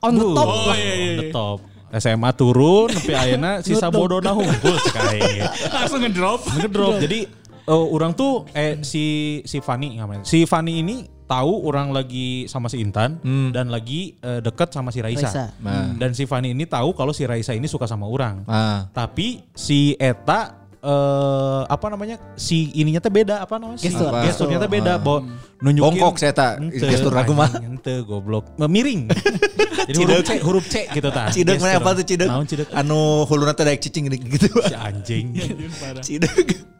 Speaker 4: on the top
Speaker 2: Oh,
Speaker 4: lah.
Speaker 2: iya, iya, iya. On the top. SMA turun, *laughs* tapi akhirnya sisa bodona *laughs* hunkul sekali.
Speaker 5: Langsung ngedrop.
Speaker 2: Ngedrop. Jadi eh, orang tuh eh si si Fani ngamen. Si Fani ini tahu orang lagi sama si Intan dan lagi eh, deket sama si Raisa.
Speaker 4: Raisa.
Speaker 2: Hmm. Dan si Fani ini tahu kalau si Raisa ini suka sama orang.
Speaker 3: Ah.
Speaker 2: Tapi si Eta eh apa namanya si ininya teh beda apa namanya si
Speaker 4: Gestur.
Speaker 3: Apa?
Speaker 2: gesturnya teh beda bahwa nunjukin
Speaker 3: Ah. Bongkok saya tak
Speaker 2: Ente,
Speaker 3: gestur ah. aku
Speaker 2: anjing,
Speaker 3: mah.
Speaker 2: ente goblok Eh,
Speaker 3: *laughs*
Speaker 2: miring jadi huruf C huruf C gitu ta
Speaker 5: Ah,
Speaker 3: Cidek mana
Speaker 2: Gestur.
Speaker 3: apa tuh cidek?
Speaker 2: Naon cidek
Speaker 3: Anu hulurna teh daek cicing gini gitu.
Speaker 2: si anjing
Speaker 3: Cidek.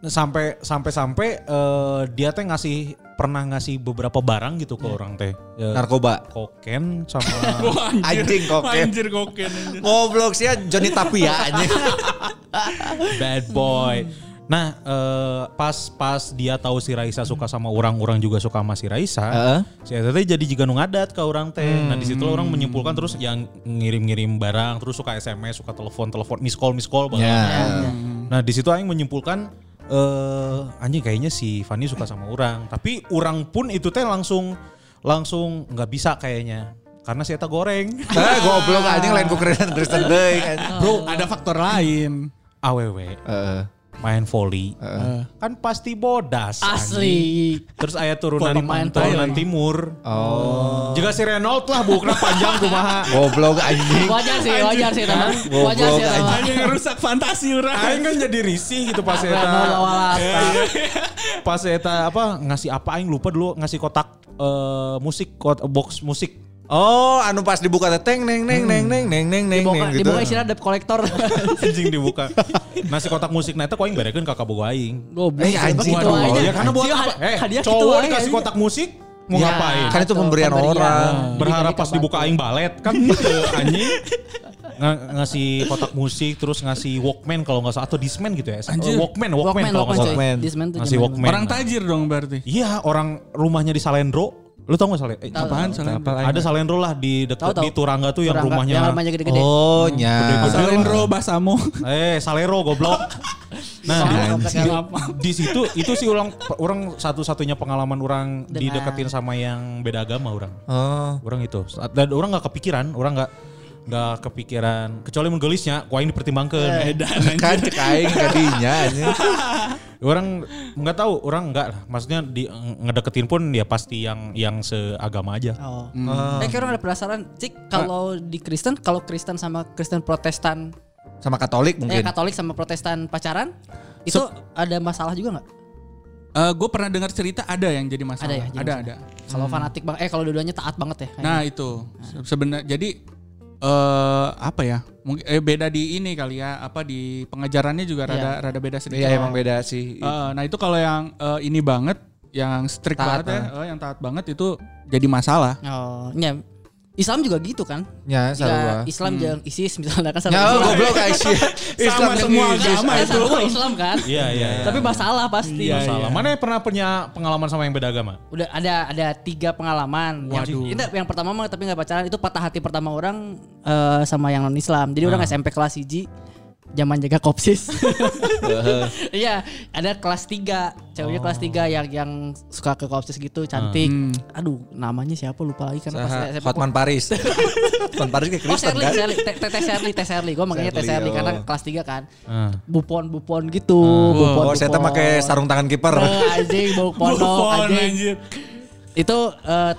Speaker 2: sampai sampai sampai eh, dia teh ngasih pernah ngasih beberapa barang gitu
Speaker 3: Iya.
Speaker 2: ke orang teh Eh,
Speaker 3: Narkoba.
Speaker 2: koken sama
Speaker 3: *laughs*
Speaker 5: Wah,
Speaker 3: Anjing koken.
Speaker 5: Anjir koken. anjir.
Speaker 3: Ngoblok sih ya Johnny Tapia anjing.
Speaker 2: bad boy nah eh, pas pas dia tahu si Raisa suka sama orang-orang juga suka sama si Raisa
Speaker 3: Heeh. Hmm.
Speaker 2: Si Eta teh jadi jika nu ngadat ke orang teh. Nah di situ lah orang menyimpulkan terus yang ngirim-ngirim barang, terus suka SMS, suka telepon, telepon, miss call, miss call, bahkan.
Speaker 3: Ya.
Speaker 2: Nah di situ aing menyimpulkan eh anjing kayaknya si Fanny suka sama orang, tapi orang pun itu teh langsung langsung nggak bisa kayaknya. Karena si Eta
Speaker 3: *laughs*
Speaker 2: goreng.
Speaker 3: Nah, goblok anjing lain ku Kristen Kristen deui. kan.
Speaker 5: Bro, ada faktor lain.
Speaker 2: Awewe
Speaker 3: Heeh.
Speaker 2: main volley. Kan pasti bodas. anjing.
Speaker 4: Asli.
Speaker 2: Terus ayah turunan
Speaker 4: Pemain
Speaker 2: turunan
Speaker 4: volley.
Speaker 2: timur.
Speaker 3: Oh.
Speaker 2: Jika si Renault lah bukna panjang kumaha.
Speaker 3: Goblok anjing.
Speaker 4: Wajar sih, wajar sih teman.
Speaker 3: Goblok,
Speaker 4: Wajar sih teman.
Speaker 5: Hanya Ah, ngerusak fantasi
Speaker 2: Aing
Speaker 5: orang.
Speaker 2: kan jadi risih gitu pas eta.
Speaker 4: Renault lawan Lasta.
Speaker 2: pas eta apa ngasih apa aing lupa dulu ngasih kotak eh, musik kot, box musik.
Speaker 3: Oh, anu pas dibuka teh teng neng neng neng neng neng neng neng
Speaker 4: Dibuka,
Speaker 3: neng gitu.
Speaker 4: dibuka istilah debt collector.
Speaker 2: Anjing dibuka. Nasi kotak musik nah eta ku aing berekeun ka kabogo aing.
Speaker 4: Goblok.
Speaker 3: Eh, anjing, *laughs*
Speaker 4: Gitu
Speaker 3: goblok.
Speaker 4: aja.
Speaker 2: Ya karena buat
Speaker 4: Sio,
Speaker 2: apa? Eh,
Speaker 4: hadiah gitu
Speaker 2: cowok
Speaker 4: aja.
Speaker 2: dikasih kotak musik mau
Speaker 4: Ya.
Speaker 2: ngapain?
Speaker 3: Kan itu
Speaker 4: Atau
Speaker 3: pemberian
Speaker 4: pemberian.
Speaker 3: orang.
Speaker 2: Eh, berharap
Speaker 4: Dikasih
Speaker 2: pas
Speaker 4: kabar.
Speaker 2: dibuka aing balet kan gitu anjing Nga- ngasih kotak musik terus ngasih Walkman kalau nggak salah atau Discman gitu ya Eh,
Speaker 5: Anjir.
Speaker 2: Walkman Walkman, kalau nggak
Speaker 4: Walkman,
Speaker 2: salah
Speaker 4: coy.
Speaker 3: Walkman.
Speaker 4: Discman tuh
Speaker 2: ngasih
Speaker 4: zaman
Speaker 2: Walkman
Speaker 5: Orang tajir dong berarti.
Speaker 2: iya orang rumahnya di Salendro lu tau nggak Salendro eh,
Speaker 4: Tahu.
Speaker 5: Apaan soalnya?
Speaker 2: ada Salendro lah di deket
Speaker 4: Tahu, tahu.
Speaker 2: di Turangga tuh yang
Speaker 4: Turangga,
Speaker 2: rumahnya
Speaker 4: yang rumahnya gede-gede.
Speaker 3: Oh, nya.
Speaker 5: Salendro *laughs* basamu.
Speaker 2: eh Salero goblok
Speaker 4: *laughs*
Speaker 2: nah di,
Speaker 4: Anjing.
Speaker 2: di situ itu sih ulang orang satu-satunya pengalaman orang
Speaker 4: Dengan-
Speaker 2: dideketin sama yang beda agama orang
Speaker 3: Oh.
Speaker 2: orang itu Saat- dan orang nggak kepikiran orang nggak nggak kepikiran kecuali menggelisnya kuain dipertimbangkan
Speaker 5: Edan
Speaker 3: Kan
Speaker 5: anjir.
Speaker 3: cek aing kadinya anjing.
Speaker 2: orang nggak tahu orang nggak lah maksudnya di ngedeketin pun ya pasti yang yang seagama aja
Speaker 4: Oh. Eh, kayak orang ada penasaran, Cik, kalau di Kristen, kalau Kristen sama Kristen Protestan,
Speaker 3: Sama Katolik
Speaker 4: eh
Speaker 3: mungkin.
Speaker 4: Katolik sama Protestan pacaran, itu ada masalah juga nggak?
Speaker 5: gue Eh, pernah dengar cerita ada yang jadi masalah.
Speaker 4: Ada ya, jadi
Speaker 5: ada, ada.
Speaker 4: masalah. Kalau
Speaker 3: Hmm.
Speaker 4: fanatik banget, eh kalau dua-duanya taat banget ya. kayaknya.
Speaker 5: Nah itu Se- sebenarnya jadi eh apa ya? Mungkin eh, beda di ini kali ya. Apa di pengajarannya juga rada rada beda sedikit.
Speaker 3: Iya, emang beda sih.
Speaker 4: Oh.
Speaker 5: Eh, nah itu kalau yang eh, ini banget, yang strict
Speaker 3: Taat,
Speaker 5: banget ya, eh, yang taat banget itu jadi masalah.
Speaker 4: Oh, ya. Islam juga gitu kan?
Speaker 3: Nya
Speaker 4: Jika
Speaker 3: sarua.
Speaker 2: Hmm.
Speaker 4: Islam jangan ISIS misalnya kan
Speaker 3: Nya Ya,
Speaker 4: Islam.
Speaker 3: oh, goblok aing. Islam yang
Speaker 5: semua
Speaker 3: Yesus.
Speaker 5: agama
Speaker 4: Eh,
Speaker 5: itu.
Speaker 4: sama Islam kan?
Speaker 2: iya iya iya.
Speaker 4: Tapi masalah pasti.
Speaker 5: iya,
Speaker 2: masalah mana yang pernah punya pengalaman sama yang beda agama
Speaker 4: Udah ada ada tiga pengalaman.
Speaker 2: Waduh.
Speaker 4: Yang, ini yang pertama mah tapi nggak pacaran itu patah hati pertama orang eh, sama yang non Islam. Jadi orang
Speaker 2: Ah.
Speaker 4: SMP kelas 1 zaman jaga
Speaker 2: *laughs*
Speaker 4: kopsis. Iya, ada kelas 3. Ceweknya kelas
Speaker 2: Oh.
Speaker 4: 3 yang yang suka ke kopsis gitu, cantik. Aduh, namanya siapa lupa lagi karena pas SMP.
Speaker 3: Hotman Paris. Hotman Paris ke
Speaker 4: Oh,
Speaker 3: Kristen kan.
Speaker 4: Shirley, Shirley, Te- Teteh Shirley, Teh Shirley. Gue makanya Teh
Speaker 3: Shirley,
Speaker 4: Shirley karena
Speaker 3: oh.
Speaker 4: kelas 3 kan.
Speaker 2: Ah.
Speaker 4: Bupon-bupon gitu, bupon.
Speaker 3: Oh, saya teh pakai sarung tangan kiper.
Speaker 4: Eh, anjing bau pondok
Speaker 5: Buffon,
Speaker 4: anjing.
Speaker 5: anjir.
Speaker 4: Itu eh,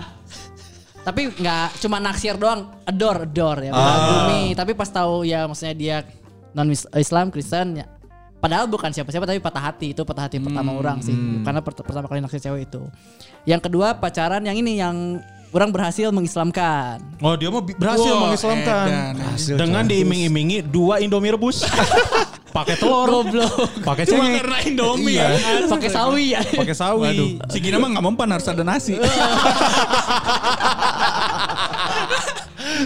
Speaker 4: tapi nggak cuma naksir doang, adore adore ya.
Speaker 3: Ah.
Speaker 4: Mengagumi, tapi pas tahu ya maksudnya dia non Islam Kristen ya. Padahal bukan siapa-siapa tapi patah hati itu patah hati
Speaker 3: Hmm,
Speaker 4: pertama orang sih karena per- pertama kali naksir cewek itu. Yang kedua pacaran yang ini yang orang berhasil mengislamkan.
Speaker 2: oh dia mah bi- berhasil
Speaker 5: Wah,
Speaker 2: mengislamkan
Speaker 5: edan,
Speaker 3: anjir.
Speaker 2: dengan diiming-imingi dua indomie rebus
Speaker 5: *laughs*
Speaker 2: pakai telur
Speaker 4: Goblok.
Speaker 2: pakai
Speaker 5: Cuma
Speaker 2: cengek Iya.
Speaker 5: karena Indomie ya.
Speaker 4: *laughs* Pakai sawi ya.
Speaker 2: pakai
Speaker 5: Waduh,
Speaker 2: sawi
Speaker 5: si Gina mah nggak mempan harus ada *laughs* nasi.
Speaker 3: *laughs*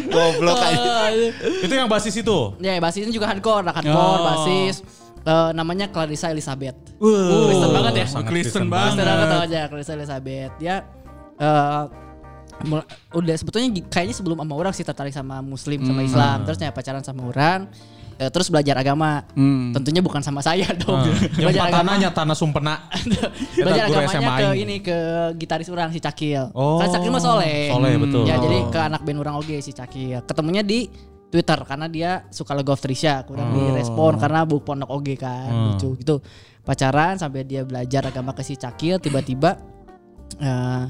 Speaker 3: Goblok
Speaker 4: oh.
Speaker 3: aing.
Speaker 2: itu yang basis itu
Speaker 4: *laughs* Ya basisnya juga hardcore, lah, hardcore
Speaker 5: Oh.
Speaker 4: basis. Eh, namanya Clarissa Elizabeth. Kristen banget ya.
Speaker 2: sangat
Speaker 5: Kristen
Speaker 2: Kristen
Speaker 5: banget.
Speaker 4: Kristen banget tau aja Clarissa Elizabeth. Dia eh, mul- udah sebetulnya gi- kayaknya sebelum sama orang sih tertarik sama muslim sama
Speaker 2: Hmm.
Speaker 4: Islam. Terus ya pacaran sama orang. eh, terus belajar agama.
Speaker 5: Hmm.
Speaker 4: Tentunya bukan sama saya *laughs* dong.
Speaker 2: Hmm. yang tanahnya tanah sumpena Eta
Speaker 4: belajar
Speaker 2: guru
Speaker 4: agamanya
Speaker 2: SMA
Speaker 4: ke
Speaker 2: aing.
Speaker 4: ini ke gitaris orang si Cakil.
Speaker 2: Oh.
Speaker 4: Kan Cakil mah soleh.
Speaker 2: Soleh, betul.
Speaker 4: Ya
Speaker 2: Oh.
Speaker 4: jadi ke anak band orang oge si Cakil. Ketemunya di Twitter karena dia suka lagu of Trisha, kurang direspon karena bu pondok oge kan, lucu gitu. Pacaran sampai dia belajar agama ke si Cakil tiba-tiba eh,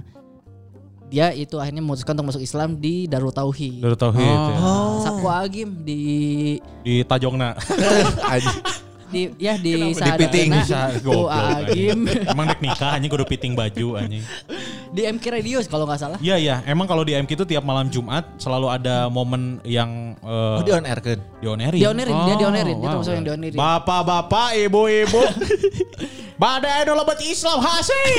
Speaker 4: dia itu akhirnya memutuskan untuk masuk Islam di Darul Tauhid.
Speaker 2: Darut Tauhid ya.
Speaker 4: Oh. Sakwa Agim di
Speaker 2: di Tajongna
Speaker 4: *laughs*
Speaker 3: Anjing.
Speaker 4: di ya di
Speaker 3: Di piting.
Speaker 4: Tuh
Speaker 2: *laughs* Goblok,
Speaker 4: Agim
Speaker 2: anjing. Emang dek nikah anjing kudu piting baju anjing.
Speaker 4: di MK Radio kalau nggak salah.
Speaker 2: Iya iya, emang kalau di MK itu tiap malam Jumat selalu ada momen yang eh,
Speaker 3: Oh, di on air kan.
Speaker 2: dionerin.
Speaker 4: Dionerin, dia
Speaker 5: Oh,
Speaker 4: dionerin, dia
Speaker 5: wow.
Speaker 4: termasuk yang dionerin.
Speaker 2: Bapak-bapak,
Speaker 4: *laughs*
Speaker 2: ibu-ibu. Badai anu lebat Islam hasil.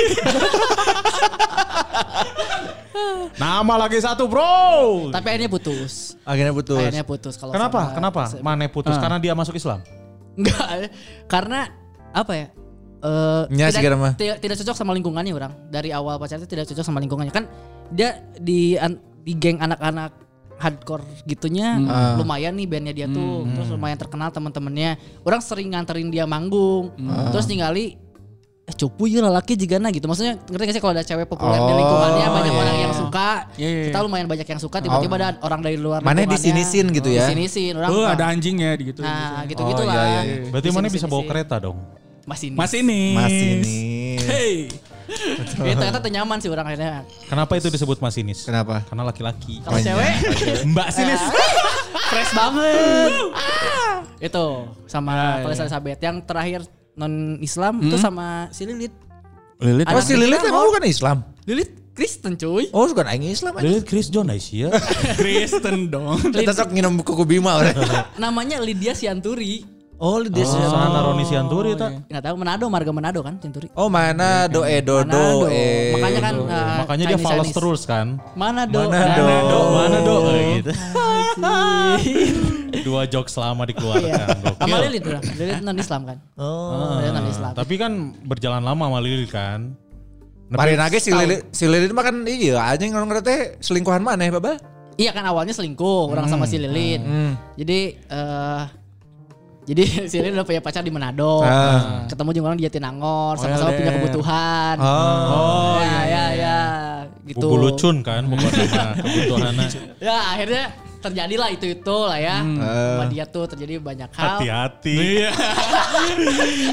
Speaker 2: Nama lagi satu, Bro.
Speaker 4: Tapi akhirnya putus.
Speaker 3: Akhirnya putus.
Speaker 4: Akhirnya putus kalau
Speaker 2: Kenapa?
Speaker 4: sama-
Speaker 2: Kenapa?
Speaker 4: se-
Speaker 2: Mane putus karena dia masuk Islam.
Speaker 4: Enggak. Karena apa ya? Eh,
Speaker 3: Nya sih kira mah.
Speaker 4: tidak, tidak tidak cocok sama lingkungannya orang. Dari awal pacaran itu tidak cocok sama lingkungannya. Kan dia di an- di geng anak-anak hardcore gitunya
Speaker 5: Hmm.
Speaker 3: Ah.
Speaker 4: lumayan nih bandnya dia tuh
Speaker 5: Hmm.
Speaker 4: terus lumayan terkenal teman-temannya orang sering nganterin dia manggung terus ningali eh cupu ya lelaki jigana gitu maksudnya ngerti gak sih kalau ada cewek populer
Speaker 3: Oh,
Speaker 4: di lingkungannya banyak orang yang suka
Speaker 5: Iya, iya,
Speaker 4: kita lumayan banyak yang suka tiba-tiba ada orang dari
Speaker 3: Oh.
Speaker 4: luar
Speaker 3: Mana
Speaker 4: lingkungannya.
Speaker 3: disinisin gitu ya?
Speaker 4: disinisin orang
Speaker 5: Oh,
Speaker 4: suka.
Speaker 5: ada anjingnya di gitu.
Speaker 4: nah gitu
Speaker 3: Oh,
Speaker 4: gitu lah
Speaker 3: iya, iya,
Speaker 2: Berarti mana bisa bawa kereta dong?
Speaker 4: masih ini
Speaker 5: Mas ini.
Speaker 3: Mas ini.
Speaker 5: Hey.
Speaker 4: Ya, ternyata tuh nyaman sih orang akhirnya
Speaker 2: Kenapa itu disebut masinis?
Speaker 3: Kenapa?
Speaker 2: Karena laki-laki.
Speaker 4: kalau cewek
Speaker 2: Mbak sinis.
Speaker 4: fresh banget itu
Speaker 3: Iya,
Speaker 4: sama Paris Elizabeth yang terakhir non Islam
Speaker 3: Hmm?
Speaker 4: itu sama si Lilith
Speaker 5: Lilit.
Speaker 3: Oh si Lilit emang bukan Islam.
Speaker 4: Lilith Kristen cuy
Speaker 3: Oh bukan aing Islam. aja.
Speaker 2: Lihat Chris John ya. Aisyah.
Speaker 5: Kristen dong.
Speaker 3: Kita sok nginum kuku Bima orang.
Speaker 4: namanya Lydia
Speaker 3: *laughs*
Speaker 4: Sianturi
Speaker 3: Oh Lilit.
Speaker 2: Sana Roni Sianturi
Speaker 5: iya.
Speaker 2: tak?
Speaker 4: nggak tahu Manado marga Manado kan Sianturi
Speaker 3: Oh mana doe
Speaker 4: Manado.
Speaker 3: dodo eh.
Speaker 4: makanya kan uh,
Speaker 2: Makanya dia
Speaker 4: Chinese,
Speaker 2: falas
Speaker 4: Chinese.
Speaker 2: terus kan.
Speaker 4: Manado
Speaker 3: Manado. *laughs*
Speaker 2: Manado, Manado
Speaker 3: Oh.
Speaker 2: eh, gitu. Dua joke selama
Speaker 3: Nah,
Speaker 2: dikeluarkan. gokil.
Speaker 4: Iya. sama Lilith orang Lilith non Islam kan oh Lilith non Islam
Speaker 2: Tapi kan berjalan lama sama Lilith kan.
Speaker 3: Mari nage si Lilit si Lilit mah kan iya anjing orang teh selingkuhan mana ya Baba?
Speaker 4: Iya kan awalnya selingkuh orang sama si Lilin. Jadi eh jadi *laughs* si Lilin udah punya pacar di Manado. Nah,
Speaker 3: Ah.
Speaker 4: Ketemu juga orang di Jatinangor,
Speaker 5: Oh,
Speaker 4: sama-sama punya
Speaker 5: LDR.
Speaker 4: kebutuhan.
Speaker 2: Oh,
Speaker 4: ya, ya, ya, gitu.
Speaker 2: Bubu lucun kan bukan sama kebutuhannya.
Speaker 4: Ya akhirnya terjadilah itu itu lah ya. Sama dia tuh terjadi banyak hal.
Speaker 2: Hati-hati.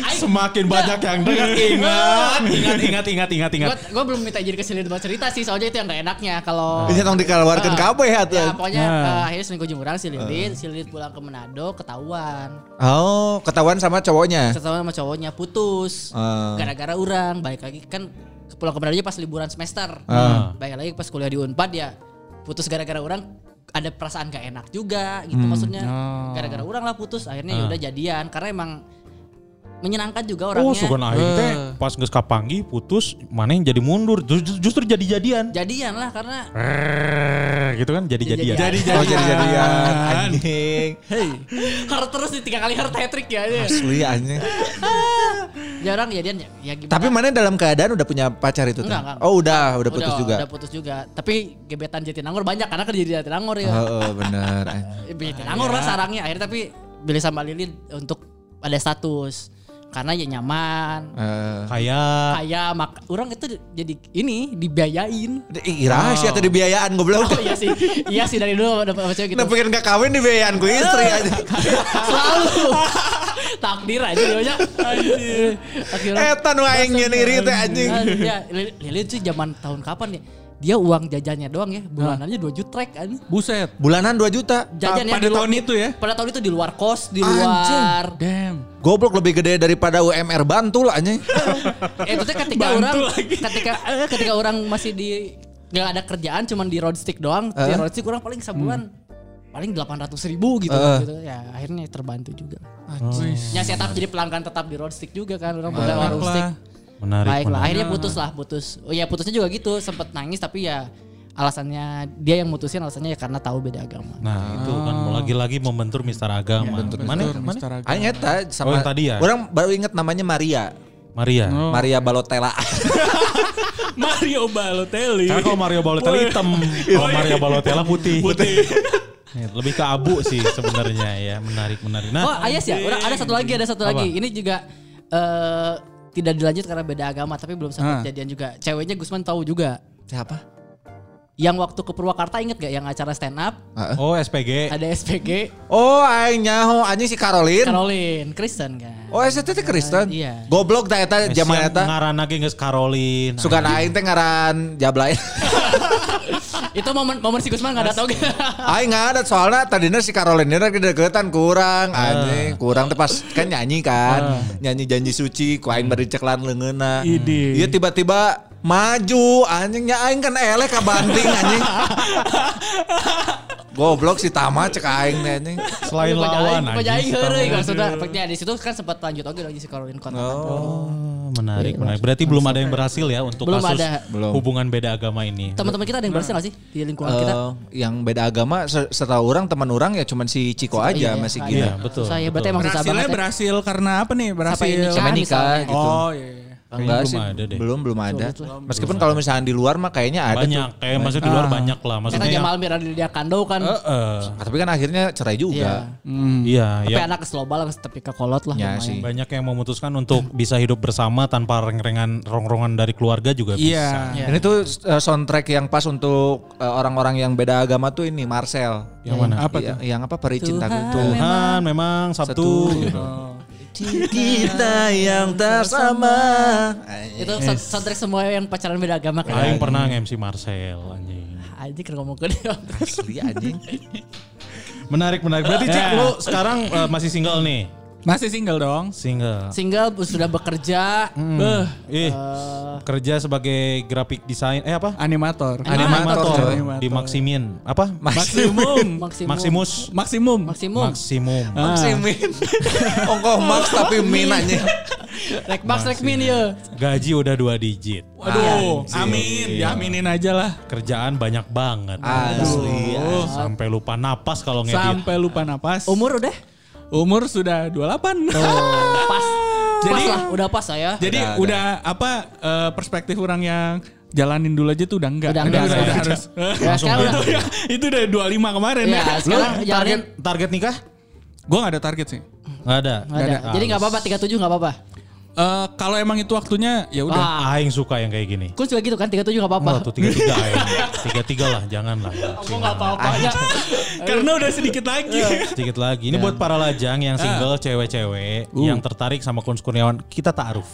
Speaker 4: Aing-
Speaker 2: *laughs* Semakin banyak yang dengar ingat, ingat, ingat, ingat, ingat, ingat.
Speaker 4: Gua, gua belum minta jadi ke si Lilin buat cerita sih, soalnya itu yang gak enaknya kalau
Speaker 3: Ini Iya, tong dikeluarkan
Speaker 4: Ah.
Speaker 3: kabeh atuh.
Speaker 4: Ya pokoknya eh, akhirnya selingkuh jeung urang si Lilin, si Lilin pulang ke Manado ketahuan.
Speaker 3: Oh ketahuan sama cowoknya.
Speaker 4: Setahun sama cowoknya putus
Speaker 3: Eh? Ah.
Speaker 4: gara-gara orang balik lagi kan pulang ke Manado aja pas liburan semester
Speaker 2: Ah.
Speaker 4: balik lagi pas kuliah di Unpad ya putus gara-gara orang ada perasaan gak enak juga gitu
Speaker 3: Hmm.
Speaker 4: maksudnya
Speaker 5: Oh.
Speaker 4: gara-gara orang lah putus akhirnya
Speaker 3: Ah.
Speaker 4: yaudah jadian karena emang menyenangkan juga
Speaker 2: Oh,
Speaker 4: orangnya
Speaker 2: sugan aing teh pas geus kapanggi putus, mana yang jadi mundur, Ju- ju- justru jadi-jadian.
Speaker 4: jadian lah karena
Speaker 2: Eh, gitu kan jadi-jadian.
Speaker 4: Jadi-jadian.
Speaker 5: Jadi
Speaker 3: Oh
Speaker 5: jadi
Speaker 3: jadi jadian anjing.
Speaker 4: *laughs* hard terus nih tiga kali hard hat trick ya dia.
Speaker 3: Asli anjing.
Speaker 4: jarang jadian ya, ya gimana
Speaker 3: Tapi mana dalam keadaan udah punya pacar itu tuh?
Speaker 4: Enggak, enggak.
Speaker 3: Oh udah, udah putus juga.
Speaker 4: udah putus juga tapi gebetan Jatinangor banyak karena kerja di Jatinangor ya
Speaker 3: Oh, oh, bener.
Speaker 4: Bikin anggur Eh,
Speaker 5: Iya.
Speaker 4: lah sarangnya akhirnya tapi beli sama Lilin untuk ada status karena ya nyaman
Speaker 3: Eh,
Speaker 2: Kayak
Speaker 5: Ah.
Speaker 4: kayak mak orang itu jadi ini dibiayain
Speaker 3: Ih, rahasia atau dibiayaan goblok.
Speaker 4: oh iya sih iya sih dari dulu udah sama cewek gitu
Speaker 3: Nah, pengen gak kawin dibiayaan ku istri
Speaker 4: Eh.
Speaker 3: aja.
Speaker 4: selalu takdir aja dia anjir akhirnya
Speaker 5: Eh,
Speaker 3: Eta nu aing nyeri teh anjing.
Speaker 4: ya Lil- Lilin sih zaman tahun kapan ya dia uang jajannya doang ya bulanannya 2 juta trek kan
Speaker 5: Buset.
Speaker 3: Bulanan 2 juta.
Speaker 4: jajan
Speaker 5: Pa-
Speaker 4: yang
Speaker 5: Ah. pada
Speaker 4: di luar-
Speaker 5: tahun itu ya?
Speaker 4: pada tahun itu di luar kos di luar
Speaker 5: Damn.
Speaker 3: Goblok lebih gede daripada UMR Bantul anjing.
Speaker 4: Eh, itu teh ketika
Speaker 5: Bantu
Speaker 4: orang
Speaker 5: lagi.
Speaker 4: ketika eh, ketika orang masih di nggak ada kerjaan cuman di roadstick doang di
Speaker 3: Eh?
Speaker 4: roadstick orang paling sebulan paling delapan ratus ribu gitu,
Speaker 3: Eh.
Speaker 4: gitu ya akhirnya terbantu juga ya saya tetap jadi pelanggan tetap di roadstick juga kan orang modal
Speaker 5: Enak
Speaker 4: roadstick
Speaker 5: lah.
Speaker 2: menarik.
Speaker 4: baik lah
Speaker 2: menarik.
Speaker 4: akhirnya putus lah putus oh ya putusnya juga gitu sempet nangis tapi ya alasannya dia yang mutusin alasannya ya karena tahu beda agama
Speaker 2: Nah, itu kan mau lagi-lagi Iya, membentur mistar agama. mana? Mana?
Speaker 5: Mister Agama.
Speaker 3: Aing eta
Speaker 2: Oh,
Speaker 3: sama
Speaker 2: yang tadi ya?
Speaker 3: Orang baru inget namanya Maria.
Speaker 2: Maria.
Speaker 4: Oh.
Speaker 3: Maria
Speaker 4: *laughs*
Speaker 3: Balotela.
Speaker 5: Mario Balotelli.
Speaker 2: Karena kalau Mario Balotelli *laughs* hitam, kalau Mario Balotelli Iya. putih. *laughs* Lebih ke abu sih sebenarnya ya, menarik menarik.
Speaker 4: Oh,
Speaker 2: Nah,
Speaker 4: Ayas ya. Udah ada satu lagi, ada satu lagi. Ini juga eh tidak dilanjut karena beda agama, tapi belum
Speaker 5: Ah.
Speaker 4: sempat kejadian juga. Ceweknya Gusman tahu juga.
Speaker 3: Siapa?
Speaker 4: Yang waktu ke Purwakarta inget gak yang acara stand up
Speaker 2: oh SPG.
Speaker 4: ada SPG
Speaker 3: Oh, aing nyaho anjing si Caroline.
Speaker 4: Caroline Kristen kan.
Speaker 3: Oh, eta teh Kristen.
Speaker 4: Iya.
Speaker 3: Goblok teh eta
Speaker 2: Siang
Speaker 3: zaman eta.
Speaker 2: Ngaran lagi nggak Karolin.
Speaker 3: Sugan aing teh ngaran jablay. *laughs*
Speaker 4: Itu momen momen si Gusman nggak datang.
Speaker 3: Aing nggak ada soalnya tadinya si Caroline ini kedeketan kurang anjing kurang teh pas kan nyanyi kan nyanyi janji suci ku aing bari ceklan leungeuna
Speaker 5: Ide.
Speaker 3: Iya tiba-tiba maju anjingnya aing kan elek ka banting anjing Goblok si Tama cek aing teh, anjing
Speaker 2: Selain
Speaker 4: *laughs*
Speaker 2: lawan
Speaker 4: Pajai
Speaker 2: anjing,
Speaker 4: heureuy kan sudah. Efeknya di situ kan sempat lanjut oke lagi si Caroline kontak.
Speaker 2: Oh,
Speaker 4: Iya,
Speaker 2: menarik, menarik. Berarti belum ada yang berhasil ya untuk
Speaker 4: Belum
Speaker 2: kasus
Speaker 4: ada.
Speaker 3: Belum.
Speaker 2: hubungan beda agama ini.
Speaker 4: Teman-teman kita ada yang berhasil gak sih di lingkungan kita?
Speaker 3: Eh, yang beda agama se- setahu orang teman orang ya cuman si Ciko aja
Speaker 4: Iya,
Speaker 3: masih
Speaker 4: kan.
Speaker 3: gila.
Speaker 2: Iya, betul,
Speaker 4: Susah
Speaker 2: betul.
Speaker 4: ya, berarti emang susah
Speaker 5: Berhasilnya
Speaker 4: banget. ya.
Speaker 5: berhasil karena apa nih?
Speaker 4: Sampai
Speaker 5: Berhasil.
Speaker 4: nikah
Speaker 3: Sampai nikah
Speaker 4: misalnya.
Speaker 3: gitu.
Speaker 5: Oh iya.
Speaker 3: Enggak
Speaker 2: belum
Speaker 3: sih,
Speaker 2: ada deh.
Speaker 3: belum belum ada. Meskipun kalau misalnya di luar mah kayaknya ada
Speaker 2: banyak
Speaker 3: tuh.
Speaker 2: kayak maksud di luar banyak lah
Speaker 4: Kan
Speaker 2: maksudnya
Speaker 4: aja
Speaker 2: yang,
Speaker 4: Malmir ada di dia Kando kan.
Speaker 2: Eh, eh.
Speaker 3: Ah, Tapi kan akhirnya cerai juga.
Speaker 4: Iya.
Speaker 2: iya
Speaker 4: Tapi
Speaker 2: iya
Speaker 4: anak keselobal harus tapi ke kolot lah.
Speaker 3: Ya,
Speaker 4: lumayan.
Speaker 3: sih.
Speaker 2: banyak yang memutuskan untuk bisa hidup bersama tanpa reng-rengan rongrongan dari keluarga juga
Speaker 5: Iya.
Speaker 2: bisa
Speaker 4: Iya.
Speaker 3: Ini tuh eh, soundtrack yang pas untuk eh, orang-orang yang beda agama tuh ini Marcel.
Speaker 2: yang mana
Speaker 5: Apa
Speaker 3: Iya, Yang apa peri cintaku
Speaker 4: Tuhan.
Speaker 3: tuh.
Speaker 2: Tuhan memang Sabtu
Speaker 3: Satu.
Speaker 2: gitu.
Speaker 3: Kita yang tersama.
Speaker 4: Itu sound- soundtrack semua yang pacaran beda agama kan.
Speaker 2: Aing pernah nge-MC Marcel anjing.
Speaker 4: Aja kira ngomong ke dia.
Speaker 3: Asli anjing.
Speaker 2: Menarik menarik. Berarti Cik lu sekarang eh, masih single nih.
Speaker 5: Masih single dong.
Speaker 2: Single.
Speaker 4: *laughs* Single sudah bekerja.
Speaker 2: Beuh, ih.
Speaker 4: Eh,
Speaker 2: kerja sebagai graphic design eh apa?
Speaker 5: Animator.
Speaker 3: Animator,
Speaker 2: Animator,
Speaker 5: coy.
Speaker 2: di Maximin. Apa?
Speaker 5: Mm. Maksimum.
Speaker 4: Maksimum.
Speaker 2: Maximus.
Speaker 5: Maksimum. Ah.
Speaker 4: Maksimum.
Speaker 2: Maximum.
Speaker 4: Eh.
Speaker 3: *laughs* Maximin. Ongkoh Max tapi Min anjing.
Speaker 4: Rek Max Rek Min ya. Iya.
Speaker 2: Gaji udah dua digit.
Speaker 5: Waduh, amin. Diaminin aja lah.
Speaker 2: Kerjaan banyak banget.
Speaker 3: Asli.
Speaker 2: Sampai lupa napas kalau ngedit.
Speaker 5: Sampai lupa napas.
Speaker 4: Umur udah?
Speaker 5: Umur sudah 28.
Speaker 4: Pas.
Speaker 5: *laughs* Jadi-
Speaker 4: pas lah, ya. udah pas saya.
Speaker 5: Jadi udah, apa eh, perspektif orang yang jalanin dulu aja tuh udah enggak.
Speaker 4: Udah enggak,
Speaker 5: udah,
Speaker 4: udah.
Speaker 5: harus.
Speaker 4: Ya, sekarang
Speaker 5: itu,
Speaker 4: udah.
Speaker 5: ya, *laughs* itu udah 25 kemarin
Speaker 4: Ya,
Speaker 5: ya.
Speaker 2: Lu
Speaker 4: sekarang jalanin
Speaker 2: gitu. target target nikah?
Speaker 5: Gue gak ada target sih.
Speaker 2: Nggak ada.
Speaker 4: Nggak ada. Jadi nggak apa-apa 37 nggak apa-apa.
Speaker 5: Eh, kalau emang itu waktunya ya udah.
Speaker 2: Ah, aing suka yang kayak gini.
Speaker 4: Aku juga gitu kan 37 nggak apa-apa.
Speaker 2: Wah, Oh, tuh tiga tiga aing. Tiga tiga lah, jangan
Speaker 4: *laughs*
Speaker 2: lah.
Speaker 4: Mau nggak apa-apa ya.
Speaker 5: Karena udah sedikit lagi.
Speaker 2: Sedikit lagi. Ini buat para lajang
Speaker 4: Eh.
Speaker 2: yang single, cewek-cewek
Speaker 4: Uh.
Speaker 2: yang tertarik sama Kun Kurniawan, kita taaruf.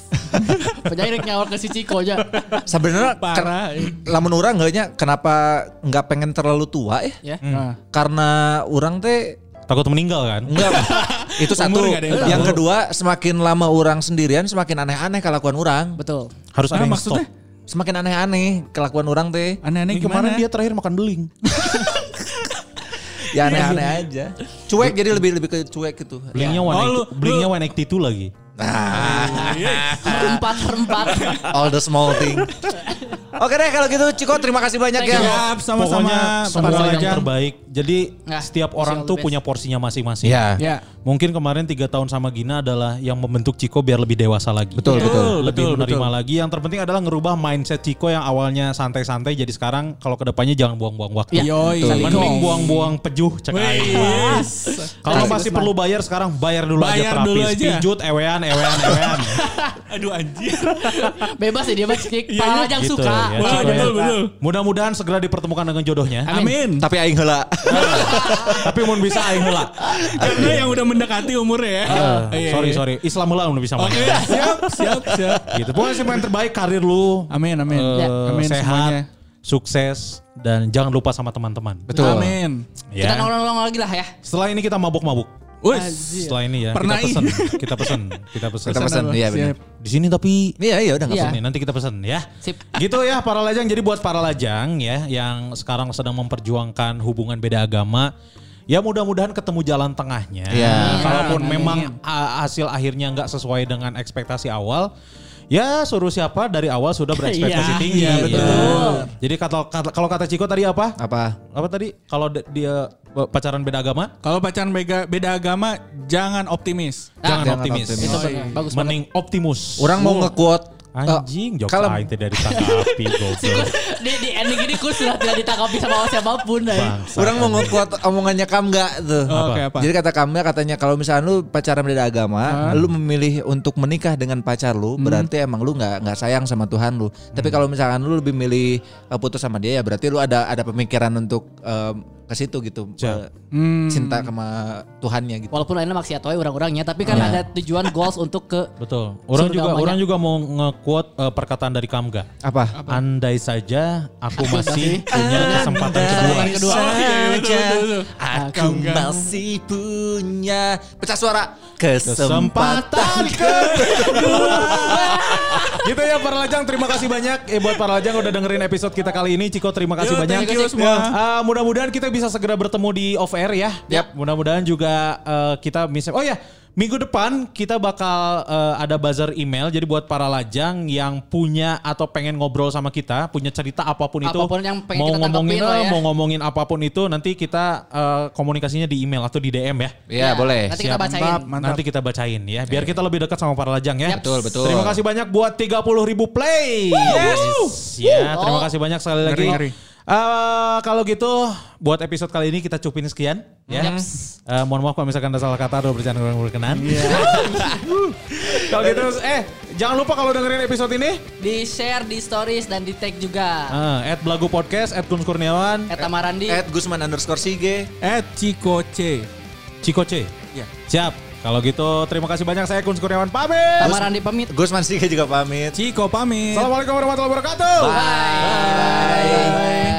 Speaker 4: Penyanyi Rek nyawar ke si Ciko aja.
Speaker 3: Sebenarnya
Speaker 5: Parah. iya.
Speaker 3: ken- lamun orang nya kenapa nggak pengen terlalu tua ya?
Speaker 4: Ya.
Speaker 5: Nah.
Speaker 3: Karena orang teh
Speaker 2: Takut meninggal kan?
Speaker 5: *laughs*
Speaker 3: enggak itu satu.
Speaker 5: Umur nggak ada yang tahu.
Speaker 3: Yang kedua, semakin lama orang sendirian semakin aneh-aneh kelakuan orang.
Speaker 4: Betul.
Speaker 2: Harus ada
Speaker 5: Nah,
Speaker 2: yang
Speaker 5: maksudnya
Speaker 2: stop.
Speaker 3: Semakin aneh-aneh kelakuan orang teh.
Speaker 5: aneh-aneh
Speaker 2: Ini
Speaker 5: gimana? Nah,
Speaker 2: kemarin dia terakhir makan beling.
Speaker 3: Ya aneh-aneh aja. Cuek jadi lebih lebih ke cuek gitu.
Speaker 2: Belingnya
Speaker 5: Oh,
Speaker 2: one
Speaker 5: lu-
Speaker 2: eighty- belingnya one eighty two lagi.
Speaker 4: Empat per empat.
Speaker 3: All the small thing. Oke deh kalau gitu Ciko terima kasih banyak ya.
Speaker 5: Siap,
Speaker 2: Pokoknya
Speaker 5: sama-sama.
Speaker 2: semua
Speaker 5: para
Speaker 2: yang
Speaker 5: lajang.
Speaker 2: terbaik. Jadi
Speaker 4: Nah,
Speaker 2: setiap orang
Speaker 4: all
Speaker 2: tuh
Speaker 4: the best.
Speaker 2: punya porsinya masing-masing.
Speaker 3: Iya.
Speaker 5: Ya.
Speaker 2: Mungkin kemarin tiga tahun sama Gina adalah yang membentuk Ciko biar lebih dewasa lagi.
Speaker 3: Betul,
Speaker 5: Betul, betul.
Speaker 2: Lebih
Speaker 5: betul,
Speaker 2: menerima
Speaker 5: betul.
Speaker 2: lagi. Yang terpenting adalah ngerubah mindset Ciko yang awalnya santai-santai jadi sekarang kalau kedepannya jangan buang-buang waktu.
Speaker 4: Ya.
Speaker 5: Yoi.
Speaker 2: Mending buang-buang pejuh cek aing.
Speaker 5: Wes.
Speaker 2: Kalau
Speaker 4: Kasih
Speaker 2: masih
Speaker 4: Gusman.
Speaker 2: perlu bayar sekarang bayar dulu aja
Speaker 5: Bayar dulu
Speaker 2: terapis.
Speaker 5: aja.
Speaker 2: Pijut, ewean, ewean, ewean.
Speaker 5: *laughs* Aduh anjir.
Speaker 4: Bebas ya dia mah Cik. Para yang
Speaker 2: Gitu,
Speaker 4: suka.
Speaker 2: ya,
Speaker 5: Wah,
Speaker 2: Ciko ya.
Speaker 5: betul, betul.
Speaker 2: Mudah-mudahan segera dipertemukan dengan jodohnya.
Speaker 5: Amin.
Speaker 3: Tapi aing heula.
Speaker 2: Tapi mun bisa aing heula.
Speaker 5: *laughs* Karena yang udah mendekati umurnya ya. Iya,
Speaker 2: sorry
Speaker 5: iya.
Speaker 2: sorry, Islam heula mun bisa mah.
Speaker 5: Oke, siap, siap, siap.
Speaker 2: Gitu. Pokoknya sih yang terbaik karir lu.
Speaker 5: Amin, amin.
Speaker 2: eh,
Speaker 4: Ya.
Speaker 5: Amin
Speaker 2: sehat,
Speaker 5: semuanya.
Speaker 2: sukses dan jangan lupa sama teman-teman.
Speaker 3: Betul.
Speaker 5: Amin.
Speaker 2: Ya.
Speaker 4: Kita nongkrong-nongkrong lagi lah ya.
Speaker 2: Setelah ini kita mabuk-mabuk.
Speaker 5: Wes.
Speaker 2: Setelah ini ya
Speaker 5: Iya. Pernah
Speaker 2: kita pesen,
Speaker 5: ini.
Speaker 2: kita pesen, kita pesen.
Speaker 3: Kita pesen, iya benar.
Speaker 5: Siap.
Speaker 2: Di sini tapi
Speaker 3: Iya iya udah nggak
Speaker 4: Iya.
Speaker 3: apa-apa.
Speaker 2: Nih, nanti kita pesan ya.
Speaker 4: Sip.
Speaker 2: Gitu ya para lajang. Jadi buat para lajang ya yang sekarang sedang memperjuangkan hubungan beda agama, ya mudah-mudahan ketemu jalan tengahnya.
Speaker 3: Iya.
Speaker 2: Kalaupun
Speaker 5: Amin.
Speaker 2: memang a- hasil akhirnya nggak sesuai dengan ekspektasi awal, ya suruh siapa dari awal sudah berekspektasi
Speaker 4: Iya,
Speaker 2: tinggi.
Speaker 5: iya, betul.
Speaker 2: Jadi kata- kata- kalau kata Ciko tadi apa?
Speaker 3: Apa?
Speaker 2: Apa tadi? Kalau de- dia pacaran beda agama,
Speaker 5: Kalau pacaran bega- beda agama jangan optimis.
Speaker 2: jangan,
Speaker 3: jangan
Speaker 2: optimis.
Speaker 3: optimis.
Speaker 4: Ah. Itu benar. Gitu, Bagus banget.
Speaker 2: Mending optimus.
Speaker 3: Orang mau nge-quote eh,
Speaker 2: Anjing, jokes
Speaker 3: kalem.
Speaker 2: aing tidak ditangkapi
Speaker 4: *laughs*
Speaker 2: goblok.
Speaker 4: Di, di ending ini kus sudah tidak ditangkapi sama siapapun. eh.
Speaker 2: Bangsa.
Speaker 3: Orang mau nge-quote omongannya kam nggak tuh.
Speaker 5: Oh, Oke, apa?
Speaker 3: Jadi kata kamnya katanya kalau misalnya lu pacaran beda agama, lu memilih untuk menikah dengan pacar lu,
Speaker 5: Hmm.
Speaker 3: berarti emang lu nggak nggak sayang sama Tuhan lu. Tapi kalau misalkan lu lebih milih eh, putus sama dia ya berarti lu ada ada pemikiran untuk em, ke situ gitu.
Speaker 2: Siap.
Speaker 3: eh, Cinta
Speaker 5: Hmm.
Speaker 3: sama Tuhannya gitu.
Speaker 4: Walaupun lainnya maksiat wae orang-orangnya, tapi
Speaker 2: Iya.
Speaker 4: kan ada tujuan goals untuk ke
Speaker 2: Betul. Orang
Speaker 4: Surga
Speaker 2: juga
Speaker 4: banyak.
Speaker 2: orang juga mau nge-quote eh, perkataan dari Kamga.
Speaker 3: Apa?
Speaker 2: Andai saja aku masih punya kesempatan kedua.
Speaker 4: kesempatan kedua.
Speaker 3: aku masih punya pecah suara kesempatan
Speaker 2: gitu ya para lajang terima kasih banyak eh, buat para lajang udah dengerin episode kita kali ini Ciko terima kasih
Speaker 5: Yo,
Speaker 2: banyak
Speaker 5: thank you semua.
Speaker 2: Ah, mudah-mudahan kita bisa segera bertemu di off air ya
Speaker 3: Yap.
Speaker 2: mudah-mudahan juga eh, kita bisa oh ya Minggu depan kita bakal eh, ada buzzer email. Jadi buat para lajang yang punya atau pengen ngobrol sama kita, punya cerita apapun itu,
Speaker 4: Apapun yang pengen
Speaker 2: mau
Speaker 4: kita
Speaker 2: ngomongin
Speaker 4: tanggepin lah ya.
Speaker 2: mau ngomongin apapun itu, nanti kita eh, komunikasinya di email atau di DM ya.
Speaker 3: Iya boleh.
Speaker 4: Nanti kita
Speaker 2: Siap.
Speaker 4: bacain.
Speaker 5: Mantap.
Speaker 2: Nanti kita bacain ya, biar kita lebih dekat sama para lajang ya.
Speaker 4: Yap. Betul,
Speaker 3: betul.
Speaker 2: Terima kasih banyak buat 30.000 ribu play. Yes. Ya, terima kasih banyak sekali lagi.
Speaker 5: Oh. Ngeri, ngeri.
Speaker 2: Eh, kalau gitu buat episode kali ini kita cupin sekian ya.
Speaker 4: Yaps.
Speaker 2: Eh, mohon maaf kalau misalkan ada salah kata atau bercanda kurang berkenan.
Speaker 5: Iya.
Speaker 2: *laughs* kalau gitu eh jangan lupa kalau dengerin episode ini
Speaker 4: Di share di stories dan di tag juga.
Speaker 2: eh, at Belagu Podcast, at Gun Kurniawan,
Speaker 4: Kata Marandi.
Speaker 3: At Gusman underscore Sige.
Speaker 5: At Chico C.
Speaker 2: Ciko C.
Speaker 5: Ya.
Speaker 2: Siap. Kalau gitu terima kasih banyak saya Gun Kurniawan pamit.
Speaker 4: Kata Marandi pamit.
Speaker 3: Gusman Sige juga pamit.
Speaker 5: Chico pamit.
Speaker 2: Assalamualaikum warahmatullahi wabarakatuh.
Speaker 3: Bye.
Speaker 4: Bye.